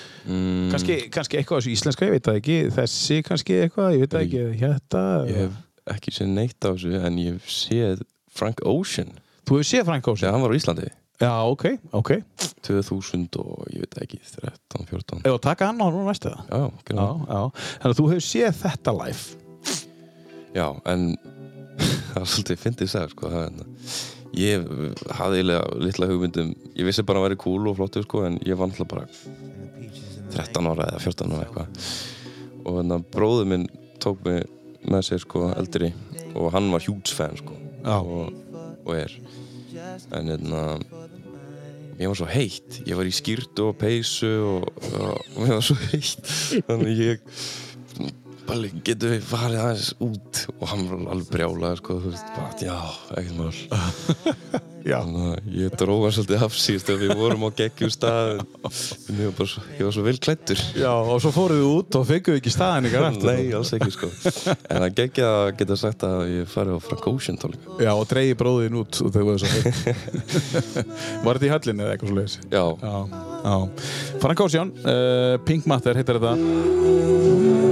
S2: kannski, kannski eitthvað af þessu íslenska, ég veit það ekki þessi kannski eitthvað, ég veit það ekki hérna,
S3: ég hef ekki séð neitt á þessu en ég hef séð Frank Ocean
S2: þú hefur séð Frank Ocean
S3: þegar hann var á Íslandi
S2: Já, ok, ok
S3: 2000 og ég veit ekki 13, 14
S2: Ef að taka hann á núna næstu það
S3: Já,
S2: Já,
S3: já,
S2: já Þannig að þú hefur séð þetta live
S3: já, en það er svolítið fyndið sagði sko, það, en, ég hafði eiginlega litla hugmyndum, ég vissi bara að væri cool og flottur sko, en ég var náttúrulega bara 13 ára eða 14 ára eitthvað og þannig að bróður minn tók mig með sér sko eldri og hann var huge fan sko
S2: Já.
S3: og, og er en hérna ég var svo heitt, ég var í skýrtu og peysu og, og mér var svo heitt þannig ég Palli, getum við farið aðeins út og hann var alveg brjálaður sko, þú veist, bara, já, ekkert mál
S2: Já.
S3: Þannig að ég dróð hann svolítið af síðust og við vorum á geggjum stað en en ég var bara svo, ég var svo vel klættur
S2: Já, og svo fóruð þið út og fenguðu ekki staðan ykkar eftir
S3: Nei, alls ekki sko En það geggja að geta sagt að ég farið á Frank Ocean tónleika
S2: Já, og dreigi bróðin út og þau voru svo heitt Var þetta í höllinni eða eitthvað svo leiðis?
S3: Já,
S2: Já, já Frank Ocean, uh, Pink Matter heitir þetta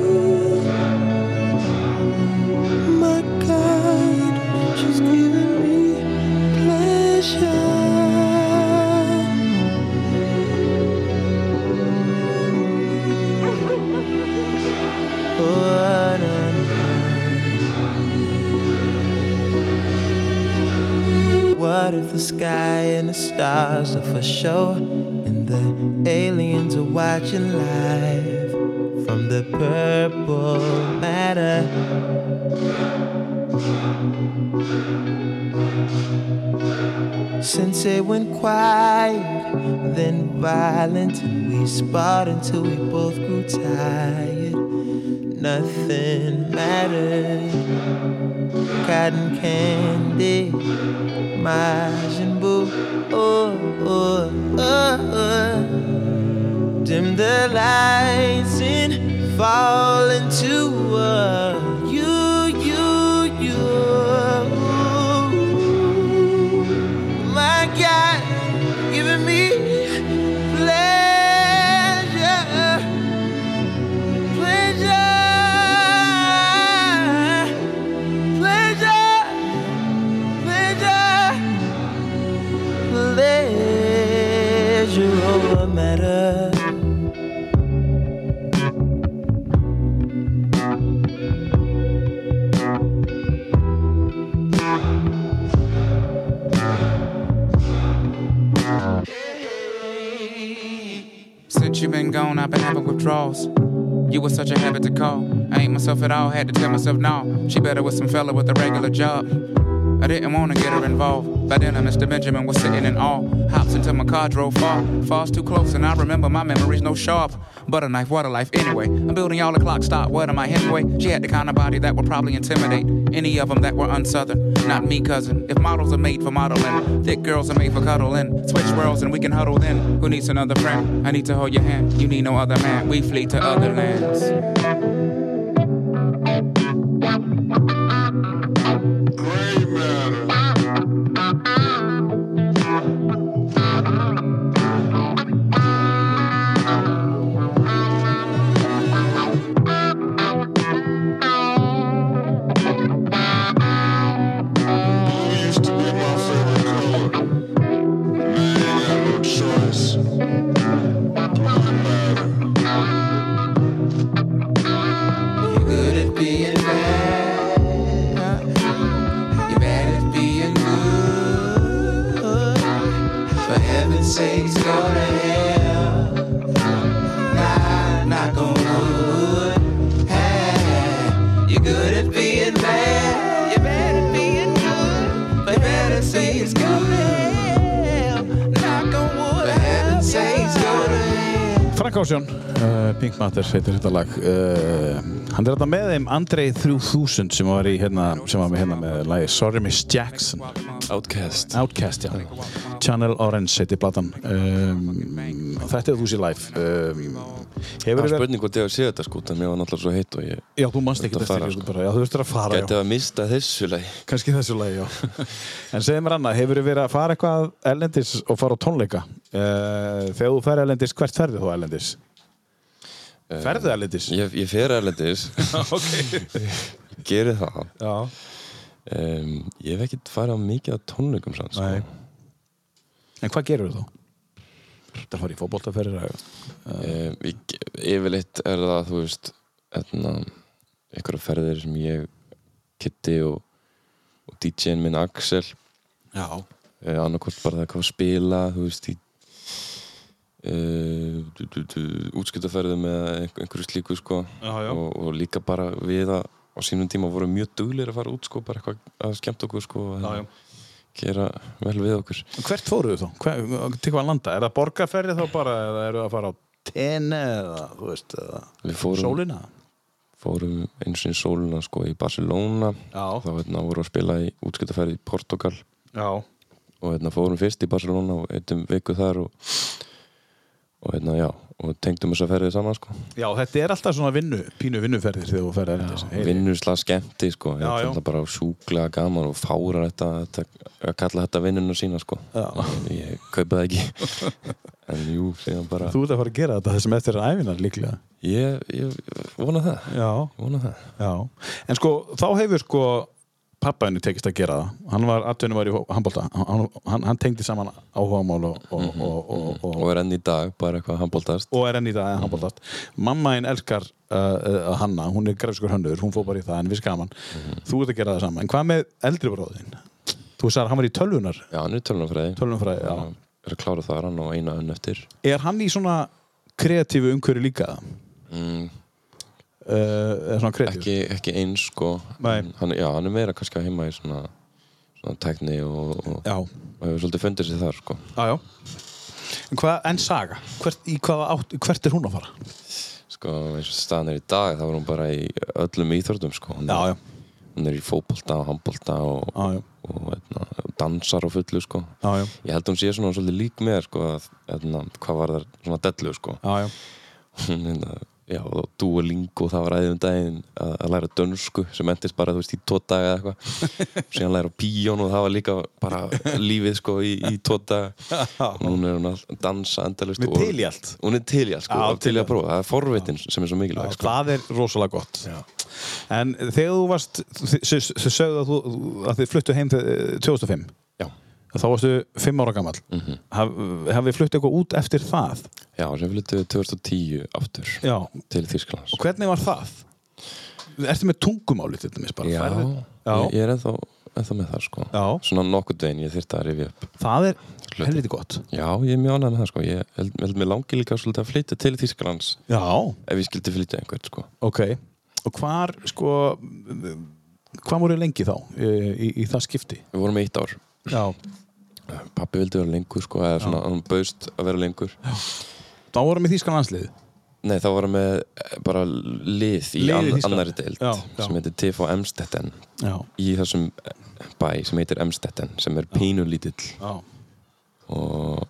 S13: What if the sky and the stars are for show? And the aliens are watching live from the purple matter. Since it went quiet, then violent, and we sparred until we both grew tired. Nothing mattered. Cotton candy. Majin Buu. Oh, oh, oh, oh. Dim the lights and fall into a you, you, you. My God, giving me pleasure, pleasure. matter.
S14: Since you've been gone, I've been having withdrawals. You were such a habit to call. I ain't myself at all, had to tell myself no. She better with some fella with a regular job. I didn't wanna get her involved. By then, uh, Mr. Benjamin was sitting in awe. Hops into my car, drove far. Falls too close, and I remember my memory's no sharp. Butter knife, water life, anyway. I'm building all the clock, stop, what am I anyway? She had the kind of body that would probably intimidate any of them that were unsouthern. Not me, cousin. If models are made for modeling, thick girls are made for cuddling. Switch worlds and we can huddle then. Who needs another friend? I need to hold your hand. You need no other man. We flee to other lands.
S2: Frank Ásjón, uh, Pink Matters heitir þetta lag uh, Hann er þetta með þeim Andrei 3000 sem var í hérna sem var með hérna með lagi Sorry Miss Jackson
S3: Outcast
S2: Outcast, já Channel Orange heitir platan um, Þetta er þú sér live um,
S3: Það
S2: Hefur
S3: var
S2: þið verið
S3: spurning hvort ég hef séð þetta sko en mér var náttúrulega svo heitt og ég
S2: Já, þú manst ekki
S3: Þetta
S2: þetta
S3: fara,
S2: eftir
S3: sko.
S2: sko. bara, Já, þú veist þetta að fara,
S3: gæti að mista þessu lagi
S2: já Kanski þessu lagi, já En segðu mér annað, hefur þið verið að fara eitthvað erlendis og fara á tónleika uh, Þegar þú fer erlendis, hvert ferðu þú erlendis?
S3: Eh,
S2: Ferðu erlendis?
S3: Ég, ég fer erlendis ok Gerið það
S2: Já
S3: um, Ég hef ekkert farið á mikið að tónleikum sann sko.
S2: Nei. En hvað gerur þú þá? Þetta farið í fótboltaferðir að-
S3: um, ég, Yfirleitt er það þú veist etna, einhverja ferðir sem ég Kitty og, og DJ-in minn Axel
S2: Já
S3: uh, annarkvort bara það hvað að spila þú veist í eh, uh, útskiptaferðum eða einhver- einhverju slíku sko
S2: Já, já.
S3: Og, og líka bara við að á sínum tíma vorum mjög duglir að fara út sko bara eitthvað að skemmta okkur sko og
S2: Já, já.
S3: gera vel við okkur
S2: Hvert fóruðu þá? Hver, til hvað landa? Er það borgarferði þá bara eða eru það að fara á tenni eða, þú veist, eða
S3: við fórum,
S2: sólina?
S3: fórum eins og í sóluna sko í Barcelona
S2: Já.
S3: þá hérna, vorum við að spila í útskiptaferði í Portugal
S2: Já.
S3: og hérna fórum fyrst í Barcelona og eittum viku þar og, og hérna já og tengdum þess að ferðið saman sko
S2: Já, þetta er alltaf svona vinnu, pínu vinnuferðir þegar þú ferði erlendis. Heyri.
S3: vinnusla skemmti sko
S2: Já,
S3: þetta
S2: já.
S3: er náttúrulega bara sjúklega gaman og fárar þetta, þetta að kalla þetta vinnuna sína sko
S2: Já.
S3: ég kaupa það ekki en jú, síðan bara
S2: Þú ert að fara að gera þetta þessum eftir æfinar líklega.
S3: ég, ég vona það
S2: Já.
S3: ég vona það
S2: Já, en sko þá hefur sko pappaðinu tekist að gera það hann var, atvinnum var í handbólta hann, hann, hann tengdi saman áhugamál og, og, og, og, Mhm. og,
S3: og er enn í dag bara eitthvað handbóltast
S2: og er enn í dag að handbóltast mamma einn elskar uh, uh, Hanna, hún er grefskur hönnur, hún fór bara í það en við skaman, þú ert að gera það saman en hvað með eldri bróðin? Þú sagði að hann var í tölvunar,
S3: já, hann er tölunafræði
S2: tölvunarfræði já.
S3: er að klára þar hann og eina önn eftir
S2: er hann í svona kreatífu umhverju líka?
S3: mm,
S2: Uh, er svona kreatífu?
S3: ekki, ekki eins sko
S2: Nei.
S3: En hann, já, hann er meira kannski að heima í svona, svona tekni og, og,
S2: Já,
S3: og hefur svolítið fundið sér þar sko
S2: já, já En, hvað, en saga, hvert, í hvaða átt, hvert er hún að fara?
S3: sko, eins og staðan er í dag þá er hún bara í öllum íþjórnum sko. Hún er-
S2: Já, já.
S3: hún er í fótbolta og handbolta og,
S2: Já, já.
S3: og, eitna, og dansar á fullu sko.
S2: Já, já.
S3: ég held að hún sé svona svolítið lík mér sko, að, eitna, hvað var það svona dellu sko.
S2: Já, já
S3: hún hérna Já, og Duolingo, það var æðið um daginn að, að læra dönsku sem endist bara, þú veist, í tvo daga eða eitthvað síðan læra píjón og það var líka bara lífið, sko, í, í tvo daga og núna er hún að dansa endalist
S2: Hún er
S3: og-
S2: til í allt.
S3: Hún er til í allt, sko,
S2: Já,
S3: og til í að prófa, það er forvitin sem er svo mikilvæg, sko
S2: Það er rosalega gott En þegar þú varst þau sögðu að, þú, að þið fluttu heim þe- eh, 2005
S3: Já,
S2: Mhm. þá varstu fimm ára gamall mm -hmm. hafið flutt eitthvað út eftir það
S3: Já, sem flyttu 2010 aftur
S2: Já.
S3: til Þýskalands.
S2: Og hvernig var það? Ertu með tungumáli til dæmis bara?
S3: Já,
S2: Færðu-
S3: ég, ég er ennþá, ennþá með það sko.
S2: Já.
S3: Svona nokkuð deginn ég þyrfti að rifja upp.
S2: Það er
S3: Hluti.
S2: helviti gott.
S3: Já, ég er mjög ánægð með það sko. Ég held, held mér langi líka svolítið að flytja til Þýskalands
S2: Já,
S3: ef ég skildi flytja einhvern sko.
S2: ok. Og hvar, sko, hvað voru lengi þá í, í, í það skipti?
S3: Við vorum eitt ár.
S2: Já.
S3: Pappi vildi vera lengur sko, eða svona, hann baust að vera lengur.
S2: Þá voru með þýskan landslið.
S3: Nei, þá var hann með eh, bara lið í
S2: Lið í
S3: an
S2: Þýskalandi.
S3: annari deild
S2: Já, já.
S3: sem heitir TF Emstetten
S2: Já.
S3: í þessum eh, bæ sem heitir Emstetten sem er pínulítill
S2: Já.
S3: og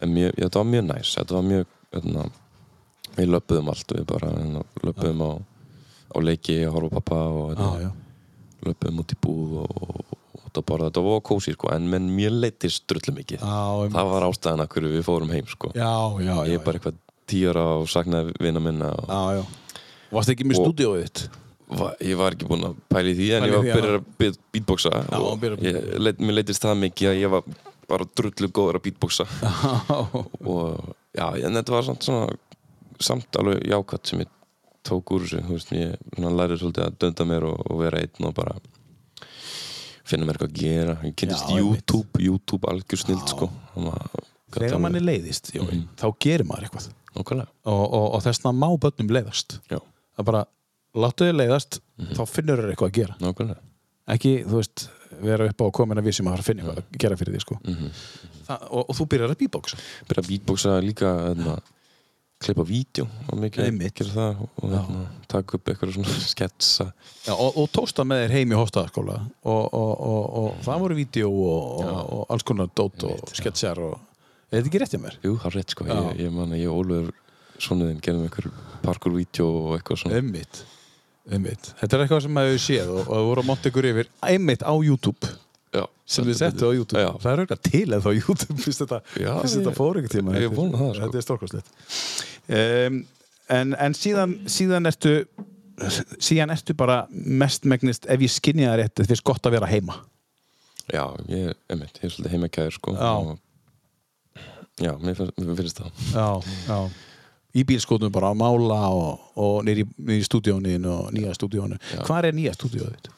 S3: en mjög, já, þetta var mjög næs þetta var mjög hérna, við löpuðum allt við bara hérna, löpuðum á, á leiki að horfa á pappa og
S2: já.
S3: hérna, löpuðum út í búð og, og, og út að borða þetta var kósi sko en menn mér leittist drullu mikið
S2: Já, um-
S3: það var ástæðan að hverju við fórum heim sko
S2: já, já. já,
S3: ég er bara eitthvað tíra og saknaði vina minna og
S2: Já, já. Varst ekki með
S3: Og-
S2: stúdíóið þitt?
S3: Va, ég var ekki búinn að pæla í því en
S2: Pæla í
S3: ég var að
S2: því, já.
S3: byrja að beat- beatboxa
S2: og
S3: og
S2: byrja að
S3: ég, leit, mér leittist það mikið að ég var bara drullu góður að beatboxa og já, en þetta var samt svona samt alveg jákvæmt sem ég tók úr þessu, þú veist, ég svona lærið svolítið að dönda mér og, og vera einn og bara finna mér eitthvað að gera ég kynntist
S2: Já, einmitt.
S3: YouTube, YouTube algjör snild sko, þannig að
S2: Þegar manni leiðist, Jói, þá gerir maður eitthvað.
S3: Nókvæmlega,
S2: Og, og, og þess vegna má börnum leiðast.
S3: já,
S2: Það bara, láttu þið leiðast, þá finnur þér eitthvað að gera.
S3: nákvæmlega
S2: ekki, þú veist, vera upp á komin að við sem að fara að finna eitthvað að gera fyrir því sko. Þa, og, og þú byrjar að beatboxa
S3: byrja að beatboxa líka hérna, klippa vídeo og mikið
S2: Einmitt.
S3: gera það og hérna, taka upp eitthvað svona sketsa
S2: Já, og, og tósta með þér heim í hostaðaskóla og, og, og, og það voru vídeo og, og, og alls konar dót og sketsjar og er þetta ekki rétt hjá mér?
S3: Jú, það er rétt sko,
S2: Já.
S3: ég, ég man að ég og Ólfur svonuðinn gerðum einhver parkour vídeo og eitthvað svona
S2: Einmitt, einmitt. Þetta er eitthvað sem maður hefur séð og, og það voru að monta ykkur yfir einmitt á YouTube
S3: já,
S2: sem þið settu á YouTube
S3: Já.
S2: það er auðvitað til eða á YouTube fyrst þetta,
S3: Já,
S2: fyrst þetta
S3: ég-
S2: fór einhvern tíma
S3: ég vona það, sko.
S2: þetta er stórkostlegt um, en, en síðan, síðan ertu síðan ertu bara mestmegnist ef ég skinni það rétt, þetta finnst gott að vera heima
S3: Já, ég, einmitt, ég er svolítið heimakæður sko
S2: Já.
S3: og, Já, mér finnst, mér finnst það
S2: já, já í bílskotum bara að mála og, og nýri, nýri stúdíónin og nýja stúdíónu hvað er nýja stúdíóið þitt?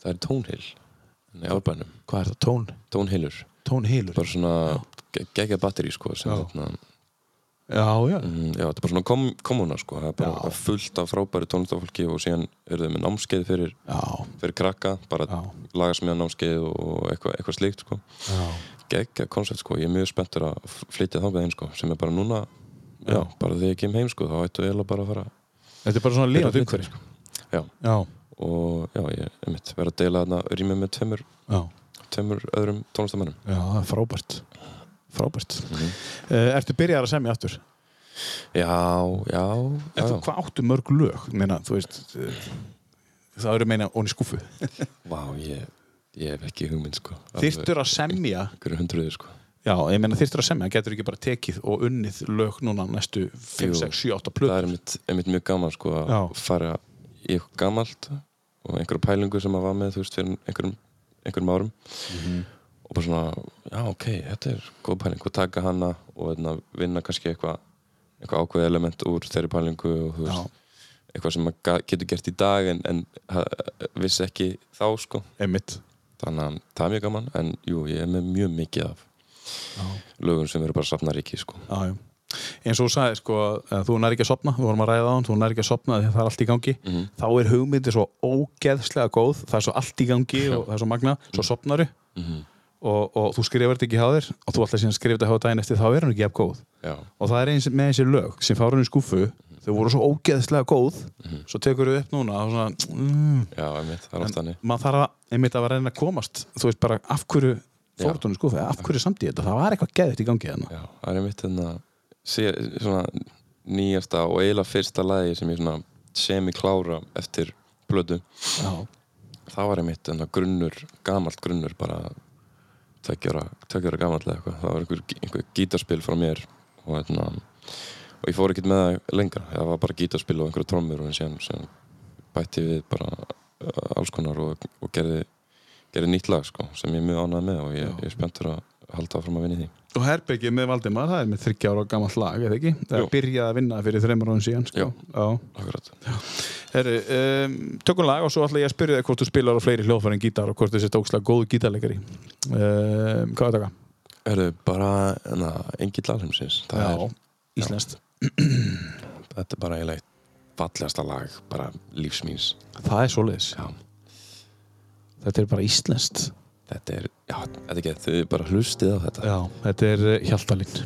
S3: Það er tónhill í árbænum,
S2: hvað er það? Tón,
S3: tónhillur
S2: tónhilur?
S3: bara svona ge- geggjað batteri sko sem
S2: Já.
S3: þarna
S2: já, já,
S3: Mm, Já, þetta er bara svona kom, komuna sko það er bara
S2: Já.
S3: fullt af frábæri tónlistafólki og síðan eru þau með námskeið fyrir,
S2: já,
S3: fyrir krakka, bara
S2: Já.
S3: lagasmiða námskeið og eitthvað eitthva slíkt sko
S2: já.
S3: geggja koncept sko, ég er mjög spenntur að f- flytja þangað einn sko, sem er bara núna já, bara þegar ég kem heim sko, þá ættu eiginlega bara að fara
S2: þetta er bara svona lifandi umhverfi sko.
S3: já,
S2: já,
S3: og já, ég er mitt verið að deila þarna rými með tveimur,
S2: já
S3: tveimur öðrum tónlistamennum
S2: Já, það er frábært Frábært Eh, Ertu byrjar að semja aftur?
S3: já, já, já,
S2: Ertu,
S3: já.
S2: Hvað áttu mörg lög? Meina, þú veist, eh, það eru meina onni skúfu
S3: vá, ég, ég hef ekki hugmynd sko
S2: Þyrftur að semja
S3: ykkur hundruði sko
S2: Já, ég meina þyrftur að semja, getur ekki bara tekið og unnið lög núna næstu 5,
S3: Jú,
S2: 6, 7, 8
S3: það er
S2: plötur
S3: einmitt, einmitt mjög gaman sko að
S2: Já.
S3: fara í eitthvað gamalt og einhverju pælingu sem maður var með þú veist fyrir einhverjum, einhverjum árum og bara svona, já ok þetta er góð pæling og taka hana og einna, vinna kannski eitthvað eitthvað ákveð element úr þeirri pælingu og þú veist, eitthvað sem maður ga- getur gert í dag en, en ha- vissi ekki þá sko
S2: Einmitt
S3: þannig að það er mjög gaman en jú, ég er með mjög mikið af lögum sem eru bara safna ríki sko
S2: Já, já eins og þú sagði sko að þú nær ekki að sopna við vorum að ræða á hann, þú nær ekki að sopna þegar það er allt í gangi þá er hugmyndi svo ógeðslega góð það er svo allt í gangi og það er svo magna svo sopnaru og, og þú skrifar þetta ekki hjá þér og þú alltaf síðan skrifir þetta hjá daginn eftir þá er hún ekki jafn góð
S3: já,
S2: og það er eins með þessi lög sem fára hún í skúfu þau voru svo ógeðslega góð svo tekur þau upp núna og svona mm,
S3: já, einmitt, það er oft þannig
S2: maður þarf að, einmitt að vera að reyna að komast þú veist bara af hverju fórt hún í skúfu af hverju samt í þetta, það var eitthvað geðið í gangi þarna.
S3: Já, það er mitt hérna sé- svona nýjasta og eiginlega fyrsta lagi sem ég svona semi-klára eftir blödu
S2: Já.
S3: það var einmitt hérna grunnur, gamalt grunnur bara tveggjöra, tveggjöra gamalt eða eitthvað, það var einhver, einhver gítarspil frá mér og hérna og ég fór ekkert með það lengra, það var bara gítarspil og einhverja trommur og síðan, síðan bætti við bara uh, alls konar og, og gerði, gerði nýtt lag sko, sem ég er mjög ánægð með og ég, ég er spenntur að halda áfram að vinna í því
S2: Og Herbergið með Valdimar, það er með 30 ára gammalt lag, eða ekki? Það
S3: Jú.
S2: byrjaði að vinna fyrir þreymur árum síðan, sko.
S3: Já.
S2: Já.
S3: akkurat
S2: Herru, um, tökum lag og svo ætla ég að spyrja þig hvort þú spilar á fleiri hljóðfæri en gítar og hvort þú sért ógslag góð gítarleikari. Um, hvað er þetta?
S3: Herðu, bara na, engill alheimsins Það er,
S2: Íslenskt.
S3: Þetta er bara eiginlega eitt fallegasta lag bara lífsmýns
S2: Það er svoleiðis.
S3: Já.
S2: Þetta er bara íslenskt.
S3: Þetta er, já, þetta er gett, þið bara hlustið á þetta
S2: Já, þetta er eh, Hjaltalín.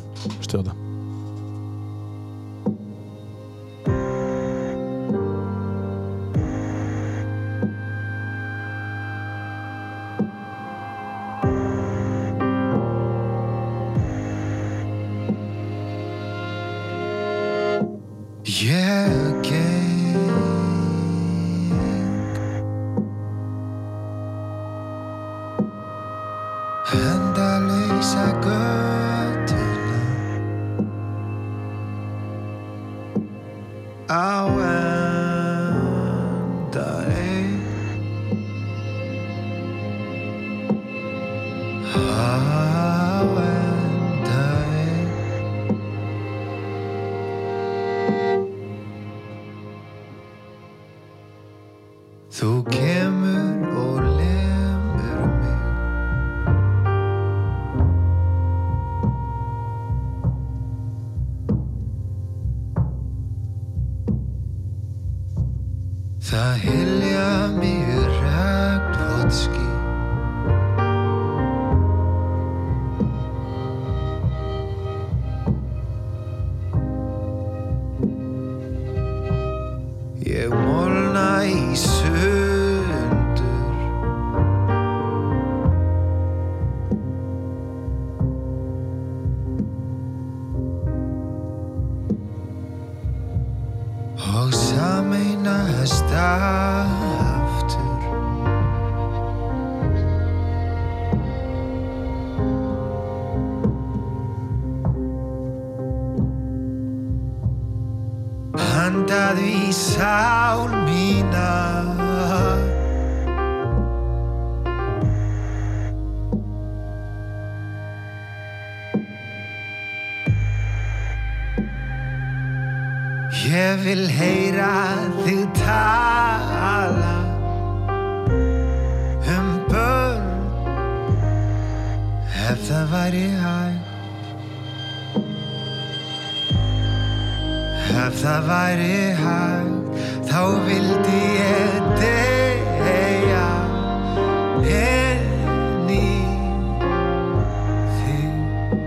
S2: Stöða.
S13: Ég geng Endalausa götuna Á enda ein Á enda ein Þú kemur og lemur mig Það hylja mig regnvotski Ég molna í sundur Og sameinast aftur Handað í sál mína Ég vil heyra þig tala um börn ef það væri hægt ef það væri hægt þá vildi ég deyja inn í þig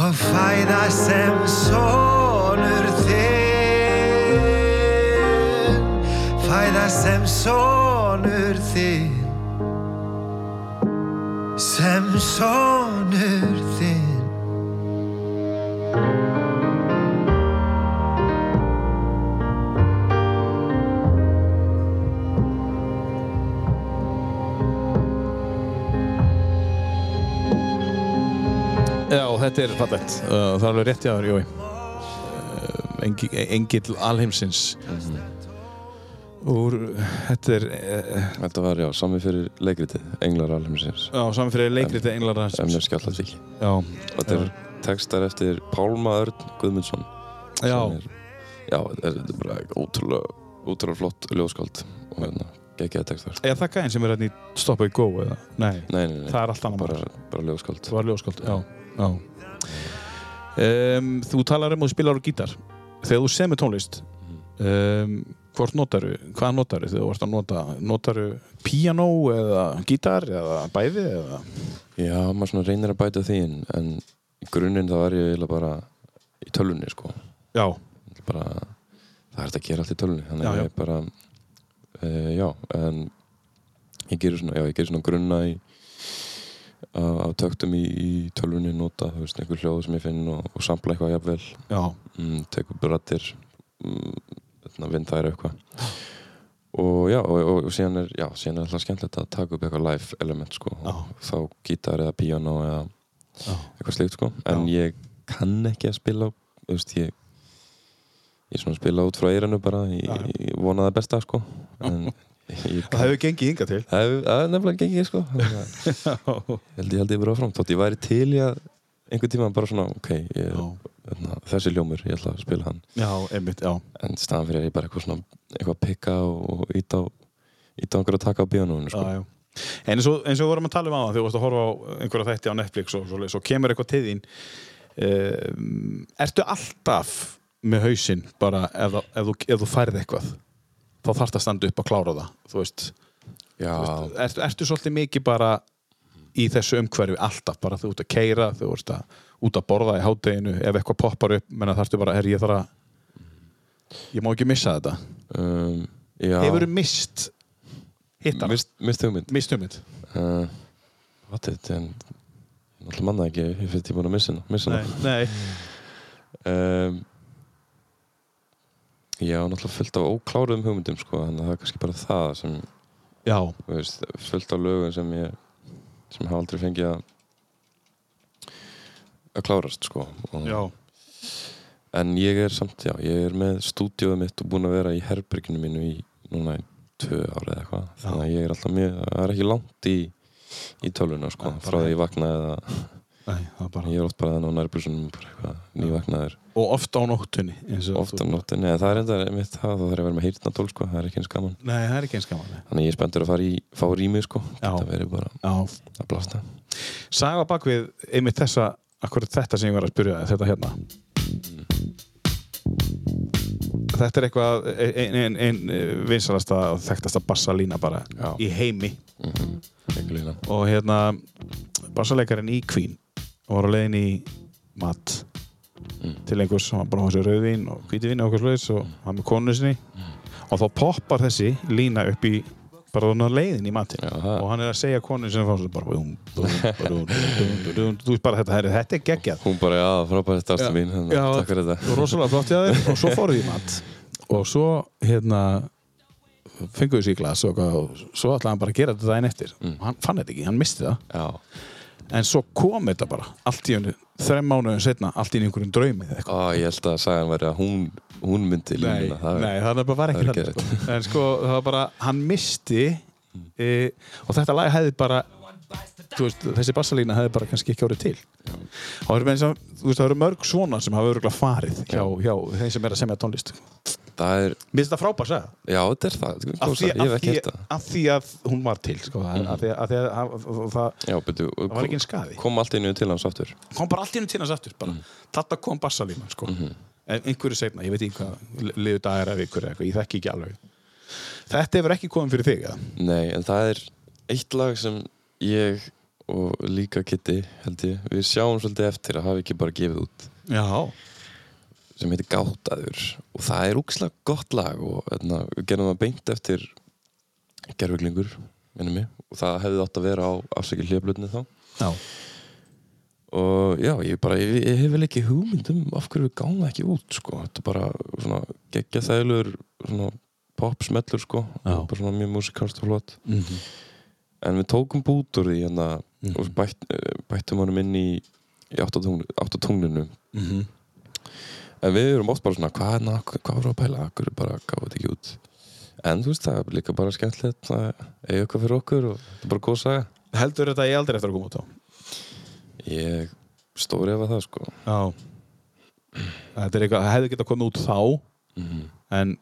S13: og fæða sem sonur þinn fæða sem sonur þinn sem sonur þinn
S2: Já, þetta er fallegt. Uh, það er alveg rétt jáður, Jói. Uh, engi, engill alheimsins.
S3: Mhm.
S2: Úr, þetta er... Uh,
S3: Þetta var, já, sami fyrir leikritið Englar alheimsins
S2: Já, saman fyrir leikriti englar
S3: Sem er skjallat ekki
S2: Já,
S3: Þetta er textar eftir Pálma Örn Guðmundsson sem
S2: já,
S3: er, Já, þetta er- þetta er bara ótrúlega ótrúlega flott ljóðskáld og hérna, geggjaði textar
S2: er það gæðin sem er hérna í Stoppa í Go eða? Nei,
S3: Nei, nei, nei,
S2: það er allt annað
S3: bara,
S2: bara
S3: bara ljóðskáld
S2: Það var ljóðskáld, já, já. Um, Þú talar um að þú spilar á gítar Þegar þú semur tónlist um, Hvort notaru, hvað notaru þegar þú vart að nota Notaru piano eða gítar eða bæði eða
S3: Já, maður svona reynir að bæta því inn en í grunninn þá er ég eiginlega bara í tölvunni sko
S2: Já,
S3: bara, það er hægt að gera allt í tölvunni þannig
S2: Já,
S3: að
S2: já.
S3: ég er bara uh, já, en ég gerir svona, já, ég gerir svona grunna í af af töktum í, í tölvunni nota, þú veist, einhver hljóð sem ég finn og, og sampla eitthvað jafnvel
S2: já,
S3: mm, tekur brattir mm, þarna vinn þær eitthvað og já, og, og, og síðan er já, síðan er alltaf skemmtilegt að taka upp eitthvað live element sko, og
S2: Já.
S3: þá gítar eða piano eða
S2: Já.
S3: eitthvað slíkt sko en ég kann ekki að spila á- þú veist, ég ég svona spila út frá eirinu bara ég, ég vona það besta sko en
S2: Það hefur gengið yngar til
S3: Það hefur það hefur nefnilega gengið sko Þannig að Ég held ég held ég bara áfram Þótt ég væri til í að einhvern tíma bara svona ok, ég, þarna, þessi ljómur, ég ætla að spila hann
S2: Já, einmitt, já
S3: en staðan fyrir er ég bara eitthvað svona eitthvað að pikka og, og ít á ít á einhverju að taka á bíónunum sko.
S2: Já, já. En eins og, eins og við vorum að tala um aðan þegar þú varst að horfa á einhverja þætti á Netflix og svo, svo kemur eitthvað til þín um, Ertu alltaf með hausinn bara ef, það- ef, þú, ef þú færð eitthvað þá þarf það að standa upp að klára það þú veist,
S3: já.
S2: þú veist ertu, ertu svolítið mikið bara í þessu umhverfi alltaf bara þú ert að keira, þú ert að út að borða í hádeginu ef eitthvað poppar upp menna þarftu bara, herri ég þarf að ég má ekki missa þetta
S3: Um, já.
S2: Hefurðu mist hittana?
S3: mist, mist hugmynd
S2: Mist hugmynd?
S3: uh, What it en alltaf manna ekki ég fyrir tíma að missa hana, missa hana.
S2: Nei
S3: Um, já, náttúrulega fullt af ókláruðum hugmyndum sko, þannig að það er kannski bara það sem
S2: Já,
S3: þú veist, fullt af lögum sem ég sem hafa aldrei fengið að að klárast sko og,
S2: já
S3: En ég er samt, já, ég er með stúdíóið mitt og búinn að vera í herberginu mínu í núna í tvö ára eða eitthvað þannig að ég er alltaf mjög, það er ekki langt í í tölvuna, sko, frá því ég vaknaði eða,
S2: Nei, það er bara
S3: ég er oft bara þannig á nærbúsunum bara eitthvað, nývaknaður
S2: Og oft á nóttunni eins og
S3: oft á
S2: þú-
S3: nóttin, eða það er enda mitt það, þá þarf ég að vera með heyrna tól, sko, það er ekki eins gaman
S2: Nei, það er ekki eins gaman nei.
S3: þannig að ég er spenntur að fara í, fá rými, sko
S2: Já.
S3: þetta verið bara
S2: Já,
S3: að blasta
S2: saga á bak við einmitt þessa, akkur þetta sem ég var að spyrja þig, þetta hérna Þetta er eitthvað e, ein, ein, ein vinsalasta og þekktasta bassalína bara
S3: Já.
S2: í heimi
S3: Ekki lína.
S2: og hérna bassalekarinn í Queen var á leiðin í mat til einhvers, hann var bara á þessu rauðvín og hvítivín og okkur slags og hann með konu sinni og þá poppar þessi lína upp í bara þannig að leiðin í matinn
S3: Já, það-
S2: og hann er að segja konu sinni frá þessu bara búm, búm, búm, búm, búm, þú veist bara þetta, herri, þetta er geggjað
S3: hún bara, já, frábært
S2: Já.
S3: aftur mín, þannig
S2: Já,
S3: að takk fyrir þetta
S2: og rosalega flott í aðeins og svo fóruð í mat og svo hérna fenguðu sér í glas og, eitthvað og svo ætlaði hann bara að gera þetta daginn eftir og hann fann þetta ekki, hann misti það
S3: já,
S2: en svo kom þetta bara allt í einu, þrem mánuðin setna allt í einu einhverjum draumi eða eitthvað.
S3: Ó, ég held að sagan væri að hún, hún myndi
S2: nei,
S3: línuna það er-
S2: nei, það er bara var ekki
S3: það er
S2: þannig sko. en sko, það var bara, hann misti e, og þetta lag hefði bara þú veist, þessi bassalína hefði bara kannski ekki árið til og það eru meins að, þú veist, það eru mörg svona sem hafa örgulega farið hjá, hjá þeim sem er að semja tónlist sko. mér
S3: það er,
S2: finnst þetta frábært að
S3: já þetta er það Góð
S2: af því,
S3: saga, ég hef
S2: af,
S3: ekki
S2: því,
S3: hert það
S2: af því að hún var til sko, mm. af því að, af því að, að, að, að, að
S3: já, betur,
S2: það var ekki einn skaði
S3: kom allt einu til hans aftur
S2: kom bara allt í hennu til hans aftur bara. þetta kom bassalíman sko. en einhverju segna, ég veit ekki hvað liðu dagar af ykkur eða eitthvað, ég þekki ekki alveg þetta hefur ekki komið fyrir þig eða?
S3: nei, en það er eitt lag sem ég og líka Kitty held ég, við sjáum svolítið eftir að hafa ekki bara gefið út
S2: já,
S3: sem heitir Gátaður og það er úkslega gott lag og etna, við gerðum það beint eftir gerfuglingur, minnum mig og það hefði átt að vera á afsækja hljöflutni þá
S2: já,
S3: og já, ég bara, ég, ég hef vel ekki hugmynd um af hverju við gáum það ekki út sko. þetta er bara svona geggja þælur svona popsmellur sko.
S2: Já.
S3: bara svona mjög músikalst og flott en við tókum bút úr því hérna, og
S2: Mhm.
S3: bætt, bættum honum inn í, í áttatunglinu áttatunglinu. Mhm. en við erum oft bara svona hvað, na, hvað voru að pæla, af hverju bara gáum þetta ekki út en þú veist það er líka bara skemmtilegt að eiga eitthvað fyrir okkur og þetta er bara góð saga
S2: heldur þetta ég aldrei eftir að koma út á
S3: ég stóri efa það sko
S2: já þetta er eitthvað, það hefði getað komið út þá en
S3: Mhm.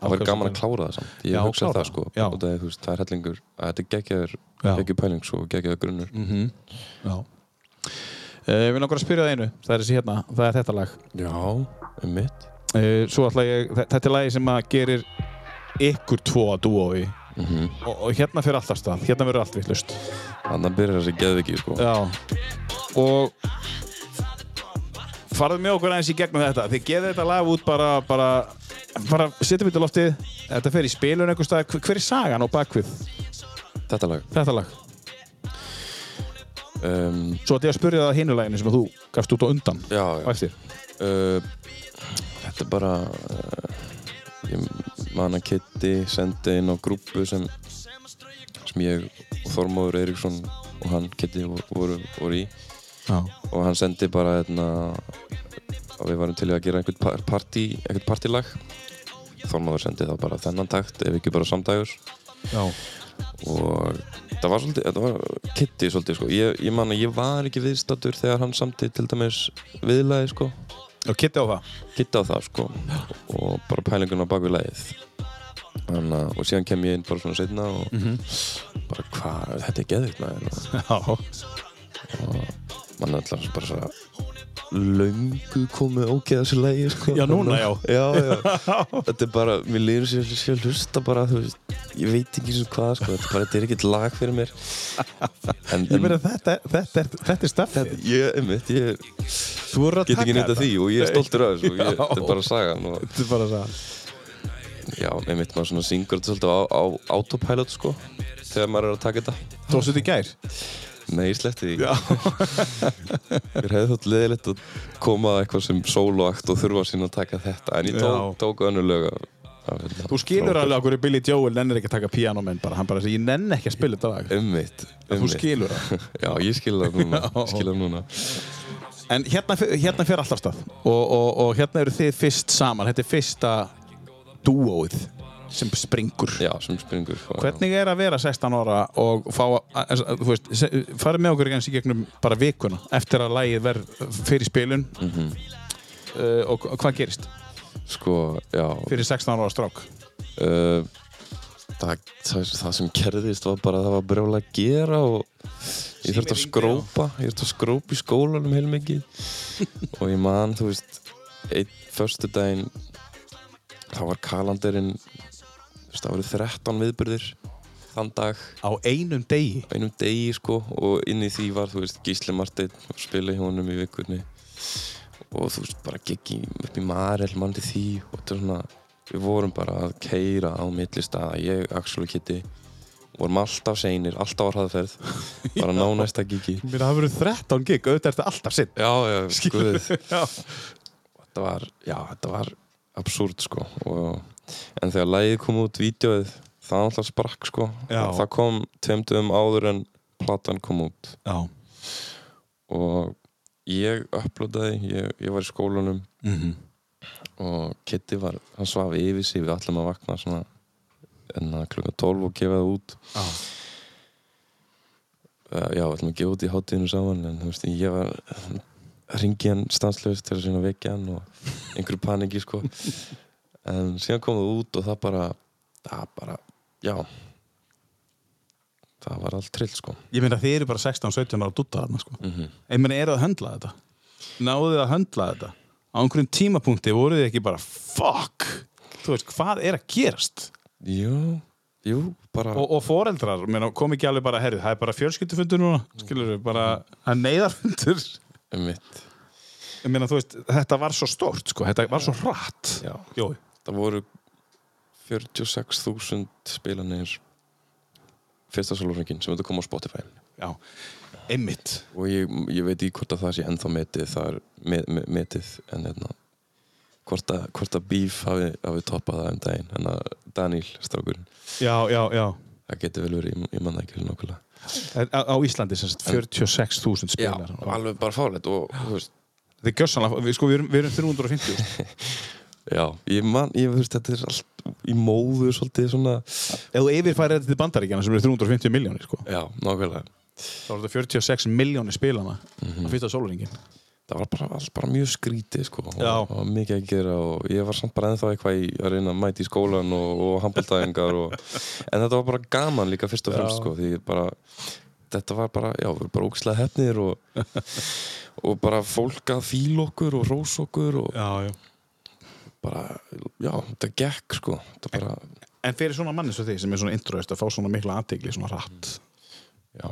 S3: það var gaman að klára það samt ég
S2: Já,
S3: hugsa
S2: klára
S3: það sko
S2: það, já.
S3: og það, er, þú veist, það er hellingur að þetta er geggjaður
S2: Já.
S3: geggjaður pæling svo geggjaður grunnur
S2: mm -hmm. já Eh, Við langar að spyrja það einu, það er, þessi hérna, það er þetta lag
S3: já, um mitt
S2: Eh, Svo ætla ég, þe- þetta er lagi sem að gerir ykkur tvo að dúói
S3: mm
S2: og, og hérna fyrir allt af stað, hérna verður allt vittlust
S3: þannig að byrja þessi geðviki sko
S2: Já Og farðu með okkur aðeins í gegnum þetta þið geðið þetta lag út bara bara, bara setjum þetta í loftið þetta fer í spilun einhvers stað, Hver- hver er sagan á bakvið
S3: þetta lag
S2: þetta lag?
S3: um,
S2: Svo ætti ég að spyrja það að hinu laginu sem að þú gafst út á undan
S3: já,
S2: og
S3: já.
S2: eftir
S3: Uh, þetta er bara uh, ég man að Kitty sendi inn á grúpu sem sem ég og Þormóður Eiríksson og hann Kitty vo- voru, voru í
S2: Já,
S3: og hann sendi bara hérna, að við varum til í að gera einhvern par- partí, einhvern partílag Þormáður sendi þá bara þennan takt ef ekki bara samdægurs
S2: Já.
S3: og það var svolítið, þetta var kitti svolítið sko. ég, ég man að ég var ekki viðstattur þegar hann samti til dæmis viðlaði sko.
S2: og kitti á það?
S3: kitti á það sko. og bara pælingun á baku lagið Þannig, að- og síðan kem ég inn bara svona setna og
S2: Mhm.
S3: bara hvað, þetta er geðvikt maður
S2: og,
S3: og mann er alltaf bara svona löngu komið ógeð þessu lægi sko.
S2: Já, núna, já.
S3: já, já. þetta er bara, mér líður sér sér hlusta bara, þú veist, ég veit ekki sem hvað sko, þetta, er bara, þetta er ekkert lag fyrir mér en,
S2: Ég meina þetta, þetta, er, þetta er staffið
S3: ég, einmitt, ég
S2: Þú voru að
S3: get
S2: taka
S3: ekki neitt að því og ég er stoltur af þessu og ég,
S2: Já.
S3: þetta er bara sagan og,
S2: Þetta er bara það
S3: já, einmitt, maður svona syngur þetta svolítið á, á autopilot sko, þegar maður er að taka þetta
S2: Tókstu þetta í gær?
S3: Nei, ég sletti því Mér hefði þótt leðilegt að koma að eitthvað sem soloakt og þurfa sín að taka þetta En ég tók,
S2: Já.
S3: tók önnur lög af, af, hérna,
S2: Þú skilur
S3: frá-
S2: alveg að hverju Billy Joel nennir ekki að taka pianomenn bara, hann bara segir, ég nenn ekki að spila þetta lag
S3: Einmitt,
S2: Þú
S3: einmitt.
S2: skilur það
S3: Já, ég skil það núna,
S2: Já.
S3: ég skil það núna.
S2: En hérna, fer- hérna fer alltaf stað og, og, og hérna eru þið fyrst saman Þetta er fyrsta dúóið sem springur
S3: Já, sem springur sko.
S2: Hvernig er að vera 16 ára og fá að, að- að- þú veist, se- farið með okkur eins í gegnum bara vikuna eftir að lagið verð fyrir spilun
S3: Mhm.
S2: uh, og hva- hvað gerist
S3: Sko, já
S2: fyrir 16 ára strák?
S3: uh, það, það, það sem kerðist var bara að það var brjóla að gera og ég þurfti að skrópa ég þurfti að skrópa í skólanum heilmikið og ég man, þú veist einn förstu daginn þá var kalandirinn þú veist, það voru 13 viðburðir þann dag
S2: Á einum degi?
S3: á einum degi sko og inn í því var þú veist Gísli Marteinn og spila hjá honum í vikunni og þú veist bara gekk í, upp í Marel mann til því og þetta er svona við vorum bara að keira á milli staða ég, Axel og Kitty vorum alltaf seinir, alltaf á hraðferð bara ná næsta gigi
S2: Mér það verið 13 gig, auðvitað er þetta alltaf sinn
S3: já, já, guð
S2: Já.
S3: þetta var, já, þetta var absúrt sko og, en þegar lægið kom út vídeoið það alltaf sprakk sko
S2: Já.
S3: það kom tveimtum áður en platan kom út
S2: Já.
S3: og ég uploadaði, ég, ég var í skólanum og Kitty var, hann svaf yfir sig við ætlum að vakna svona en að klukka 12 og gefa það út
S2: Já.
S3: uh, já, við ætlum að gefa út í hátíðinu saman en þú veist, ég var ringi hann stanslaust til að sinna vekja hann og einhverju paniki sko en síðan kom það út og það bara það bara, já það var allt trill sko
S2: Ég meina þið eru bara 16-17 ára dutta þarna sko. Ég meina eru að höndla þetta Náðu þið að höndla þetta Á einhverjum tímapunkti voruð þið ekki bara Fuck, þú veist, hvað er að gerast?
S3: jú, jú, bara
S2: Og, og foreldrar, meina, kom ekki alveg bara herrið Það er bara fjölskyldufundur núna Skilur við, bara það er neyðarfundur
S3: um mitt
S2: Ég meina, þú veist, þetta var svo stórt sko. Þetta var svo hratt
S3: já.
S2: Jói,
S3: það voru 46.000 spilanir fyrsta solurringin sem þetta kom á Spotify
S2: já, einmitt
S3: og ég, ég veit í hvort að það sé ennþá metið það er met, met, metið en hérna hvort að, hvort að Beef hafi, hafi toppað það um daginn en að Daniel strákurinn
S2: Já, já, já
S3: það getur vel verið, ég, ég manna ekki nokkulega
S2: En Á, á Íslandi sem sagt 46.000 spilar
S3: alveg bara fálegt og þú veist
S2: Þið gjössanlega, við, sko, við, erum, við erum 350
S3: já, ég man, ég þú veist þetta er allt í móðu svolítið svona
S2: Ef þú yfirfærir þetta til bandaríkjana sem eru 350 miljónir sko.
S3: já, nokkulega
S2: þá er þetta 46 miljónir spilana
S3: Mhm.
S2: á fyrsta sólringin
S3: það var bara, allt bara mjög skrítið sko og,
S2: Já.
S3: og mikið að gera og ég var samt bara ennþá eitthvað í að reyna að mæta í skólan og, og handbóltæðingar og en þetta var bara gaman líka fyrst og fremst sko því ég bara, þetta var bara, já, við erum bara ógislega hefnir og, og bara fólk að fíl okkur og rós okkur og
S2: já, já.
S3: bara, já, þetta gekk sko þetta bara,
S2: En fyrir svona manni svo því sem er svona introist að fá svona mikla aðtegli svona rætt
S3: já,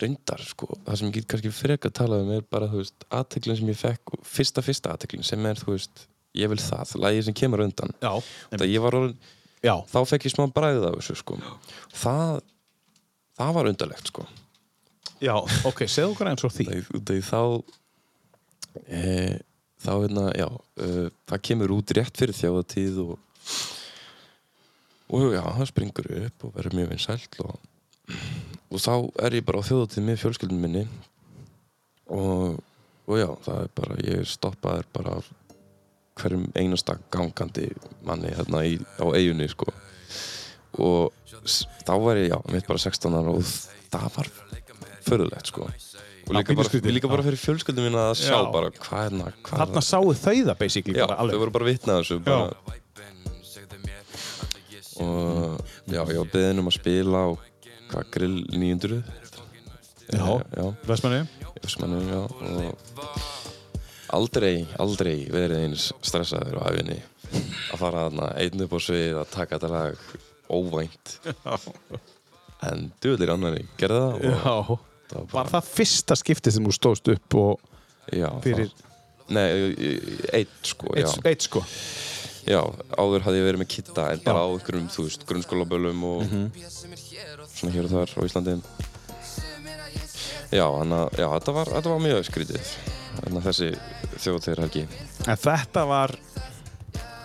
S3: reyndar sko það sem ég get kannski frek að tala um er bara, þú veist, aðteklin sem ég fekk fyrsta, fyrsta aðteklin sem er, þú veist, ég vil það lægið sem kemur á undan
S2: Já,
S3: Þetta ég var orðin
S2: já,
S3: þá fekk ég smá bræðið af þessu sko. það, það var undarlegt sko.
S2: já, ok, segðu okkur eins og því
S3: Þegar, þegar þá e, þá hérna, já e, það kemur út rétt fyrir þjáðatíð og og já, það springur upp og verður mjög vinsælt og, og þá er ég bara á þjóðatíð með fjölskyldum minni og, og já, það er bara ég stoppaður bara af hverjum einasta gangandi manni hérna í, á eigunni sko og s- þá var ég, já, mitt bara 16 ára og það var förðulegt sko og
S2: Já,
S3: líka
S2: pínu
S3: bara,
S2: skrítið.
S3: líka bara fyrir fjölskyldum minna að sjá
S2: Já.
S3: bara hvað er það, hvað hérna-
S2: Þarna sáu þau það basically
S3: Já,
S2: bara alveg.
S3: þau voru bara vitnað þessu bara. Og já, ég var beðin um að spila á hvað, grill 900
S2: Já,
S3: já.
S2: Vestmannaeyjum.
S3: Vestmannaeyjum, já og aldrei, aldrei verið eins stressaður á æfinni að fara þarna einn upp á svið að taka þetta lag óvænt en duðlir annari gerði það og
S2: Já.
S3: það var
S2: Var það fyrsta skiptið sem þú stóðst upp og
S3: Já, það-
S2: fyrir-
S3: Nei, ég- ég- einn sko já.
S2: eitt, eitt sko
S3: Já, áður hafði ég verið með kitta en bara á einhverjum, þú veist, grunnskólabölum og
S2: Mhm.
S3: svona hér og þar á Íslandi Já, þannig að, já, þetta var, þetta var mjög skrítið þannig að þessi þjóðtegir helgi
S2: En þetta var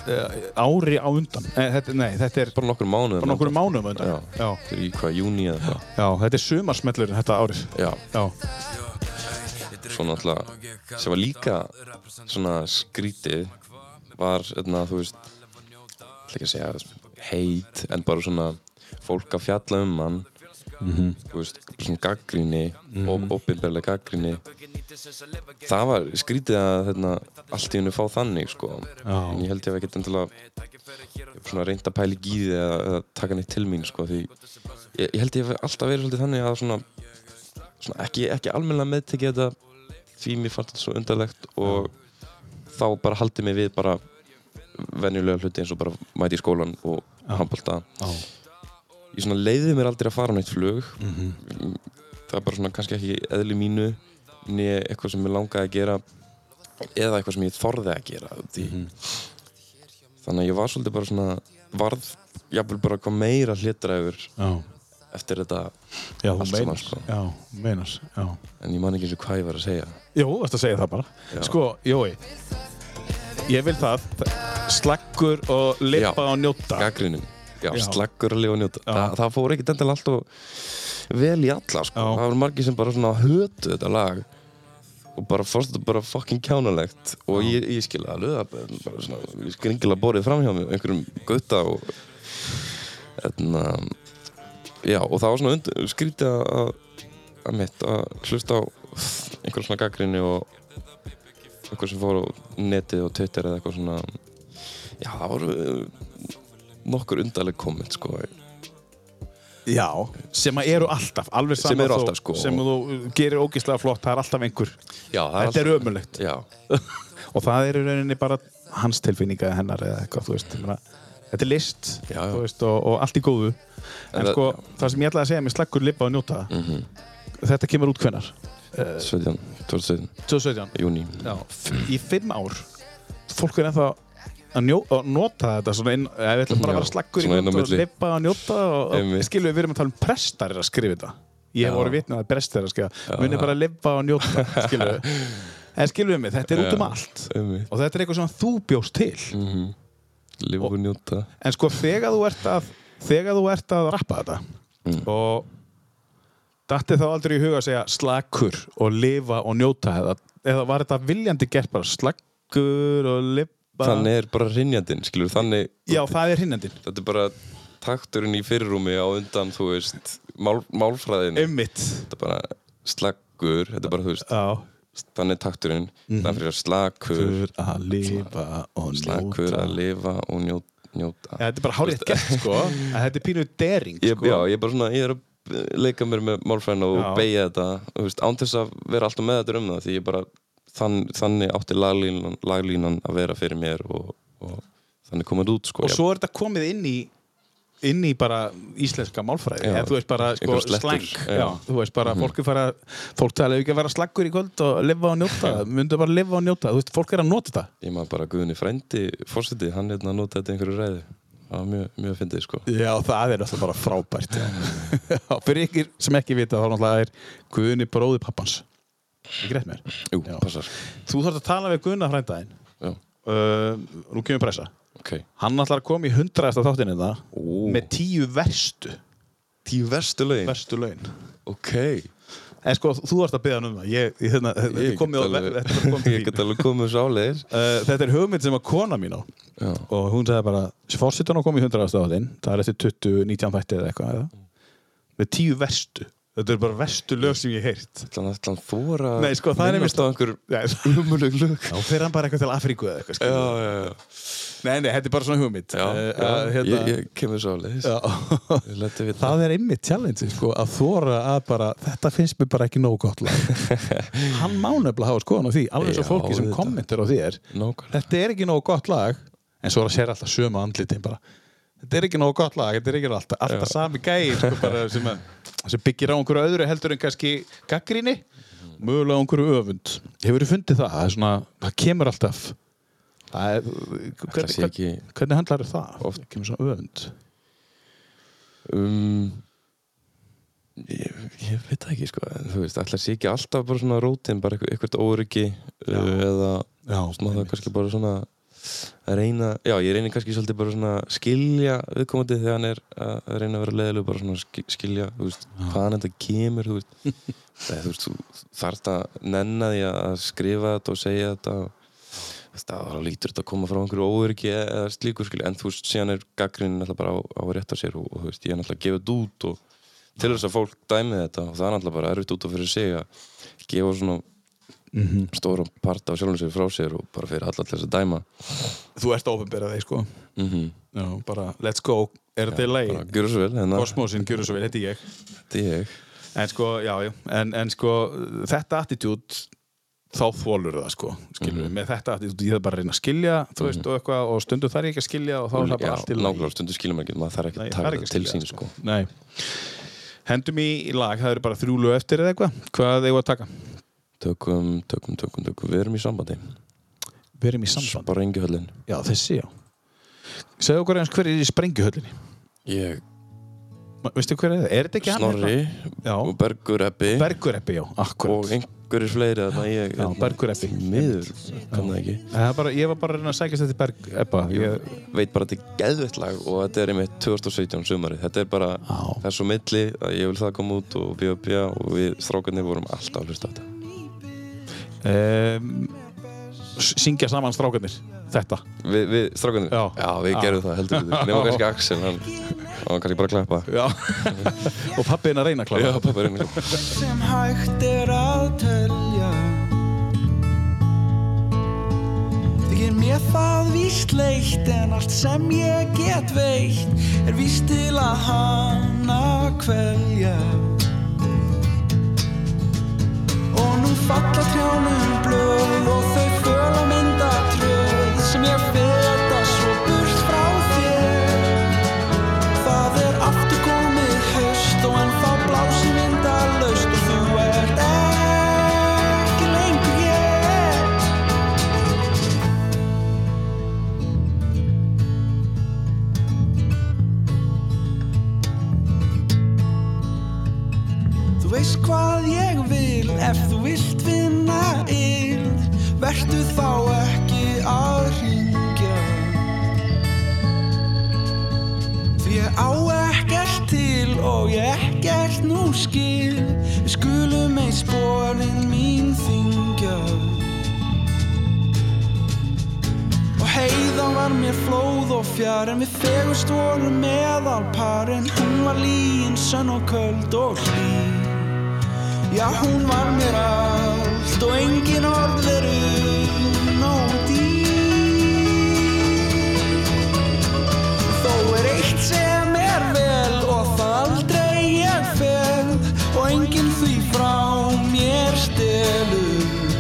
S2: uh, ári á undan eh, þetta, Nei, þetta er
S3: Bara nokkur mánuðum
S2: bara nokkur mánuðum á undan
S3: Já,
S2: Já.
S3: þetta er í hvað, júni eða eitthvað
S2: Já, þetta er sumarsmellurinn þetta árið
S3: Já,
S2: Já,
S3: svona alltaf sem var líka svona skrítið var, eitna, þú veist ætla ekki að segja heit en bara svona fólk að fjalla um hann þú veist, svona gaggríni mm -hmm. opinberlega gaggríni það var skrítið að hérna, allt í hennu fá þannig sko. en ég held ég að við getum til að svona reynda pæli gíði eða, eða taka neitt til mín sko, því ég, ég held ég hef alltaf verið svolítið þannig að svona, svona ekki, ekki almennilega meðtekið þetta því mér fannst þetta svo undarlegt og þá bara haldið mig við bara venjulega hluti eins og bara mæti í skólan og handbolta ég svona leiði mér aldrei að fara á neitt flug það er bara svona kannski ekki í eðli mínu né eitthvað sem ég langaði að gera eða eitthvað sem ég þorði að gera því. þannig að ég var svolítið bara svona varð, jafnvel bara hvað meira hlétræfur
S2: já,
S3: eftir þetta
S2: já þú
S3: Allt saman,
S2: meinas
S3: sko.
S2: Já, meinas já.
S3: en ég man ekki eins og hvað ég var að segja
S2: Jó, þetta segja það bara
S3: Já.
S2: Sko, Jói Ég vil það Slaggur og lippa
S3: Já.
S2: og njóta
S3: gaggrinum, já,
S2: Já.
S3: slaggurlega og njóta
S2: Já.
S3: Þa, það fór ekkert endilega allt og vel í alla sko.
S2: Já.
S3: það voru margir sem bara svona hötu þetta lag og bara fórst þetta bara fucking kjánalegt og ég, ég skilja alveg það bara- bara svona, ég skringilega borðið fram hjá mér einhverjum gutta og etna, já, og það var svona und, skrítið að- að að mitt að hlusta á einhver svona gaggrinni og einhver sem fór á netið og Twitter eða eitthvað svona já, það voru uh, nokkur undarleg komment sko
S2: Já, sem að eru alltaf Alveg
S3: Sem
S2: saman
S3: eru
S2: þó-
S3: alltaf, sko.
S2: Sem þú gerir ógislega flott, það er alltaf einhver
S3: já, það
S2: Þetta er ömulegt
S3: já,
S2: og það er í rauninni bara hans tilfinninga eða hennar eða eitthvað, þú veist ég meina, þetta er list
S3: Já, já.
S2: þú Veist, og, og allt í góðu en,
S3: það-
S2: sko, það sem ég ætlaði að segja með slaggur, lippa og njóta
S3: Mhm.
S2: þetta kemur út hvenar?
S3: 17, 2017,
S2: 2017
S3: júni
S2: Já, f- í fimm ár fólk er ennþá að, njó, að nota þetta svona inn, eða við ætlum bara að vera
S3: Já,
S2: slaggur í
S3: svona inn á
S2: kvöld og
S3: milli.
S2: lippa og njóta og, og
S3: Einmitt.
S2: skilur við, við erum að tala um prestar er að skrifa þetta ég hef
S3: Já.
S2: voru vitnað að prestar er að skrifa muni bara að lippa og njóta, skilur við en skilur við mig, þetta er út um
S3: Já.
S2: allt og þetta er eitthvað sem þú bjóst til
S3: Mm. lifa og njóta
S2: en sko þegar þú ert að þegar þú ert að rappa þetta
S3: Mm.
S2: og datti þá aldrei í huga að segja slakur og lifa og njóta eða, eða var þetta viljandi gert bara slakur og lifa
S3: þannig er bara rinjandinn, skilur þannig,
S2: já það er hinnendin
S3: þetta er bara takturinn í fyrirrúmi á undan þú veist, mál, málfræðinu
S2: ummitt
S3: þetta er bara slaggur þetta er bara, þú veist,
S2: já
S3: þannig er takturinn þannig er slagur
S2: Slakur að lifa og
S3: slagur
S2: njóta
S3: að lifa og njó, njóta
S2: Ja, þetta er bara hárið gert sko en þetta er pínu dering
S3: ég,
S2: sko
S3: já, ég er bara svona, ég er að leika mér með málfræðina og
S2: Já.
S3: beigja þetta þú veist, án þess að vera alltaf með þetta um það því ég bara, þann, þannig átti laglínan, laglínan að vera fyrir mér og, og þannig kom þetta út sko,
S2: og svo er þetta komið inn í inn í bara íslenska málfræði
S3: Já.
S2: eða þú veist bara sko,
S3: Einhver slettur.
S2: slang
S3: Já.
S2: já. Mhm. þú veist bara, fólk er fara fólk tala ekki að vera slaggur í kvöld og lifa og njóta myndu bara lifa og njóta, þú veist, fólk er að nota þetta
S3: ég, ég maður bara Guðni frændi fórsetið, hann hérna nota þetta í einhverju ræði það var mjög, mjög fyndið sko
S2: já, það er alltaf bara frábært já, fyrir ykkur sem ekki vita þá er náttúrulega er Guðni bróði pappans ekki rétt mér
S3: Jú,
S2: Já.
S3: passar
S2: þú þarfst að tala við Guðna frændaðinn
S3: Já,
S2: uh, nú kemur pressa
S3: ok
S2: hann ætlar að koma í hundraðasta þáttinni það
S3: Ó.
S2: með tíu verstu
S3: Tíu verstu lögin
S2: verstu laun
S3: Ok
S2: En sko, þú varst að byggja hann um það Ég, ég, hérna, þetta er
S3: Ég get
S2: komið á
S3: alveg-
S2: þetta er komið til
S3: Ég
S2: þín. Eh,
S3: get alveg komið svo áleiðis
S2: Uh, Þetta er hugmynd sem að kona mín á
S3: Já.
S2: og hún sagði bara fórsetan á komið 100 ástafalinn það er eftir 20, 19 þætti eða eitthvað eða? með tíu verstu þetta er bara verstu lög sem ég heirt
S3: Ætlan, ætlan þóra
S2: Nei, sko, það er einmitt-
S3: minnast á einhver
S2: umulug lög þá fer hann bara eitthvað til Afríku eða eitthvað
S3: Já,
S2: skilur.
S3: já, já,
S2: nei, nei, þetta er bara svona hugmynd
S3: já,
S2: Eh,
S3: já
S2: að, hérna,
S3: ég, ég kemur svo leiðis
S2: Já.
S3: Ég leti við það
S2: það er einmitt challenge sko, að þóra að bara, þetta finnst mér bara ekki nóg gott lag hann má nefnilega hafa skoðan á því alveg eins og
S3: Já,
S2: fólki sem
S3: auðvitað.
S2: kommentar á þér
S3: Nákvæmlega.
S2: þetta er ekki nóg gott lag en svo er að sér alltaf sömu andlitin bara þetta er ekki nóg gott lag, þetta er ekki alltaf, alltaf sami gæi sko, bara, sem, að, sem byggir á einhverju öðru heldur en kannski gaggríni mögulega á einhverju öfund hefur þú fundið það, það, er svona, það kemur alltaf það er, hvernig,
S3: sé
S2: hvernig,
S3: ekki-
S2: hvernig handlar það oft kemur svona öfund
S3: um, ég, ég veit það ekki sko en þú veist, ætla sé ekki alltaf bara svona rótin bara eitthvað, eitthvað óryggi uh, eða
S2: já,
S3: smá það kannski bara svona að reyna, já ég reyni kannski svolítið bara svona að skilja viðkomandi þegar hann er að reyna að vera leiðilegu bara svona ski- skilja, þú veist, hvaðan þetta kemur þú veist, það, þú veist þú þarft að nenna því að skrifa þetta og segja þetta og þú veist, það var lítur þetta að koma frá einhverju óöryggi eða slíku skilja, en þú veist, síðan er gaggrinin náttúrulega bara á, á rétt á sér og, og þú veist, ég er náttúrulega að gefa þetta út og til þess að fólk dæmi þetta og það er náttúrulega bara erfitt út og fyrir sig að gefa svona stóran part af sjálfum sér frá sér og bara fyrir alla til þess að dæma
S2: þú ert ofinberað þeir sko
S3: mm -hmm.
S2: já, bara let's go, er þetta í lagi
S3: bara gjörðu svo vel hérna,
S2: kosmosin, gjörðu svo vel, þetta er ég
S3: þetta er ég
S2: en sko, já, já, en, en sko þetta attitút þá þvólur það sko, skilur við, með þetta attitút ég þarf bara að reyna að skilja, þú veist, og eitthvað og stundum þarf ég ekki að skilja og þá er það bara
S3: Já,
S2: allt í lagi.
S3: nákvæmlega stundu skilum ekki, maður þarf ekki
S2: Nei,
S3: að
S2: það
S3: taka
S2: er ekki
S3: það
S2: að
S3: til
S2: skilja,
S3: sín sko.
S2: Nei. hendum í í lag, það eru bara þrjú lög eftir eða eitthvað, hvað eigum við að taka?
S3: tökum, tökum, tökum, tökum, við erum í sambandi
S2: við erum í samband,
S3: Sprengjuhöllin
S2: já þessi já segðu okkur eins hver er í sprengjuhöllinni
S3: ég,
S2: Ma- veistu hver er það, er þetta ekki hann? hérna?
S3: Snorri
S2: Já.
S3: og Bergur Eppi
S2: Bergureppi, já,
S3: og
S2: akkurat
S3: einhverjir fleiri þannig að ég
S2: Já, Bergur Ebbi.
S3: miður, kann það ekki
S2: Það er bara, ég var bara að reyna að sækjast þetta Bergureppa ég,
S3: veit bara að þetta er geðvett lag og þetta er einmitt 2017 sumarið þetta er bara
S2: Já.
S3: þessu milli að ég vil það koma út og bíða bíða og við strákarnir vorum alltaf að hlusta á þetta
S2: um, syngja saman strákarnir þetta
S3: Við, við strákunum?
S2: Já.
S3: við
S2: Já.
S3: gerðum það heldur við. Nefnum kannski Axel, hann hann var kannski bara að klappa.
S2: já. og pappin að reyna að
S3: Já,
S2: klára
S3: pappa er einnig.
S12: sem hægt er að telja Þykir mér það víst leitt en allt sem ég get veitt er víst til að hana kvelja Og nú falla trjánum blöð og þau föla mynda tröð sem ég feta svo burt frá þér Það er aftur komið haust og ennþá blási myndalaust og þú ert ekki lengur ég. Þú veist hvað ég vil ef þú vilt vinna yl, vertu þá ekki að ringja. Því ég á ekkert til og ég ekkert nú skil Við skulum ei spórin mín þingja Og heiðan var mér flóð og fjær En við fegust vorum meðalpar En hún var líin, sönn og köld og hlý Já, hún var mér allt Og engin orð veru nót í Þó er eitt sem er vel og það aldrei ég fel og enginn því frá mér stelur.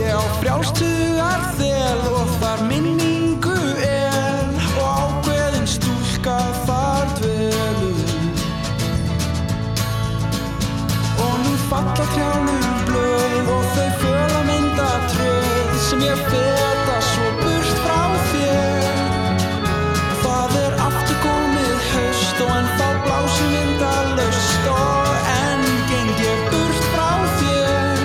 S12: Ég á frjálstugar þel og þar minningu er og ákveðin stúlka þar dvelur. Og nú falla trjánum blöð og þau föla mynda tröð sem ég feta svo burt frá þér. Það er aftur komið haust og ennþá blási mynda laust og enn geng ég burt frá þér.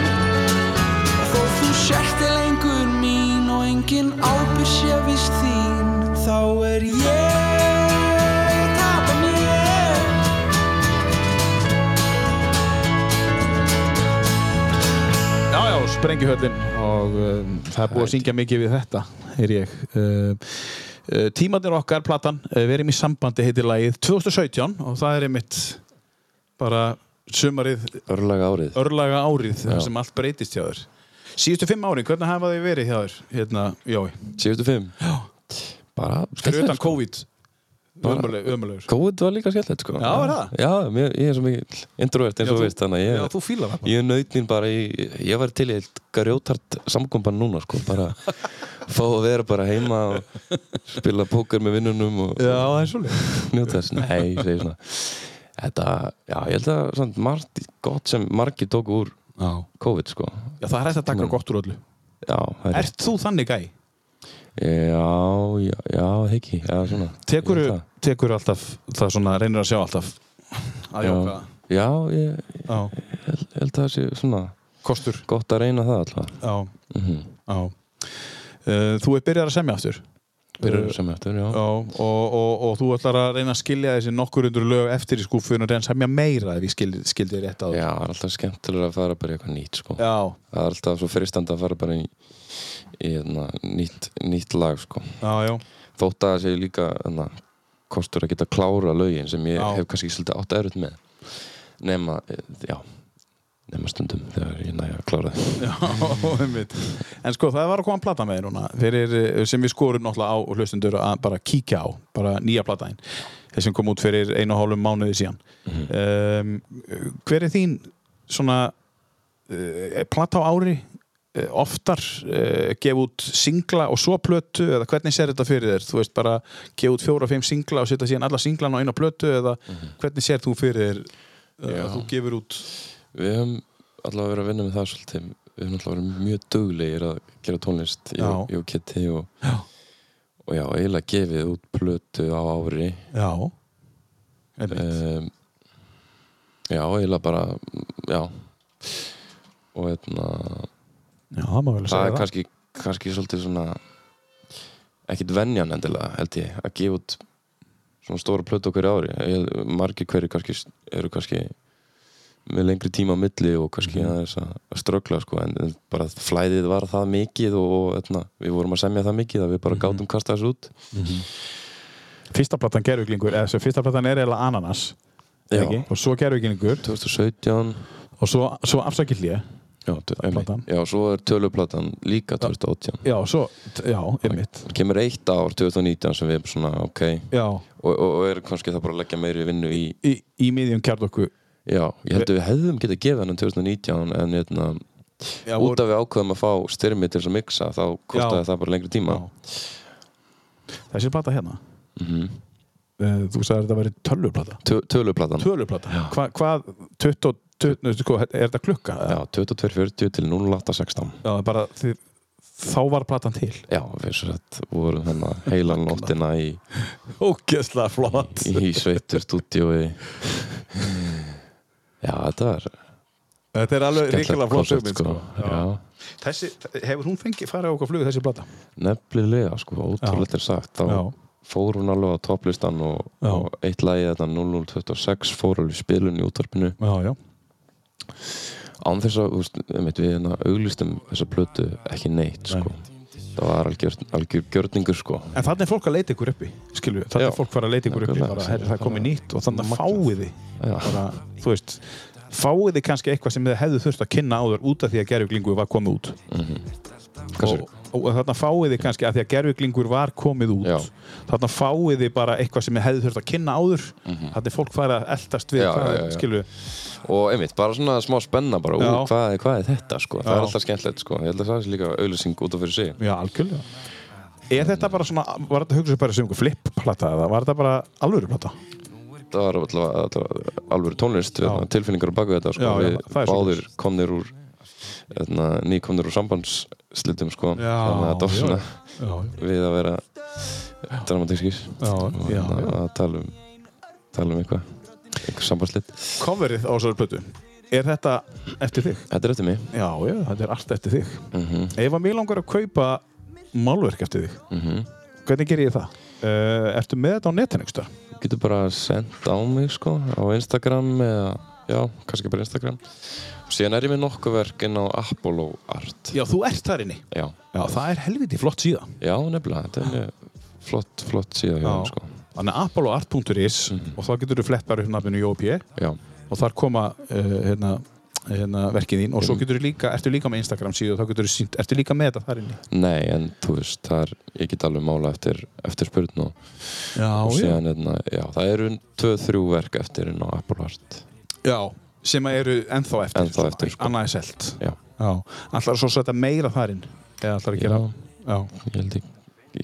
S12: Þó þú sért er lengur mín og engin ábyrg sé vist þín, þá er ég að tapa mér.
S2: já, já, sprengjuhöllin og um, það er búið að syngja mikið við þetta er ég uh, uh, tímandir okkar, platan, uh, við erum í sambandi heitir lagið 2017 og það er einmitt bara sumarið,
S3: Örlaga árið
S2: örlaga árið
S3: Já.
S2: þar sem allt breytist hjá þér síðustu fimm árin, hvernig hafa þið verið hjá þér hérna, Jói,
S3: Síðustu fimm Já Bara
S2: fyrir
S3: skemmtilegt,
S2: utan
S3: sko.
S2: COVID
S3: Bara-
S2: ömulegur, ömulegur
S3: COVID var líka skellilegt sko
S2: Já, er það?
S3: Já, mér, ég er svo mikið introvert eins
S2: Já,
S3: og
S2: þú-
S3: þú veist Þannig að ég
S2: Já, þú fílar það bara.
S3: Ég naut mín bara í, ég var til í eitt grjótart samkomban núna sko, bara fá að vera bara heima og spila póker með vinnunum og
S2: Já, það er svolítið
S3: njóta þess. Nei, ég segi svona. Þetta, já, ég held að samt margt gott sem margir tóku úr
S2: Já,
S3: COVID sko.
S2: Já, það er hægt að taka gott úr öllu
S3: Já, það er,
S2: Ert þú þannig gæ?
S3: já, já, já, heiki, já, svona.
S2: Tekur,
S3: Ég held það.
S2: tekur alltaf, það svona reynir að sjá alltaf að
S3: Já.
S2: jóka
S3: Já, ég
S2: Já,
S3: held, held að það sé svona
S2: kostur
S3: gott að reyna það alltaf.
S2: Já,
S3: Mm
S2: já uh, Þú er byrjar að semja aftur
S3: Byrjur sem eftir, já.
S2: Já, og, og, og þú ætlar að reyna að skilja þessi nokkur undur lög eftir í skúfun og reyna að semja meira ef ég skildi, skildi rétt að
S3: Já, það er alltaf skemmtilega að fara bara í eitthvað nýtt sko.
S2: já,
S3: það er alltaf svo freistandi að fara bara í, í na, nýtt, nýtt lag sko.
S2: já, já,
S3: þótt að það sé líka na, kostur að geta klára lögin sem ég
S2: Já.
S3: hef kannski svolítið átt erut með nema, eh, já nema stundum þegar ég næja að klára það
S2: já einmitt. En sko, það var að koma að plata með þér núna fyrir, eh, sem við skorum náttúrulega á og hlustundur að bara kíkja á, bara nýja plataðin sem kom út fyrir einu og hálfum mánuði síðan um, Hver er þín svona uh, plata á ári uh, oftar uh, gefa út singla og svo plötu eða hvernig sér þetta fyrir þér þú veist bara gefa út fjóra og fimm singla og setja síðan alla singlan á eina plötu eða hvernig sér þú fyrir þér uh,
S3: Já.
S2: að þú gefur út
S3: við höfum allavega verið að vinna með það svolítið við höfum allavega verið mjög duglegir að gera tónlist ég
S2: Já.
S3: og- ég og Kitty og,
S2: Já.
S3: og já, eiginlega gefið út plötu á ári
S2: Já Einmitt.
S3: um, já, eiginlega bara já og hérna
S2: Já, það má vel að
S3: það
S2: segja
S3: er
S2: það
S3: kannski, kannski svolítið svona ekkit venjan endilega held ég að gefa út svona stóra plötu okkur ári ég, margir hverju kannski s- eru kannski með lengri tíma á milli og
S2: Mhm.
S3: kannski aðeins að, að ströggla sko, en en bara flæðið var það mikið og, og etna, við vorum að semja það mikið að við
S2: Mhm.
S3: bara gátum kasta þessu út
S2: Fyrsta platan gerðuglingur, eða þessi fyrsta platan er eiginlega ananas
S3: Já.
S2: ekki? og svo gerðuglingur
S3: 2017
S2: og svo, svo afsakið hlje
S3: já, tve- einmitt.
S2: platan.
S3: já, svo er töluplatan líka 2018
S2: Já, svo, já, einmitt
S3: kemur eitt ár 2019 sem við erum svona ok
S2: Já,
S3: og, og, og er kannski það bara að leggja meiri vinnu í
S2: í, í miðjum kjardoku
S3: Já, ég held að við hefðum getað gefið hann um 2019 en hérna,
S2: Já,
S3: út af við ákveðum að fá styrmi til þess að mixa þá kostaði
S2: Já.
S3: það bara lengri tíma
S2: Þessi plata hérna
S3: mm
S2: Eh, þú sagði að þetta væri tölvuplata
S3: Töluplatan
S2: tölvuplata, Hva, hvað 20, 20, sko, er þetta klukka?
S3: Já, 22.40 til 08.16
S2: Já, bara, þið, þá var platan til
S3: Já, við svo sett vorum hérna heilan nóttina í,
S2: ógeðslega flott
S3: í sveitur stúdíói Já, þetta var
S2: þetta er alveg ríkilega flott
S3: koncept,
S2: hugmynd
S3: sko.
S2: sko.
S3: Já,
S2: þessi, hefur hún fengið farið á okkar flug þessi plata?
S3: nefnilega, sko, ótrúlega er sagt þá
S2: Já.
S3: fór hún alveg á topplistan og,
S2: Já.
S3: og eitt lagið þetta 0026 fór alveg í spilun í útvarpinu
S2: já, já,
S3: án þess að, þú veist, einmitt, við hérna auglistum þessa plötu ekki neitt sko. það var algjör, algjör gjörningur sko.
S2: en þannig er fólk að leita ykkur uppi skilju, þannig
S3: Já.
S2: er fólk farið að leita ykkur uppi
S3: Nákvæmlega.
S2: bara, herri, það er komið nýtt og þannig að
S3: Magnað.
S2: fáið þið
S3: Já.
S2: bara, þú veist fáið þið kannski eitthvað sem þið hefðu þurft að kynna áður út af því að gerjuglingu var komið út
S3: Kannski-
S2: og, og þarna fáið þið kannski að því að gerfuglingur var komið út
S3: Já.
S2: þarna fáið þið bara eitthvað sem þið hefði þurft að kynna áður þarna er fólk farið að eldast við
S3: Já,
S2: hvað,
S3: já, já, já.
S2: skilu,
S3: og einmitt, bara svona smá spenna bara,
S2: Já.
S3: úr, hvað, er- hvað er þetta sko? það
S2: Já.
S3: er alltaf skemmtilegt, sko. ég held að það sé líka auglýsing út af fyrir sig
S2: já, algjörlega Er þetta bara svona, var þetta hugsa bara sem einhver flipplata eða var þetta bara alvöruplata?
S3: það var alltaf, alltaf alveg tónlist
S2: Já.
S3: við, hérna tilfinningar á baku þetta sko.
S2: Já, já,
S3: við
S2: það er
S3: báðir komnir úr etna, ný komnir úr sambandsslitum sko. þannig að þetta var
S2: já.
S3: svona
S2: Já,
S3: við að vera dramatískis
S2: já,
S3: og
S2: já,
S3: hérna,
S2: já.
S3: að tala um tala um eitthvað eitthvað sambandslit
S2: Coverið á þessari plötu, er þetta eftir þig?
S3: þetta er eftir mig
S2: Já, já, þetta er allt eftir þig
S3: mm
S2: Ef að mér langar að kaupa málverk eftir þig, hvernig ger ég það? Eh, Uh, ertu með þetta á netinu, einhverstað?
S3: getur bara sendt á mig sko á Instagram eða já, kannski bara Instagram síðan er ég með nokkuð verk inn á Apollo Art
S2: Já, þú ert þar inni.
S3: já,
S2: Já, það er helviti flott síða.
S3: já nefnilega, þetta er mjög flott, flott síðan hjá
S2: Já.
S3: hann sko
S2: Þannig að apolloart.is og þá getur þú flett bara upp nafninu JOP
S3: já,
S2: E og þar koma uh, hérna, hérna verkið þín og svo getur þú líka, ertu líka með Instagram síðu og þá getur þú sínt, ertu líka með þetta þar inni.
S3: nei, en þú veist það er, ég get alveg mála eftir, eftir spurn og,
S2: Já,
S3: og síðan, hérna, já, það eru tvö, þrjú verk eftir inn á Apollo Art
S2: Já, sem að eru ennþá eftir.
S3: Ennþá eftir, sko.
S2: Annað er selt.
S3: já,
S2: Já. Ætlar svo að setja meira þar inn? Eða ætlar að
S3: já,
S2: gera? Já.
S3: ég held ég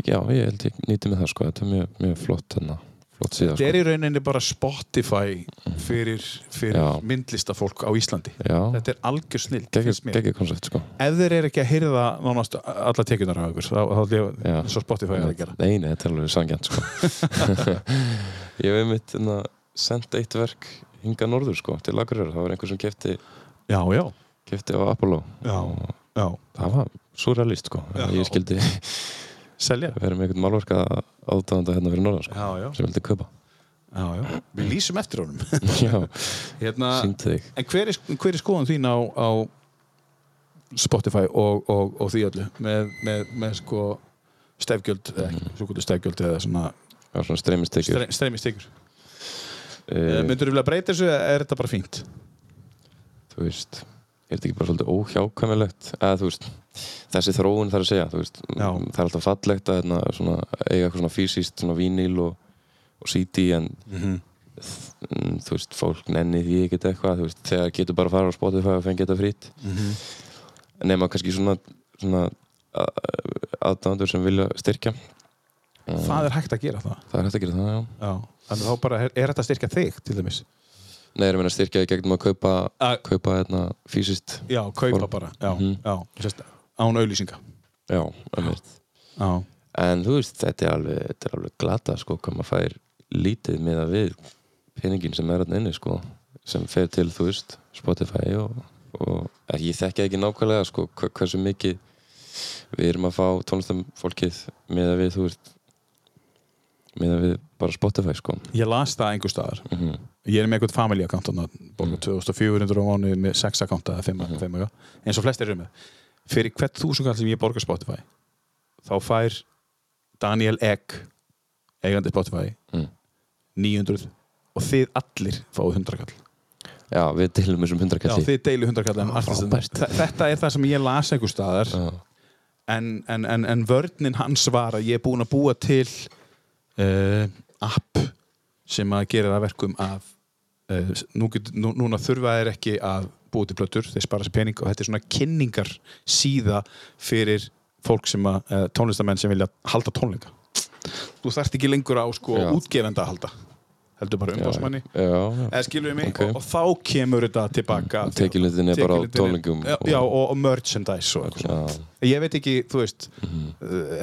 S3: já, ég held ég nýti með það sko þetta er mjög, mjög flott hérna flott síðan
S2: Þetta er í rauninni bara Spotify fyrir,
S3: Já.
S2: fyrir myndlistafólk á Íslandi.
S3: já,
S2: Þetta er algjör snill, finnst mér.
S3: geggjur koncept sko
S2: Ef þeir eru ekki að heyra það nánast alla tekjunar af ykkur, þá þá ætlum
S3: Já.
S2: ég að- eins og Spotify er að gera.
S3: Nei, nei, þetta er alveg sangjant sko. Ég hef einmitt hérna, sendt eitt verk hinga norður sko, til Akureyrar, það var einhver sem kefti,
S2: Já, já,
S3: kefti á Apollo
S2: Já.
S3: og
S2: já.
S3: það var surrealist sko.
S2: Já.
S3: ég skildi
S2: Selja.
S3: vera með einhvern málverka átáðanda hérna fyrir norðan sko,
S2: Já, já,
S3: sem vildi kaupa
S2: já, já. Við lýsum eftir honum.
S3: Já,
S2: hérna,
S3: síndi þig
S2: en hver er, hver er skoðan þín á, á Spotify og, og, og því öllu með, með, með sko stefgjöld, eða ekki, svo kvöldu stefgjöld eða svona
S3: Það var svona streymistekjur
S2: stre- streymistekur.
S3: e,
S2: Uh, Myndur þú vilja breyta þessu eða er þetta bara fínt?
S3: Þú veist, er þetta ekki bara svolítið óhjákvæmilegt eða þú veist, þessi þróun þarf að segja þú veist, mm,
S2: Já.
S3: það er alltaf fallegt að hérna, svona, eiga eitthvað svona fysiskt, svona vínil og, og CD en mm, þú veist, fólk nenni því ekkert eitthvað, þú veist, þegar getur bara að fara á Spotify og fengi þetta frýtt nema kannski svona, svona aðdándur sem vilja styrkja
S2: Það er hægt að gera það.
S3: það er hægt að gera það, já
S2: Mm. Já. Þannig þá bara er, er þetta að styrkja þig til dæmis?
S3: Nei, ég er að meina styrkja í gegnum að kaupa,
S2: Að-
S3: kaupa hérna, fysiskt
S2: Já, kaupa
S3: Form.
S2: bara. Já,
S3: Mhm.
S2: já. Sest, án auðlýsinga.
S3: já, ömmið
S2: Já.
S3: En þú veist, þetta er alveg, þetta er alveg glata sko, hvað maður fær lítið með að við peningin sem er hann inni sko, sem fer til, þú veist, Spotify og, og eh, ég þekki ekki nákvæmlega sko, hva- hversu mikið við erum að fá tónlistamfólkið með að við, þú veist með að við bara Spotify sko.
S2: Ég las það einhver staðar.
S3: mm
S2: Ég er með einhvern family account þarna, borga 2400 á mánu með 6 account eða 5, mm. 5 eitthvað. eins og flestir eru með. Fyrir hvert þúsungall sem ég borga Spotify þá fær Daniel Egg eigandi Spotify
S3: Mm.
S2: 900 og þið allir fáið 100 kall.
S3: Já, við deilum þessum
S2: Já,
S3: hundrakall
S2: þið deilu 100 kall en artistin. Þa- Þetta er það sem ég las einhver staðar en, en, en, en vörninn hans var að ég er búinn að búa til uh, app sem að gera það að verkum að uh, nú get, nú, núna þurfa þeir ekki að búa til plötur, þeir spara sér pening og þetta er svona kynningar síða fyrir fólk sem að, uh, tónlistamenn sem vilja halda tónleika þú þarft ekki lengur á sko
S3: Já.
S2: útgefenda að halda heldur bara umbásmanni
S3: Já, já
S2: eða skilur við mig
S3: Ok.
S2: og, og þá kemur þetta tilbaka
S3: Tekjulitin er bara á
S2: Tekjulitin er-
S3: tónlingum
S2: já, já, og, og merchandise og eitthvað svona.
S3: Já, Mhm.
S2: ég veit ekki, þú veist mm.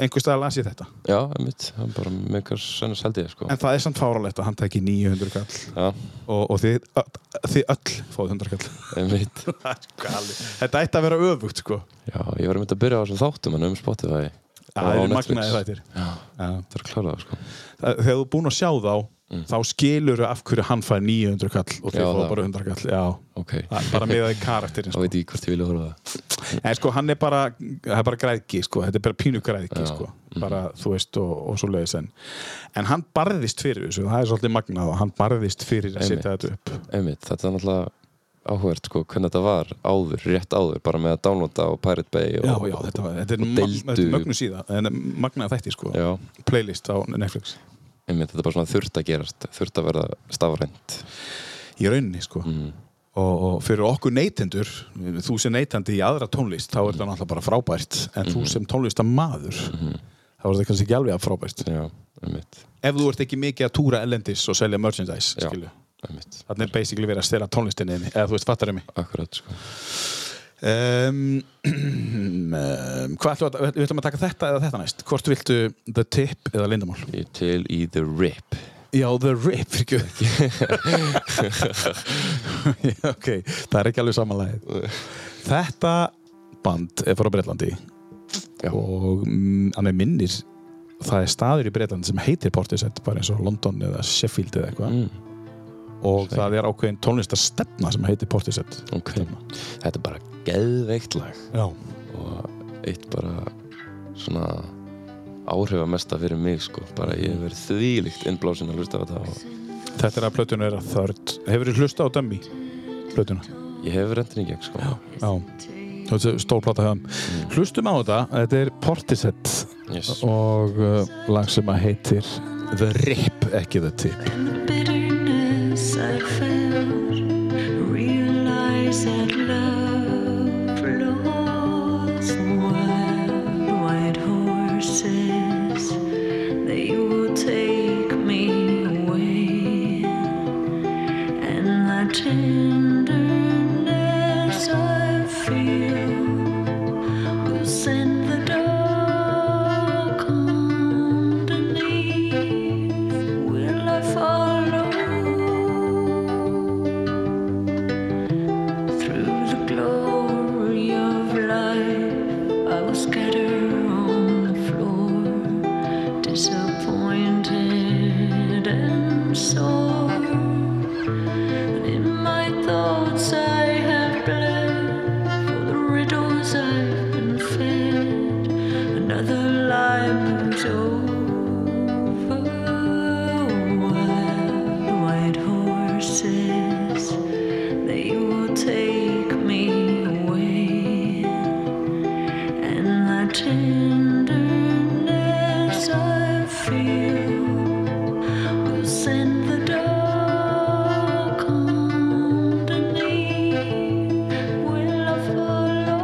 S2: einhvers staðar las ég þetta
S3: já, mitt, það er bara megar sennast held ég sko.
S2: en það er samt fáralegt að hann teki 900 kall
S3: Já,
S2: og, og þið, ö- þið öll fáið 100 kall
S3: mitt
S2: Það er galið. þetta ætti að vera öfugt sko
S3: Já, ég var einmitt að byrja á þessum þáttum en um Spotify Og
S2: Já, það
S3: á
S2: er
S3: Netflix.
S2: magnaði þættir
S3: Já,
S2: Já.
S3: það er klárað sko.
S2: Það- þegar þú er búinn að sjá þá þá skilur þau af hverju hann fær 900 kall og þið
S3: Mm. Já,
S2: fáið
S3: það.
S2: bara 100 kall já,
S3: Ok,
S2: það er bara með það í karakterin
S3: þá
S2: sko.
S3: veit ég hvort ég vilja horfa á það
S2: en sko hann er bara, það er bara græðki sko. þetta er bara pínu græðki sko.
S3: Mhm.
S2: bara þú veist og, og svo leiðis en en hann barðist fyrir þessu, það er svolítið magnað og hann barðist fyrir að
S3: Einmitt.
S2: setja þetta upp
S3: Einmitt, þetta er náttúrulega áhvert sko, hvernig þetta var áður, rétt áður bara með að downloada og Pirate Bay og,
S2: Já, já, þetta, var, þetta, er,
S3: og
S2: ma-
S3: deildu.
S2: þetta er mögnu síða en magnaði þætti sko,
S3: Já,
S2: playlist á Netflix
S3: einmitt, þetta er bara svona þurft að gerast þurft að verða stafrænt
S2: í rauninni sko
S3: mm.
S2: og, og fyrir okkur neytendur þú sem neytandi í aðra tónlist þá er þetta náttúrulega bara frábært en
S3: Mhm.
S2: þú sem tónlistamaður þá er þetta kannski ekki alveg að frábært
S3: Já, einmitt,
S2: ef þú ert ekki mikið að túra ellendis og selja merchandise
S3: Já.
S2: skilu,
S3: einmitt
S2: þannig er basically verið að stela tónlistinni þinni, eða þú veist fattar mig
S3: Akkurat sko
S2: um, um, hvað ætlum við að við ætlum að taka þetta eða þetta næst hvort viltu The Tip eða Lindamál
S3: Ég er til í The Rip
S2: já The Rip fyrir ekki Já, ok, það er ekki alveg samanlægið þetta band er frá Breitlandi
S3: Já.
S2: og mm, að með minnir það er staður í Breitlandi sem heitir Portishead bara eins og London eða Sheffield eða eitthvað
S3: mm.
S2: og það er ákveðin tónlistarstefna sem heitir Portishead
S3: okay. þetta er bara geðveikt lag
S2: Já.
S3: og eitt bara svona áhrifamesta fyrir mig sko bara ég hef verið þvílíkt innblásin að hlusta á þetta og
S2: Þetta er að plötuna er að þörd Hefur þið hlusta á Dummy? Plötuna?
S3: ég hef rentin í gegn sko
S2: Já Þetta er Stórplata höfum Hlustum á þetta, þetta er Portishead
S3: yes.
S2: og uh, lag sem að heitir The Rip, ekki The Tip
S15: bitterness I felt, realize that love lost wild white horses. They will take me away, and the tenderness I feel will send the dark underneath. Will I follow through the glory of life? I will scatter on the floor, disappointed and sore. And in my thoughts, I have bled for the riddles I've been fed. Another lie moves over wild white horses. They will take me away, and the tenderness I feel will send the dark underneath. Will I follow?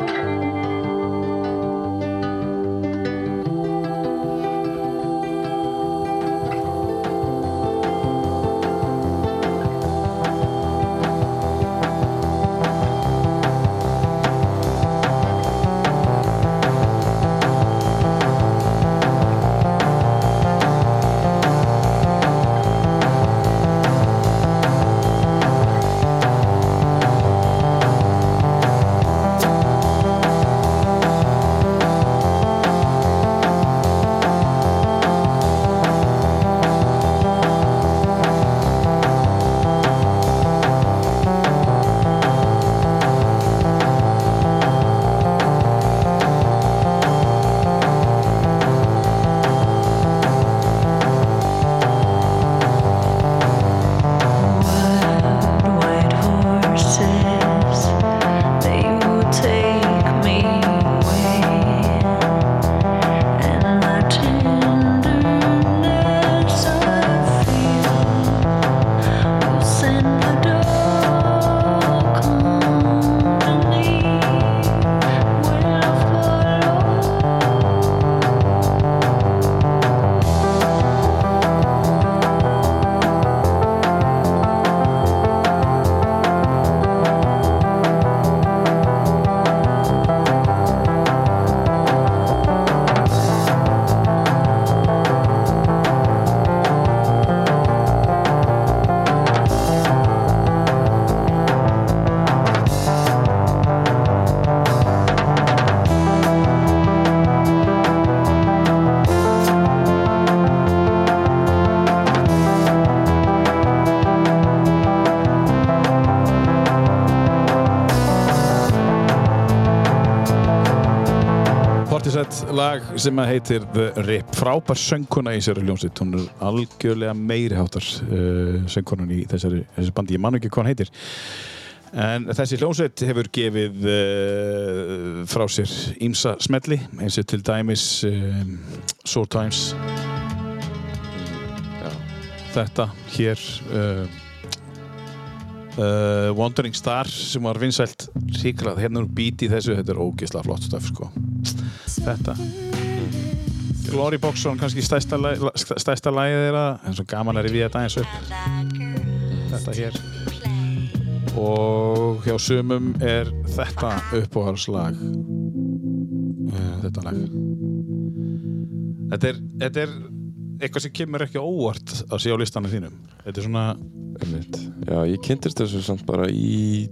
S15: White horses, they will take me away, and the tenderness I feel will send the dark underneath. Will I follow?
S2: Portishead lag sem að heitir The Rip frábær söngkona í sér hljómsveit hún er algjörlega meiriháttar uh, söngkonan í þessari, þessari bandi ég man ekki hvað hann heitir en þessi hljómsveit hefur gefið uh, frá sér ímsa smelli eins og til dæmis uh, Soul Times þetta hér uh, uh, Wandering Star sem var vinsælt ríklað hérna úr bíti þessu, þetta er ógeðslega flott stöf sko. þetta Glory Box Zone, kannski stærsta, lag- la- stærsta lagið þeirra en svo gaman er við þetta eins upp þetta hér og hjá sumum er þetta uppáhaldslag uh, þetta lag þetta er, þetta er eitthvað sem kemur ekki á óvart að sé á listanum þínum þetta er svona
S3: Einmitt. Já, ég kynntist þessu samt bara í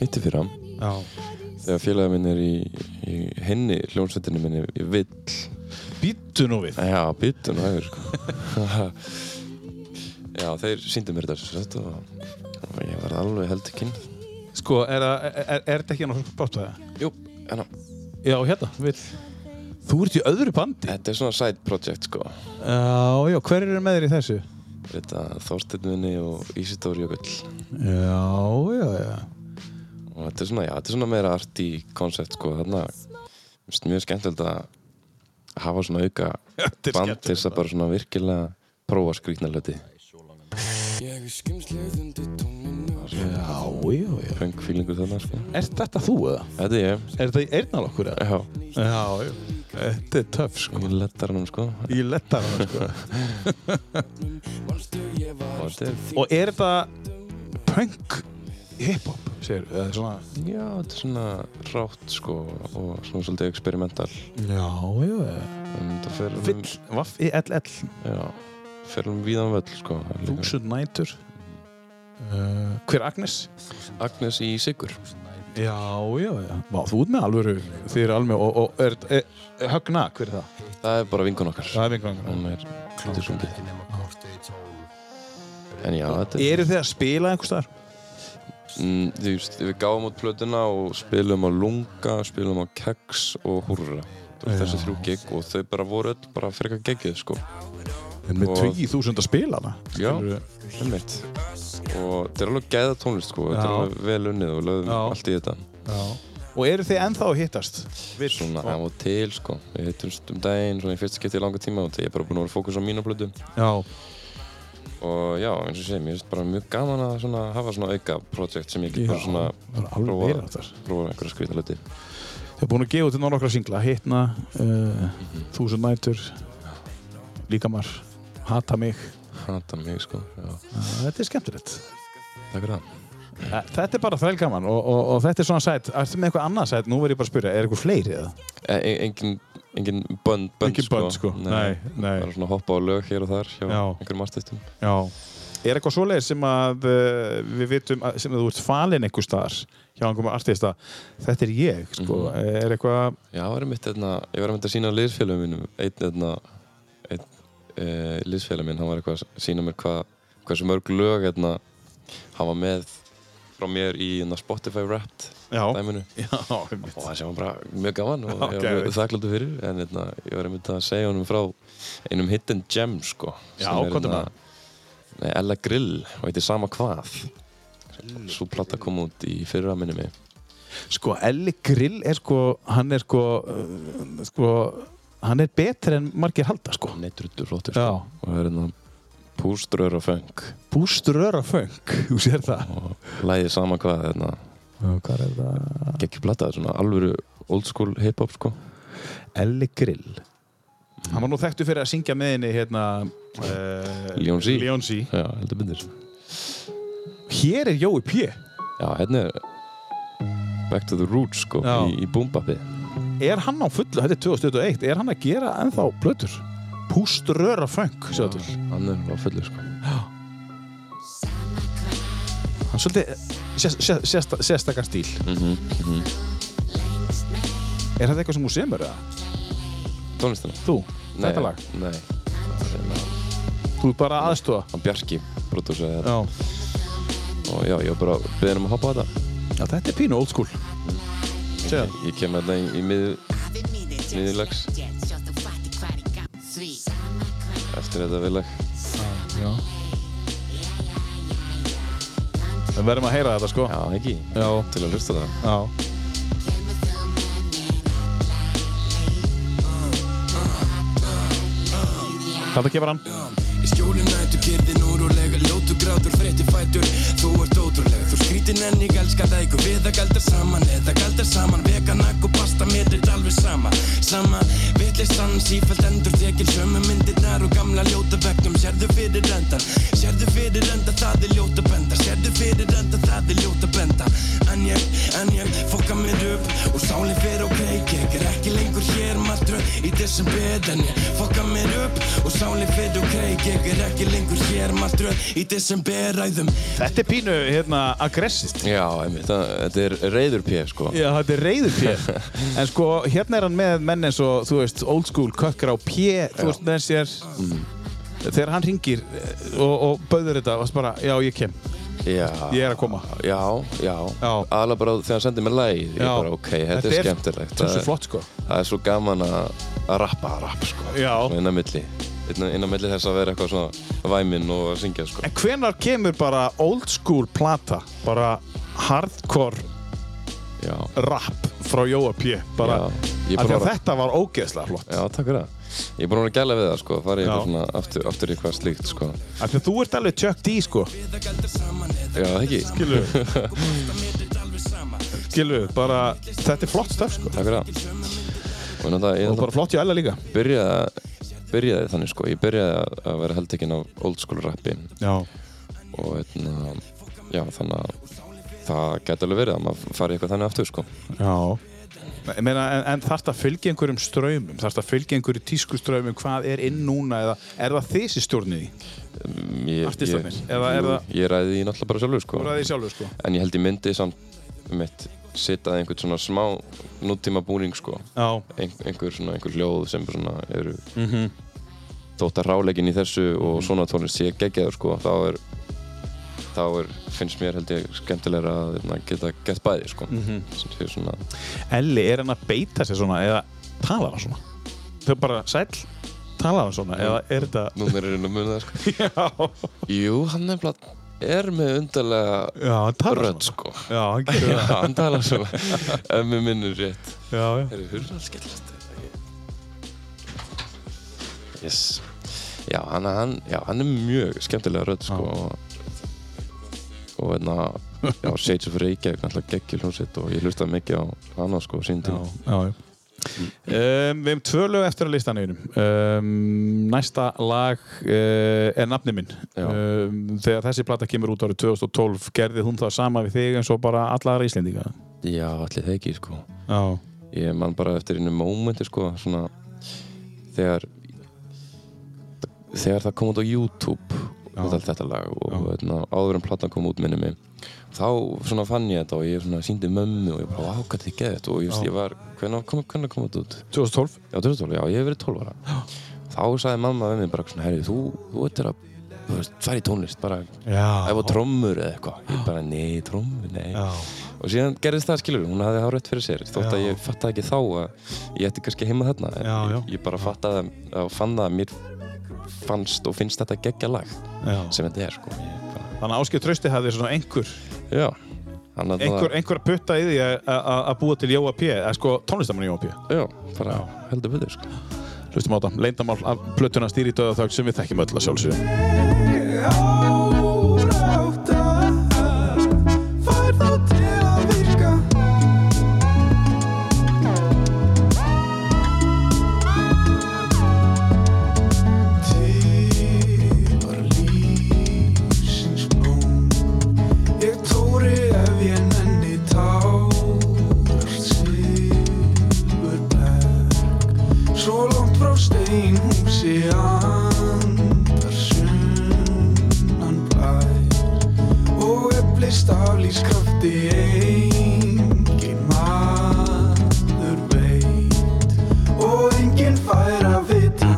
S3: hitti fyrir hann
S2: já.
S3: þegar félagið minn er í, í henni hljónsveitinu minni í vill
S2: býttu nú við
S3: Já, býttu nú hefur sko. Já, þeir síndi mér þetta sem sagt og, og ég var alveg held ekki
S2: Sko, er, það- er, er, er þetta ekki hann á spottaða?
S3: Jú, hérna
S2: Já, hérna, við Þú ert í öðru bandi?
S3: Þetta er svona side project sko
S2: Já, já, hver eru með þér í þessu?
S3: Þetta Þorsteinvinni og Ísidór Jökull
S2: Já, já, já
S3: og þetta er svona, já, þetta er svona meira arti koncept sko, þarna finnst mjög skemmtilegt að hafa svona auka
S2: er
S3: band til þess að bara svona virkilega prófa skrýtna hluti
S10: Ég er skimslið undir tóninu
S2: Já, já, já
S3: Punk feelingur þarna sko
S2: Er þetta þú eða?
S3: Þetta er ég,
S2: Er þetta í eirnal okkur eða?
S3: já,
S2: Já, já Þetta er töff sko
S3: ég lettar hann sko og
S2: Ég letar hann sko
S3: þetta er,
S2: Og er þetta punk hip-hop, segir við? Eða svona
S3: já, þetta er svona rátt sko og svona svolítið experimental
S2: Já, já, já
S3: en þetta fer um,
S2: Fyll, vaff, E ill,
S3: já, fer um víðan völl sko Líka
S2: þúsund nætur uh, Hver Agnes?
S3: Agnes í Sigur
S2: Já, já, já Vá, þú ert með alvöru Þið eru alveg Og, og er, er, er Högna, hver er það?
S3: það er bara vingun okkar
S2: Það er vingangur
S3: hún er hlutur svona en já, þetta er
S2: Eru þið að spila einhvers staðar?
S3: Mm, þú veist, við gáum út plötuna og spilum á Lunga, spilum á Keks og Hurra Þetta voru þessi þrjú gig og þau bara voru öll bara frekar geggið sko
S2: En með
S3: Og-
S2: 20.000 að spila hana
S3: Já,
S2: Skilurðu?
S3: einmitt og þetta er alveg gæða tónlist sko þetta er
S2: Já.
S3: alveg vel unnið og lögðum
S2: Já.
S3: allt í þetta
S2: Og eru þið ennþá að hittast?
S3: svona af og til sko við hittumst um daginn, svona í fyrsta skipti í langa tíma og ég er bara búin að vera fókus á mína plötu
S2: Já
S3: og já, eins og ég segi, mér finnst bara mjög gaman að svona, hafa svona auka projekt sem ég get
S2: Já,
S3: bara svona
S2: það er alveg verið
S3: prófa,
S2: þar.
S3: prófa einhverja skrýta hluti
S2: Þið er búin að gefa út náttúrulega singla Hittna, uh,
S3: Mhm.
S2: Þúsund nætur Líkamar Hata mig
S3: hata mig sko, já,
S2: Æ, Þetta er skemmtilegt
S3: takk fyrir það
S2: Æ, Þetta er bara þrælgaman og, og, og þetta er svona sætt Ertu með eitthvað annað sætt? Nú verð ég bara að spyrja Er eitthvað fleiri eða?
S3: E- engin, engin bönd, bönd
S2: Engin
S3: sko.
S2: bönd, sko. Nei, nei.
S3: bara svona hoppa á lög hér og þar hjá
S2: Já.
S3: einhverjum artistum
S2: Já Er eitthvað svoleiðis sem að uh, við vitum að, sem að þú ert falin einhver staðar hjá einhverjum artista Þetta er ég sko
S3: Mhm.
S2: Er eitthvað
S3: já, var einmitt, eitna, ég var einmitt að sína liðsfélagum mínum einn, eitna, einn e, liðsfélag minn, hann var eitthvað að sína mér hvað hversu mörg lög eitna, hann var með frá mér í eitna, Spotify Wrapped
S2: Já
S3: dæminu
S2: Já, einmitt.
S3: og það sem var bara mjög gaman og
S2: Já,
S3: ég var
S2: geðveikt.
S3: mjög þakkláttur fyrir en eitna, ég var einmitt að segja honum frá einum hidden gem sko
S2: Já,
S3: sem er,
S2: komdu
S3: eitna,
S2: með það.
S3: nei, Ella Grill og heitir sama hvað svo platta kom út í fyrra minni mig
S2: Sko, Elli Grill er sko, hann er sko, uh, sko, hann er betri en margir halda, sko.
S3: Neittruttur flottur
S2: Já.
S3: sko. og það er hérna púströður og feng
S2: Búströra feng, þú sér það.
S3: og læðið sama hvað hérna,
S2: Hvað er það?
S3: geggjum plata, svona alvöru old school hip-hop sko
S2: Elli Grill. Hann var nú þekktu fyrir að syngja með henni, hérna, uh,
S3: Leon Z.
S2: Leon Z.
S3: Já, heldur byndir
S2: Hér er Jói P.
S3: Já, hérna er Back to the Roots sko
S2: Já.
S3: í, í búmbappi
S2: Er hann á fullu, þetta er 2021, er hann að gera ennþá blötur? Búströra feng, sér til.
S3: Hann er á fullu sko
S2: Hann er svolítið eh, sérst- sérst- sérst- sérstakar stíl.
S3: Mhm, mhm.
S2: Er þetta eitthvað sem hún semur, eða?
S3: Tónlistina?
S2: Þú, þetta lag?
S3: Nei Það er hérna,
S2: Þú er bara aðstofa?
S3: Hann Bjarki prodúsaði þetta
S2: Já.
S3: og já, ég var bara beðin um að hoppa á þetta
S2: Já, þetta er pínu old school Segja.
S3: Ég- Ég kem hérna í, í miður miðurlags eftir þetta viðlag
S2: Við verðum að heyra þetta sko
S3: Já, ekki
S2: Já,
S3: Til að hlusta á það
S2: já. Þetta gefur hann
S10: Í skjóli nættu kyrðin úrúlega Ljótu grátur, freytti fætur Þú ert ótrúleg, þú skrítin en ég elska það Ykkur við að galdar saman Eða galdar saman, vega nakk og pasta Mér er alveg sama, sama Vitlistann, sífælt endur tekin Sömmu myndirnar og gamla ljóta vegnum Sérðu fyrir endan, sérðu fyrir endan Það er ljóta benda, sérðu fyrir endan Það er ljóta benda En ég, en ég, fokka mér upp Og sálinn fer á kreik Ég er ekki lengur hér, matru Í þessum bed En ég, fokka mér upp Og sálinn fer á kreik Ég er ekki lengur hér, matru Í þessum bed ræðum
S2: Þetta er pínu, hérna, aggressist
S3: Já, einmitt, það, þetta er reyður pjö sko
S2: Já, þetta er reyður P En sko,
S3: Mm.
S2: hérna er hann með menn eins og, þú veist, old school kökkar á P Þú veist, með sér þegar hann ringir og, og bauður þetta, varst bara, já, ég kem.
S3: Já,
S2: Ég er að koma.
S3: já, já. Aðlega bara þegar hann sendið mér lagið, ég
S2: Já.
S3: bara ok, þetta,
S2: Þetta er
S3: er skemmtilegt.
S2: þessu
S3: Það er-
S2: flott, sko.
S3: Það er svo gaman að að rappa, að rappa sko.
S2: Já.
S3: Svona Inn á milli. Inn á- inn á milli þess að vera eitthvað svona væminn og að syngja sko.
S2: En hvenar kemur bara old school plata, bara hardcore
S3: Já.
S2: rap frá Jóa P. Bara,
S3: Ég
S2: af því
S3: bara-
S2: að þetta var ógeðslega flott.
S3: Já, takk fyrir það. Ég er búinn að vera gæla við það sko, farið
S2: Já.
S3: eitthvað svona aftur, aftur í eitthvað slíkt sko.
S2: Af því að þú ert alveg tjökt í, sko.
S3: Já, það ekki.
S2: Skilur. Skilur, bara, þetta er flott stöf, sko.
S3: Takk fyrir það. Og, náttúrulega- ég
S2: Og bara flott í æla líka.
S3: byrjaði, byrjaði þannig sko, ég byrjaði að- að vera heldekinn af old school rappin
S2: Já.
S3: og hérna, já þannig að það gæti alveg verið að maður fari eitthvað þannig aftur sko.
S2: Já Ég Meina, en, en þarf það að fylgja einhverjum ströymum þarf það að fylgja einhverju tískuströymum hvað er inn núna eða er það þið sem stjórnir því?
S3: Mm, Ég,
S2: Artistarnir,
S3: ég-
S2: eða er
S3: jú,
S2: það-
S3: Ég ræði því náttúrulega bara sjálfur sko.
S2: Þú ræðir því sjálfur, sko.
S3: En ég held ég myndi samt mitt setja einhvern svona smá nútíma búning sko.
S2: Já.
S3: Ein, einhver svona, einhver hljóð sem svona eru
S2: Mhm.
S3: þótt að ráleikin í þessu og svona tónlist sé geggjaður sko. Þá er, þá er, finnst mér held ég skemmtilegra að hérna, geta gett bæði sko.
S2: Mhm.
S3: Sem sé svona,
S2: Elli, er hann að beita sér svona eða tala hann svona? Þau bara sæll, tala hann svona eða er þetta...
S3: númer er inn á munið það sko.
S2: Já,
S3: Jú, hann nefnilega er með undarlega
S2: já, hann tala
S3: rödd
S2: svona
S3: sko.
S2: Já, hann gerir
S3: Já,
S2: það
S3: hann talar svona, ef mér minnur rétt.
S2: Já, já
S3: Það eru hurðarskellast Yes Já, hann, hann, já, hann er mjög skemmtilega rödd sko og- og hérna já, Shades of Reykjavík náttúrulega geggjur hljómsveit og ég hlustaði mikið á hana sko sín tíma
S2: já, já. Um, við hefum tvö lög eftir að listan einum um, næsta lag uh, er nafni minn
S3: Já.
S2: um, þegar þessi plata kemur út árið 2012 gerði hún það sama við þig eins og bara alla aðra Íslendinga
S3: Já, allir það ekki sko
S2: já,
S3: Ég man bara eftir einu mómenti sko svona þegar þegar það kom út á YouTube
S2: Já.
S3: og allt þetta lag og
S2: Já.
S3: hérna, áður en platan kom út minni mig þá svona fann ég þetta og ég svona síndi mömmu og ég bara vá hvað þið geðið þetta og ég,
S2: Já.
S3: ég var, hvernig kom, hvernig kom þetta út?
S2: 2012
S3: Já, 2012, já, ég hef verið 12 ára þá sagði mamma við mig bara svona herri, þú, þú ættir að þú veist, fara í tónlist, bara
S2: já,
S3: ef á trommur eða eitthvað ég bara, nei, trommur, nei og síðan gerðist það skilur, hún hafði hárött fyrir sér þótt að
S2: Já.
S3: ég fattaði ekki þá að ég ætti kannski heima þarna en
S2: Já, já.
S3: ég bara fattaði að fann það að mér fannst og finnst þetta geggja lag
S2: já.
S3: sem þetta er sko Ég bara,
S2: þannig að Áskei Trausti hafði svona einhver
S3: já, hann að
S2: einhver, einhver að putta í því að- að að búa til Jóa P eða sko tónlistamann Jóa P
S3: já, bara heldur við þau sko
S2: hlustum á þetta, leindamál af plötuna stýri döðaþögg sem við þekkjum öll að sjálfsögum
S12: Svo langt frá steinhúsi andar sunnan blær og eflist aflýskrafti engin maður veit og engin fær að vita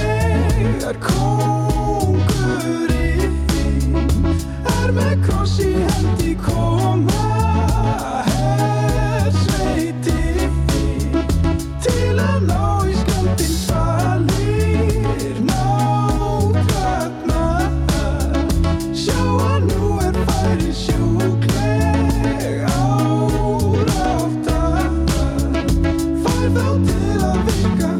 S12: þegar kóngurinn er með kross í hendi koma hersveitir til að ná í skaldin svalir náttratna sjá að nú er færi sjúkleg árátta fær þá til að virka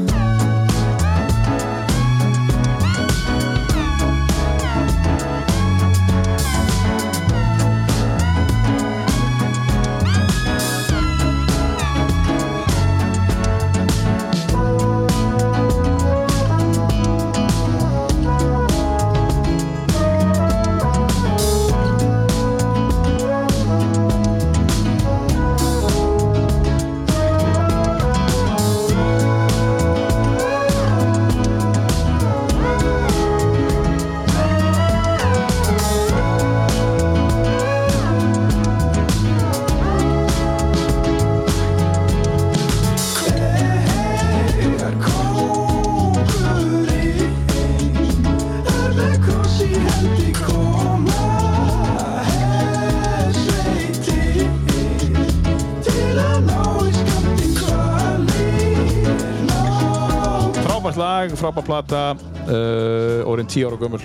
S2: frábært lag, frábært plata uh, orðin 10 ára gömul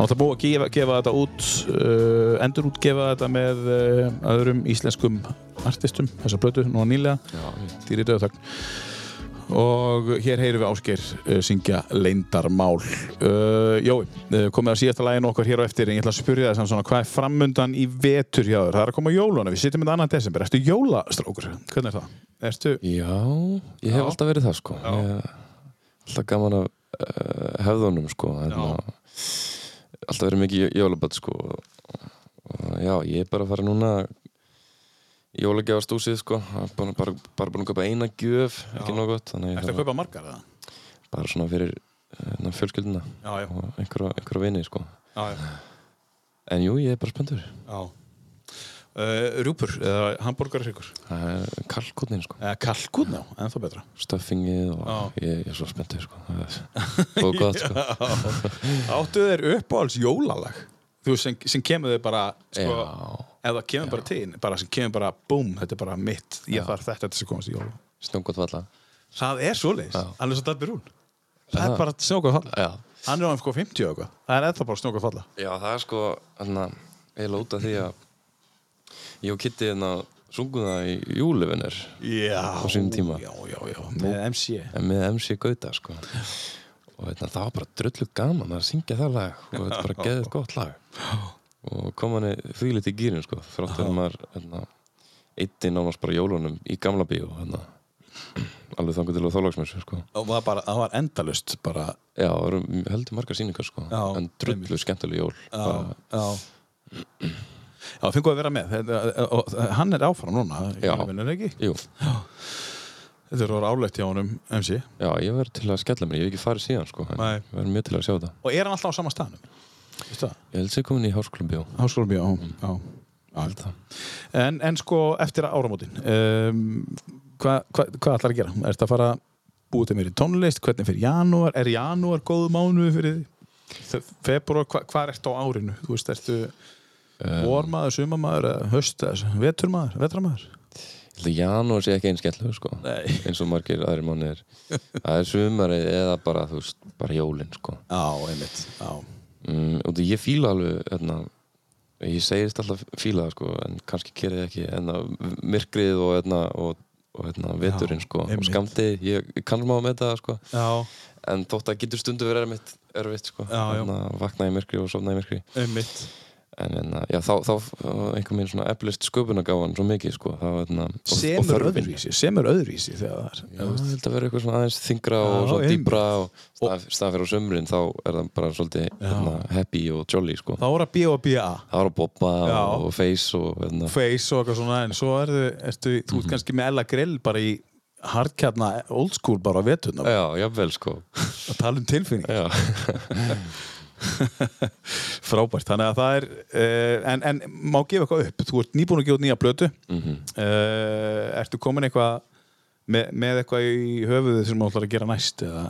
S2: og það búið að gefa, gefa þetta út uh, endur útgefa þetta með uh, öðrum íslenskum artistum þessa blötu, nú nýlega dýri döðögn og hér heyrum við Ásgeir uh, syngja Leindarmál uh, Jói, uh, komið að síðasta lægin okkar hér á eftir en ég ætla að spyrja það svona hvað er framundan í vetur hjá þér, það er að koma jóluna við sittum þetta annan desember, ertu jólastrákur hvernig er það? Ertu?
S3: Já, ég hef alltaf verið það sko ég, Alltaf gaman af uh, hefðunum sko hérna, Alltaf verið mikið jólaböld sko og, og Já, ég er bara að fara núna í jólagjafastúsið sko bara, bara, bara búin að köpa eina gjöf ekki nóg gott þannig ég
S2: Ertu að
S3: þarf
S2: kaupa margar eða?
S3: bara svona fyrir hérna, fjölskylduna
S2: Já, já.
S3: og einhverja, einhverja vini sko
S2: Já, já.
S3: En jú, ég er bara spenntur
S2: Já. Uh, rjúpur eða hambúrgarhryggur
S3: Það er kalkutnin sko
S2: eða kalkún, Eh, já, ennþá betra
S3: Stuffingið og ég, ég er svo spenntur sko Það er og gott sko
S2: Já. Áttu þeir uppáhalds jólalag þú veist, sem, sem kemur þeir bara sko, ef það kemur bara til bara sem kemur bara, búm, þetta er bara mitt ég þarf þetta til þess að komast í jóla
S3: Snjóngott valla
S2: það er svoleiðis,
S3: Já.
S2: alveg svo Dabbi Rún
S3: Já.
S2: það er bara snjóka falla
S3: Já
S2: hann er á MK 50 og eitthvað, það er ennþá bara snjóka falla
S3: Já, það er sko hérna, eiginlega út af því að ég og Kitty hérna sungum það í júlifinir
S2: já,
S3: á sínum tíma
S2: já, já, já, með MC
S3: en með MC Gauta sko og hérna, það var bara drullu gaman að syngja það lag og þetta er bara geðið gott lag og kom hann því liti í gýrin sko frátt að maður hérna, eitti nánast bara jólunum í gamla bíó hérna, alveg þangu til að þálagsmessu sko
S2: og það, bara, það var endalust bara,
S3: Já, það eru heldur margar sýningar sko
S2: Já,
S3: en drullu skemmtileg jól já. Bara,
S2: já já, fengu að vera með þetta, eh, og, hann er áfram núna
S3: Já.
S2: vinnur ekki
S3: Jú,
S2: Þetta er orða álegt hjá honum MC
S3: já, ég verð til að skella mér, ég hef ekki farið síðan sko, en
S2: Nei.
S3: ég verð mjög til að sjá það
S2: Og er hann alltaf á sama staðnum? Veistu það? Mm.
S3: Ég held sér komin í háskólabjó
S2: Háskólum, já, já, já. En, en sko eftir áramótin um, Hvað hva, hva ætlar að gera? Er þetta að fara að búið til mér í tónlist? Hvernig fyrir janúar? Er janúar góð mánuð fyrir því? Februar, hva, hvað ertu á árinu? Þú veist, ertu Ehm. vormaður, sumamaður, eða haust, eða veturmaður, vetramaður?
S3: Ég held að janúar sé ekki einn skellur sko
S2: Nei.
S3: eins og margir aðrir manni er það er sumarið eða bara, þú veist, bara jólin sko
S2: Já, einmitt, já
S3: mm, og því ég fíla alveg hérna, ég segist alltaf fíla það sko en kannski gerði ekki hérna, myrkrið og, hérna, og, og hérna, veturinn sko og
S2: einmitt.
S3: skamti, ég ég kann maður með það sko
S2: Já,
S3: en þótt að getur stundu verið erfitt, erfitt sko
S2: Já, já.
S3: vakna í myrkri og sofna í myrkri
S2: einmitt
S3: en hérna, já, þá, þá einhvern veginn svona eflist sköpunagáfan svo mikið sko þá, hérna, og, og
S2: Semur
S3: þörfin
S2: öðruvísi, semur öðruvísi þegar það er
S3: Já, ég held að vera eitthvað svona aðeins þingra
S2: Já,
S3: og svona
S2: einmitt.
S3: dýbra og stað, stað fyrir á sömurinn þá er það bara svolítið hérna, happy og jolly sko.
S2: Þá er að B og B.A.
S3: Það var að bobba
S2: Já.
S3: og face og hérna,
S2: face og eitthvað svona en svo ertu, ertu þú ert kannski með Ella Grill bara í hardkjarna old school bara á veturna
S3: Já, jafnvel sko
S2: að tala um tilfinning
S3: Já,
S2: frábært, þannig að það er uh, en, en má gefa eitthvað upp, þú ert nýbúin að gefa út nýja blötu mm ertu komin eitthvað með, með eitthvað í höfuðu sem þú ætlar að gera næst eða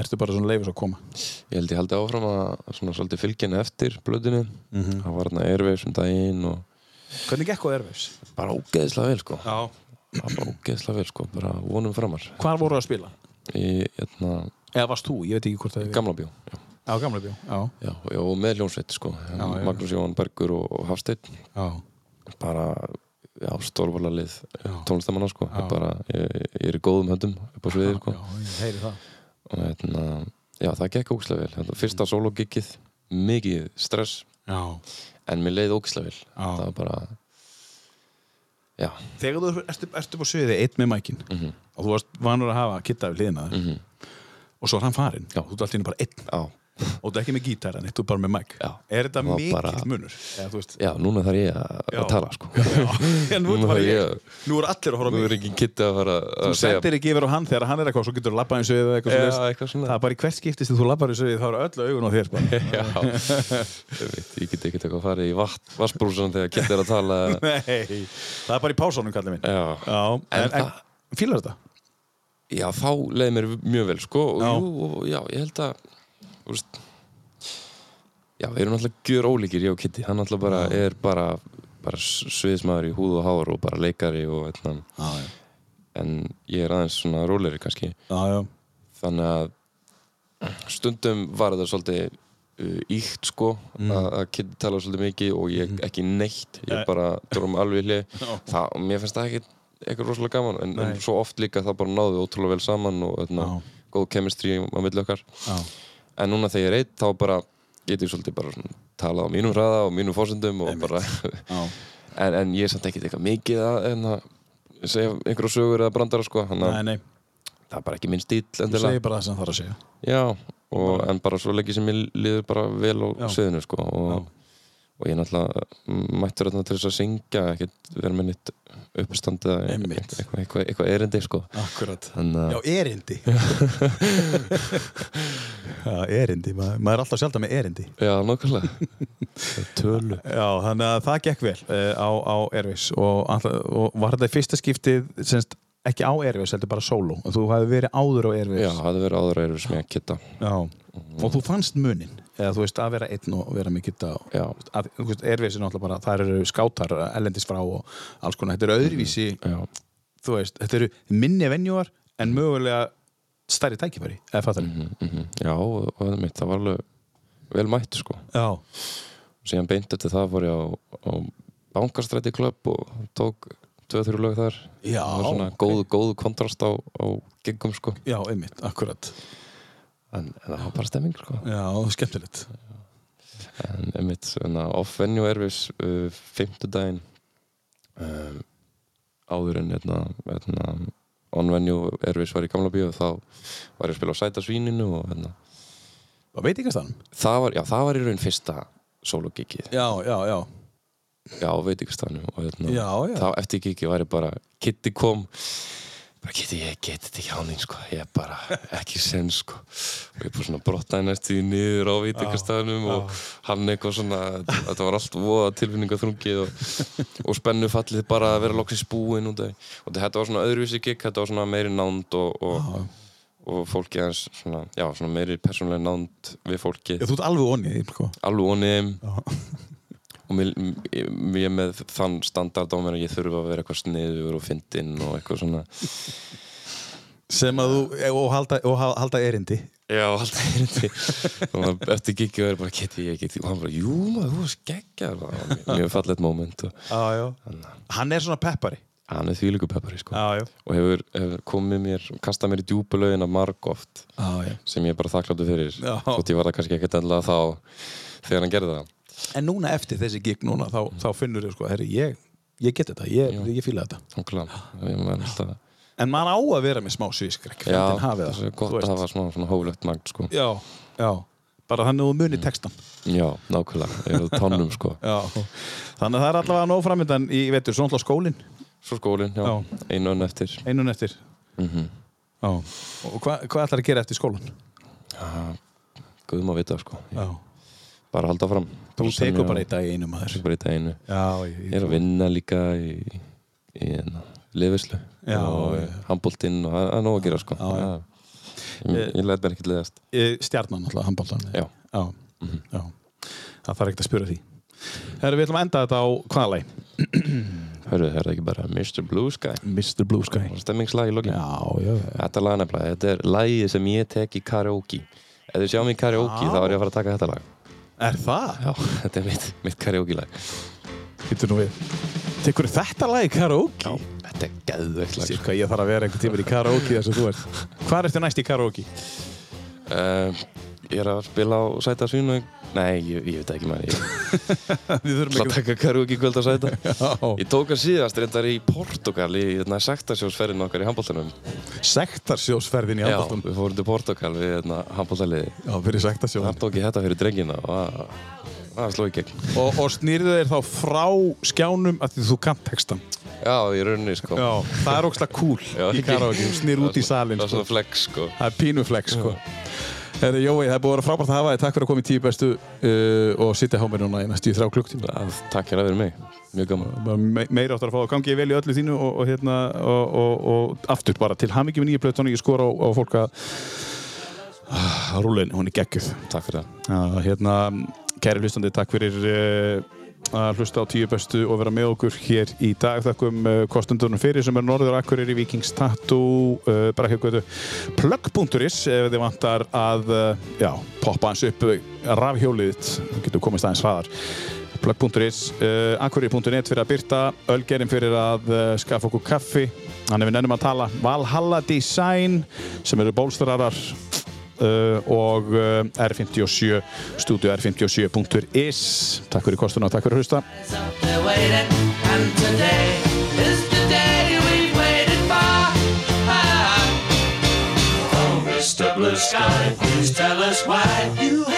S2: ertu bara svona leifis að koma
S3: ég held ég haldi áfram að svona svolítið fylgjana eftir blöðinu það var hérna erfið um daginn og
S2: hvernig gekk á Airwaves?
S3: bara ógeðslega vel sko
S2: Já.
S3: Það var bara ógeðslega vel sko, bara vonum framar
S2: hvar voru að spila?
S3: í hérna,
S2: eða varst þú, ég veit ekki hvort það er
S3: gamla bjó já.
S2: á gamla bjó já,
S3: Já, já, og með hljómsveit sko
S2: já.
S3: Magnús Jóhann Bergur og, og Hafsteinn
S2: já,
S3: bara já, stórvala lið tónlistamanna sko ég, bara, ég, ég er í góðum höndum upp á sviði sko.
S2: já ég heyri það
S3: og hérna, já, það gekk ógislega vel þetta, fyrsta sologiggið, mikið stress
S2: já.
S3: en mér leið ógislega vel það var bara já,
S2: þegar þú ert- ert ertu upp á sviði einn með mækin
S3: Mhm.
S2: og þú varst vanur að hafa kitta við hliðina mm og svo er hann farinn
S3: Já.
S2: þú ert alltaf bara einn
S3: já,
S2: og þú ert ekki með gítar en þú ert bara með mæk
S3: Já.
S2: er þetta
S3: Það var
S2: mikill
S3: bara-
S2: munur? Eða, þú veist,
S3: já, núna þarf ég að,
S2: Já.
S3: að tala sko
S2: en nú,
S3: Nú
S2: er bara
S3: þarf
S2: ég,
S3: ég-
S2: nú er allir að horfa á
S3: þú
S2: mig
S3: er ekki kitti að fara að
S2: þú sendir ekki yfir á hann þegar hann er eitthvað svo getur þú labbað eins og eitthvað
S3: Já,
S2: svoleiðis.
S3: eitthvað svona.
S2: það er bara í hvert skipti sem þú labbar eins og þá eru öll augun á þér sko. bara.
S3: Já, ég, veit, ég get ekki eitthvað að fara í vat, vassbrúsan þegar kitti er að tala
S2: nei, það er bara í pásunum kallið minn
S3: Já.
S2: Já, en,
S3: En
S2: en,
S3: það-
S2: fílar þetta?
S3: Já, þá leiði mér mjög vel sko og
S2: Já.
S3: jú, og, já, ég held að þú veist Já, við erum náttúrulega gjör ólíkir, ég og Kitty hann náttúrulega bara er bara, bara sviðismæður í húð og hár og bara leikari og etna,
S2: Já, já.
S3: en ég er aðeins svona róleri kannski
S2: Já, já.
S3: þannig að stundum var þetta svolítið uh, íkt sko mm. að Kitty tala svolítið mikið og ég
S2: Mm.
S3: ekki neitt ég
S16: Nei.
S3: bara dróðum alveg í hlið
S16: Já.
S3: það, og mér finnst það ekki eitthvað rosalega gaman en, en
S16: Nei.
S3: svo oft líka það bara náðu ótrúlega vel saman og etna, góð chemistry á milli okkar
S2: Já.
S3: en núna þegar ég er eitt þá bara get ég svolítið bara svona, tala á mínum hraða og mínum fórsendum og bara en, en ég er samt ekkert eitthvað mikið að en, segja einhverja sögur eða brandara sko þannig að
S2: Nei, nei.
S3: það er bara ekki minn stíl
S2: Þú
S3: endilega
S2: segir bara það sem þarf að segja.
S3: já, og, en bara svo lengi sem ég liður bara vel á
S2: Já.
S3: sviðinu sko og, og ég er náttúrulega mættur þarna til þess að syngja ekkert vera með nýtt uppestand eða eitthvað eitthva, eitthva erindi sko
S2: Akkurat,
S3: Þannig,
S2: Já,
S3: að-
S2: erindi. Já, erindi. Ma, maður er alltaf sjálf með erindi.
S3: Já, nokkulega. Tölu.
S2: Já, þannig að það gekk vel uh, á, á Airways og, alltaf, og var þetta í fyrsta skiptið semst, ekki á Airways, heldur bara solo. Þú hafði verið áður á Airways.
S3: já, það verið áður að eru sem ég að kitta
S2: Já. Og þú fannst munin, eða þú veist, að vera einn og vera með geta.
S3: Já.
S2: Að, þú veist, Airways er náttúrulega bara, það eru skátar ellendis frá og alls konar. Þetta eru öðruvísi,
S3: já.
S2: þú veist, þetta eru minni venjúar en mögulega stærri tækifæri, eða fattar mm
S3: mhm, já, og, og einmitt, það var alveg vel mætt sko
S2: Já.
S3: síðan beint eftir það fór ég á, á Bankastræti klubb og tók tvö-þrjú lög þar
S2: Já,
S3: það var svona
S2: ok.
S3: góð, góð kontrast á, á geggum sko
S2: Já, einmitt, akkurat
S3: en, en það var bara stemming sko
S2: Já, skemmtilegt
S3: en einmitt, en að off-venue erfis uh, fimmtudaginn um, áður en hérna, hérna, on-venue erfis var í gamla bíu þá var ég að spila á Sæta Svíninu og hérna
S2: Var veitingastanum?
S3: Það var, já, það var í raun fyrsta sólogikið
S2: Já, já, já
S3: Já, veitingstæðanum og hérna,
S2: Já, já.
S3: þá eftir gigi var ég bara Kitty kom bara Kitty, ég get þetta ekki án þín sko ég er bara ekki sen sko og ég bara svona brottaði næst því niður á veitingstæðanum og hann eitthvað svona þetta var allt voða tilfinninga þrungið og, og spennu fallið bara að vera loksins búinn út af því. og þetta var svona öðruvísi gig þetta var svona meiri nánd og, og, og fólki aðeins svona, já, svona meiri persónlega nánd við fólki
S2: Já, Þú ert alveg onnið, sko
S3: alveg ónum og mér, mér- mér með þann standard á mér að ég þurfa að vera eitthvað sniður og fyndinn og eitthvað svona
S2: Sem að þú, og halda, og ha- halda erindi
S3: já, alltaf erindi og hann- eftir giggi var ég bara, geti ég ekki og hann bara, jú maður, þú varst geggjar og það var mjög fallegt moment og
S2: Já, já Hann er svona peppari
S3: hann er þvílíku peppari sko
S2: Já, já
S3: og hefur, hefur komið mér, kastað mér í djúpu laugina marg oft
S2: Já, já
S3: sem ég er bara þakkláttu fyrir
S2: Já.
S3: þótt ég var það kannski ekkert endilega þá þegar hann gerði það
S2: En núna eftir þessi gig núna, þá, þá finnur þau, sko, herri, ég, ég get þetta, ég, ég fíla þetta
S3: Nákvæmlega, ég menn alltaf
S2: En maður á að vera með smá svískrekk
S3: Já,
S2: fjöndin hafi það,
S3: það er gott að
S2: þú veist.
S3: hafa svona, svona hóflegt magn sko.
S2: Já, já Bara þannig að þú
S3: Mm.
S2: munir textan
S3: Já, nákvæmlega, ég er á tónnum sko
S2: Já Þannig að það er allavega nóg framöndan í, veitur, svona alltaf skólinn
S3: Svo skólinn, já,
S2: Já.
S3: einu önn eftir
S2: Einun eftir
S3: mm
S2: Já Og hva, hvað ætlar að gera eftir skólan?
S3: Guðum að vita sko
S2: Já
S3: Bara halda fram
S2: Þú tekur bara einn dag í einu maður
S3: Bara í dag einu
S2: Já,
S3: Ég er að vinna líka í, í lefislu
S2: Já,
S3: og
S2: já.
S3: handbóltinn og það það er nóg að gera sko já, já. Ég, ég læt mér ekkert leðast
S2: Eh, Stjarnan alltaf, handbóltan
S3: Já. Mhm.
S2: Já. Já. Það þarf ekkert að spura því Herra, við ætlum að enda þetta á hvaða lei
S3: Hörðu, það er ekki bara Mr. Blue Sky
S2: Mr. Blue Sky
S3: Stemmingslag í lokin
S2: Já, já,
S3: Þetta lag nefnilega, þetta er lagið sem ég tek í karaoke Ef þið sjá mig í karaoke
S2: Já.
S3: þá er ég að fara að taka þetta lag
S2: Er það?
S3: Já, þetta er mitt, mitt karaoke lag
S2: Hittu nú við Tekur þetta lag í karaoke?
S3: Þetta er geðveikt lag sko.
S2: Sér hvað ég þarf að vera einhvern tíma í karaoke þess að þú ert Hvað ertu næst í karaoke?
S3: Um, ég er að spila á sæta svínu Nei, ég, ég veit ekki maður Ég
S2: Við
S3: ætla að taka karaoke í kvöld á sæta Ég tók að síðast reyndar í Portugal í þarna sektasjósferðin okkar í handbóltanum
S2: Sektarsjósferðin í
S3: Já,
S2: handbóltan
S3: við fórum til Portugal við þarna handbóltaliði
S2: Já, fyrir sektarsjón
S3: Þar tók ég þetta fyrir drengina og það- það sló í gegn
S2: og, og snýrðu þeir þá frá skjánum að því þú kant textan
S3: Já, í rauninni sko
S2: Já, það er ógslag cool
S3: Já,
S2: í
S3: ekki.
S2: karaoke, þú snýr út í
S3: Það
S2: salin
S3: var
S2: sko.
S3: svona flex sko
S2: Það er pínuflex sko. Herri Jói, það er búið að vera frábært að hafa þið Takk fyrir að koma í tíu bestu uh, og sitja hjá mér núna í næstu í þrjá klukktíma
S3: Það- Takk hérna fyrir mig, mjög gaman
S2: Bara me Meira áttur að fá að gangi ég vel í öllu þínu og, og, hérna, og, og, og aftur bara til hamingi með nýju plötun og ég skora á, á fólk að að rúlein, hún er geggjuð
S3: Takk fyrir það
S2: Já, hérna, kæri hlustandi, takk fyrir uh, að hlusta á tíu bestu og vera með okkur hér í dag. Þakkum uh, kostendunum fyrir sem er Norður Akkurir í Vikings Tattoo, uh, bara hér götu plug.is ef þið vantar að uh, já, poppa hans upp uh, rafhjólið þitt og getur komist aðeins hraðar. Plug.is, uh, akkurir.net fyrir að byrta, Ölgerinn fyrir að uh, skaffa okkur kaffi, hann er við nennum að tala, Valhalla Design sem eru bólstararar uh, og uh, R57 stúdíu R57.is Takk fyrir kostuna og takk fyrir að hlusta
S6: They're waiting, and today is the day we've waited for. Ah. Oh, Mr. Blue Sky, please tell us why you have.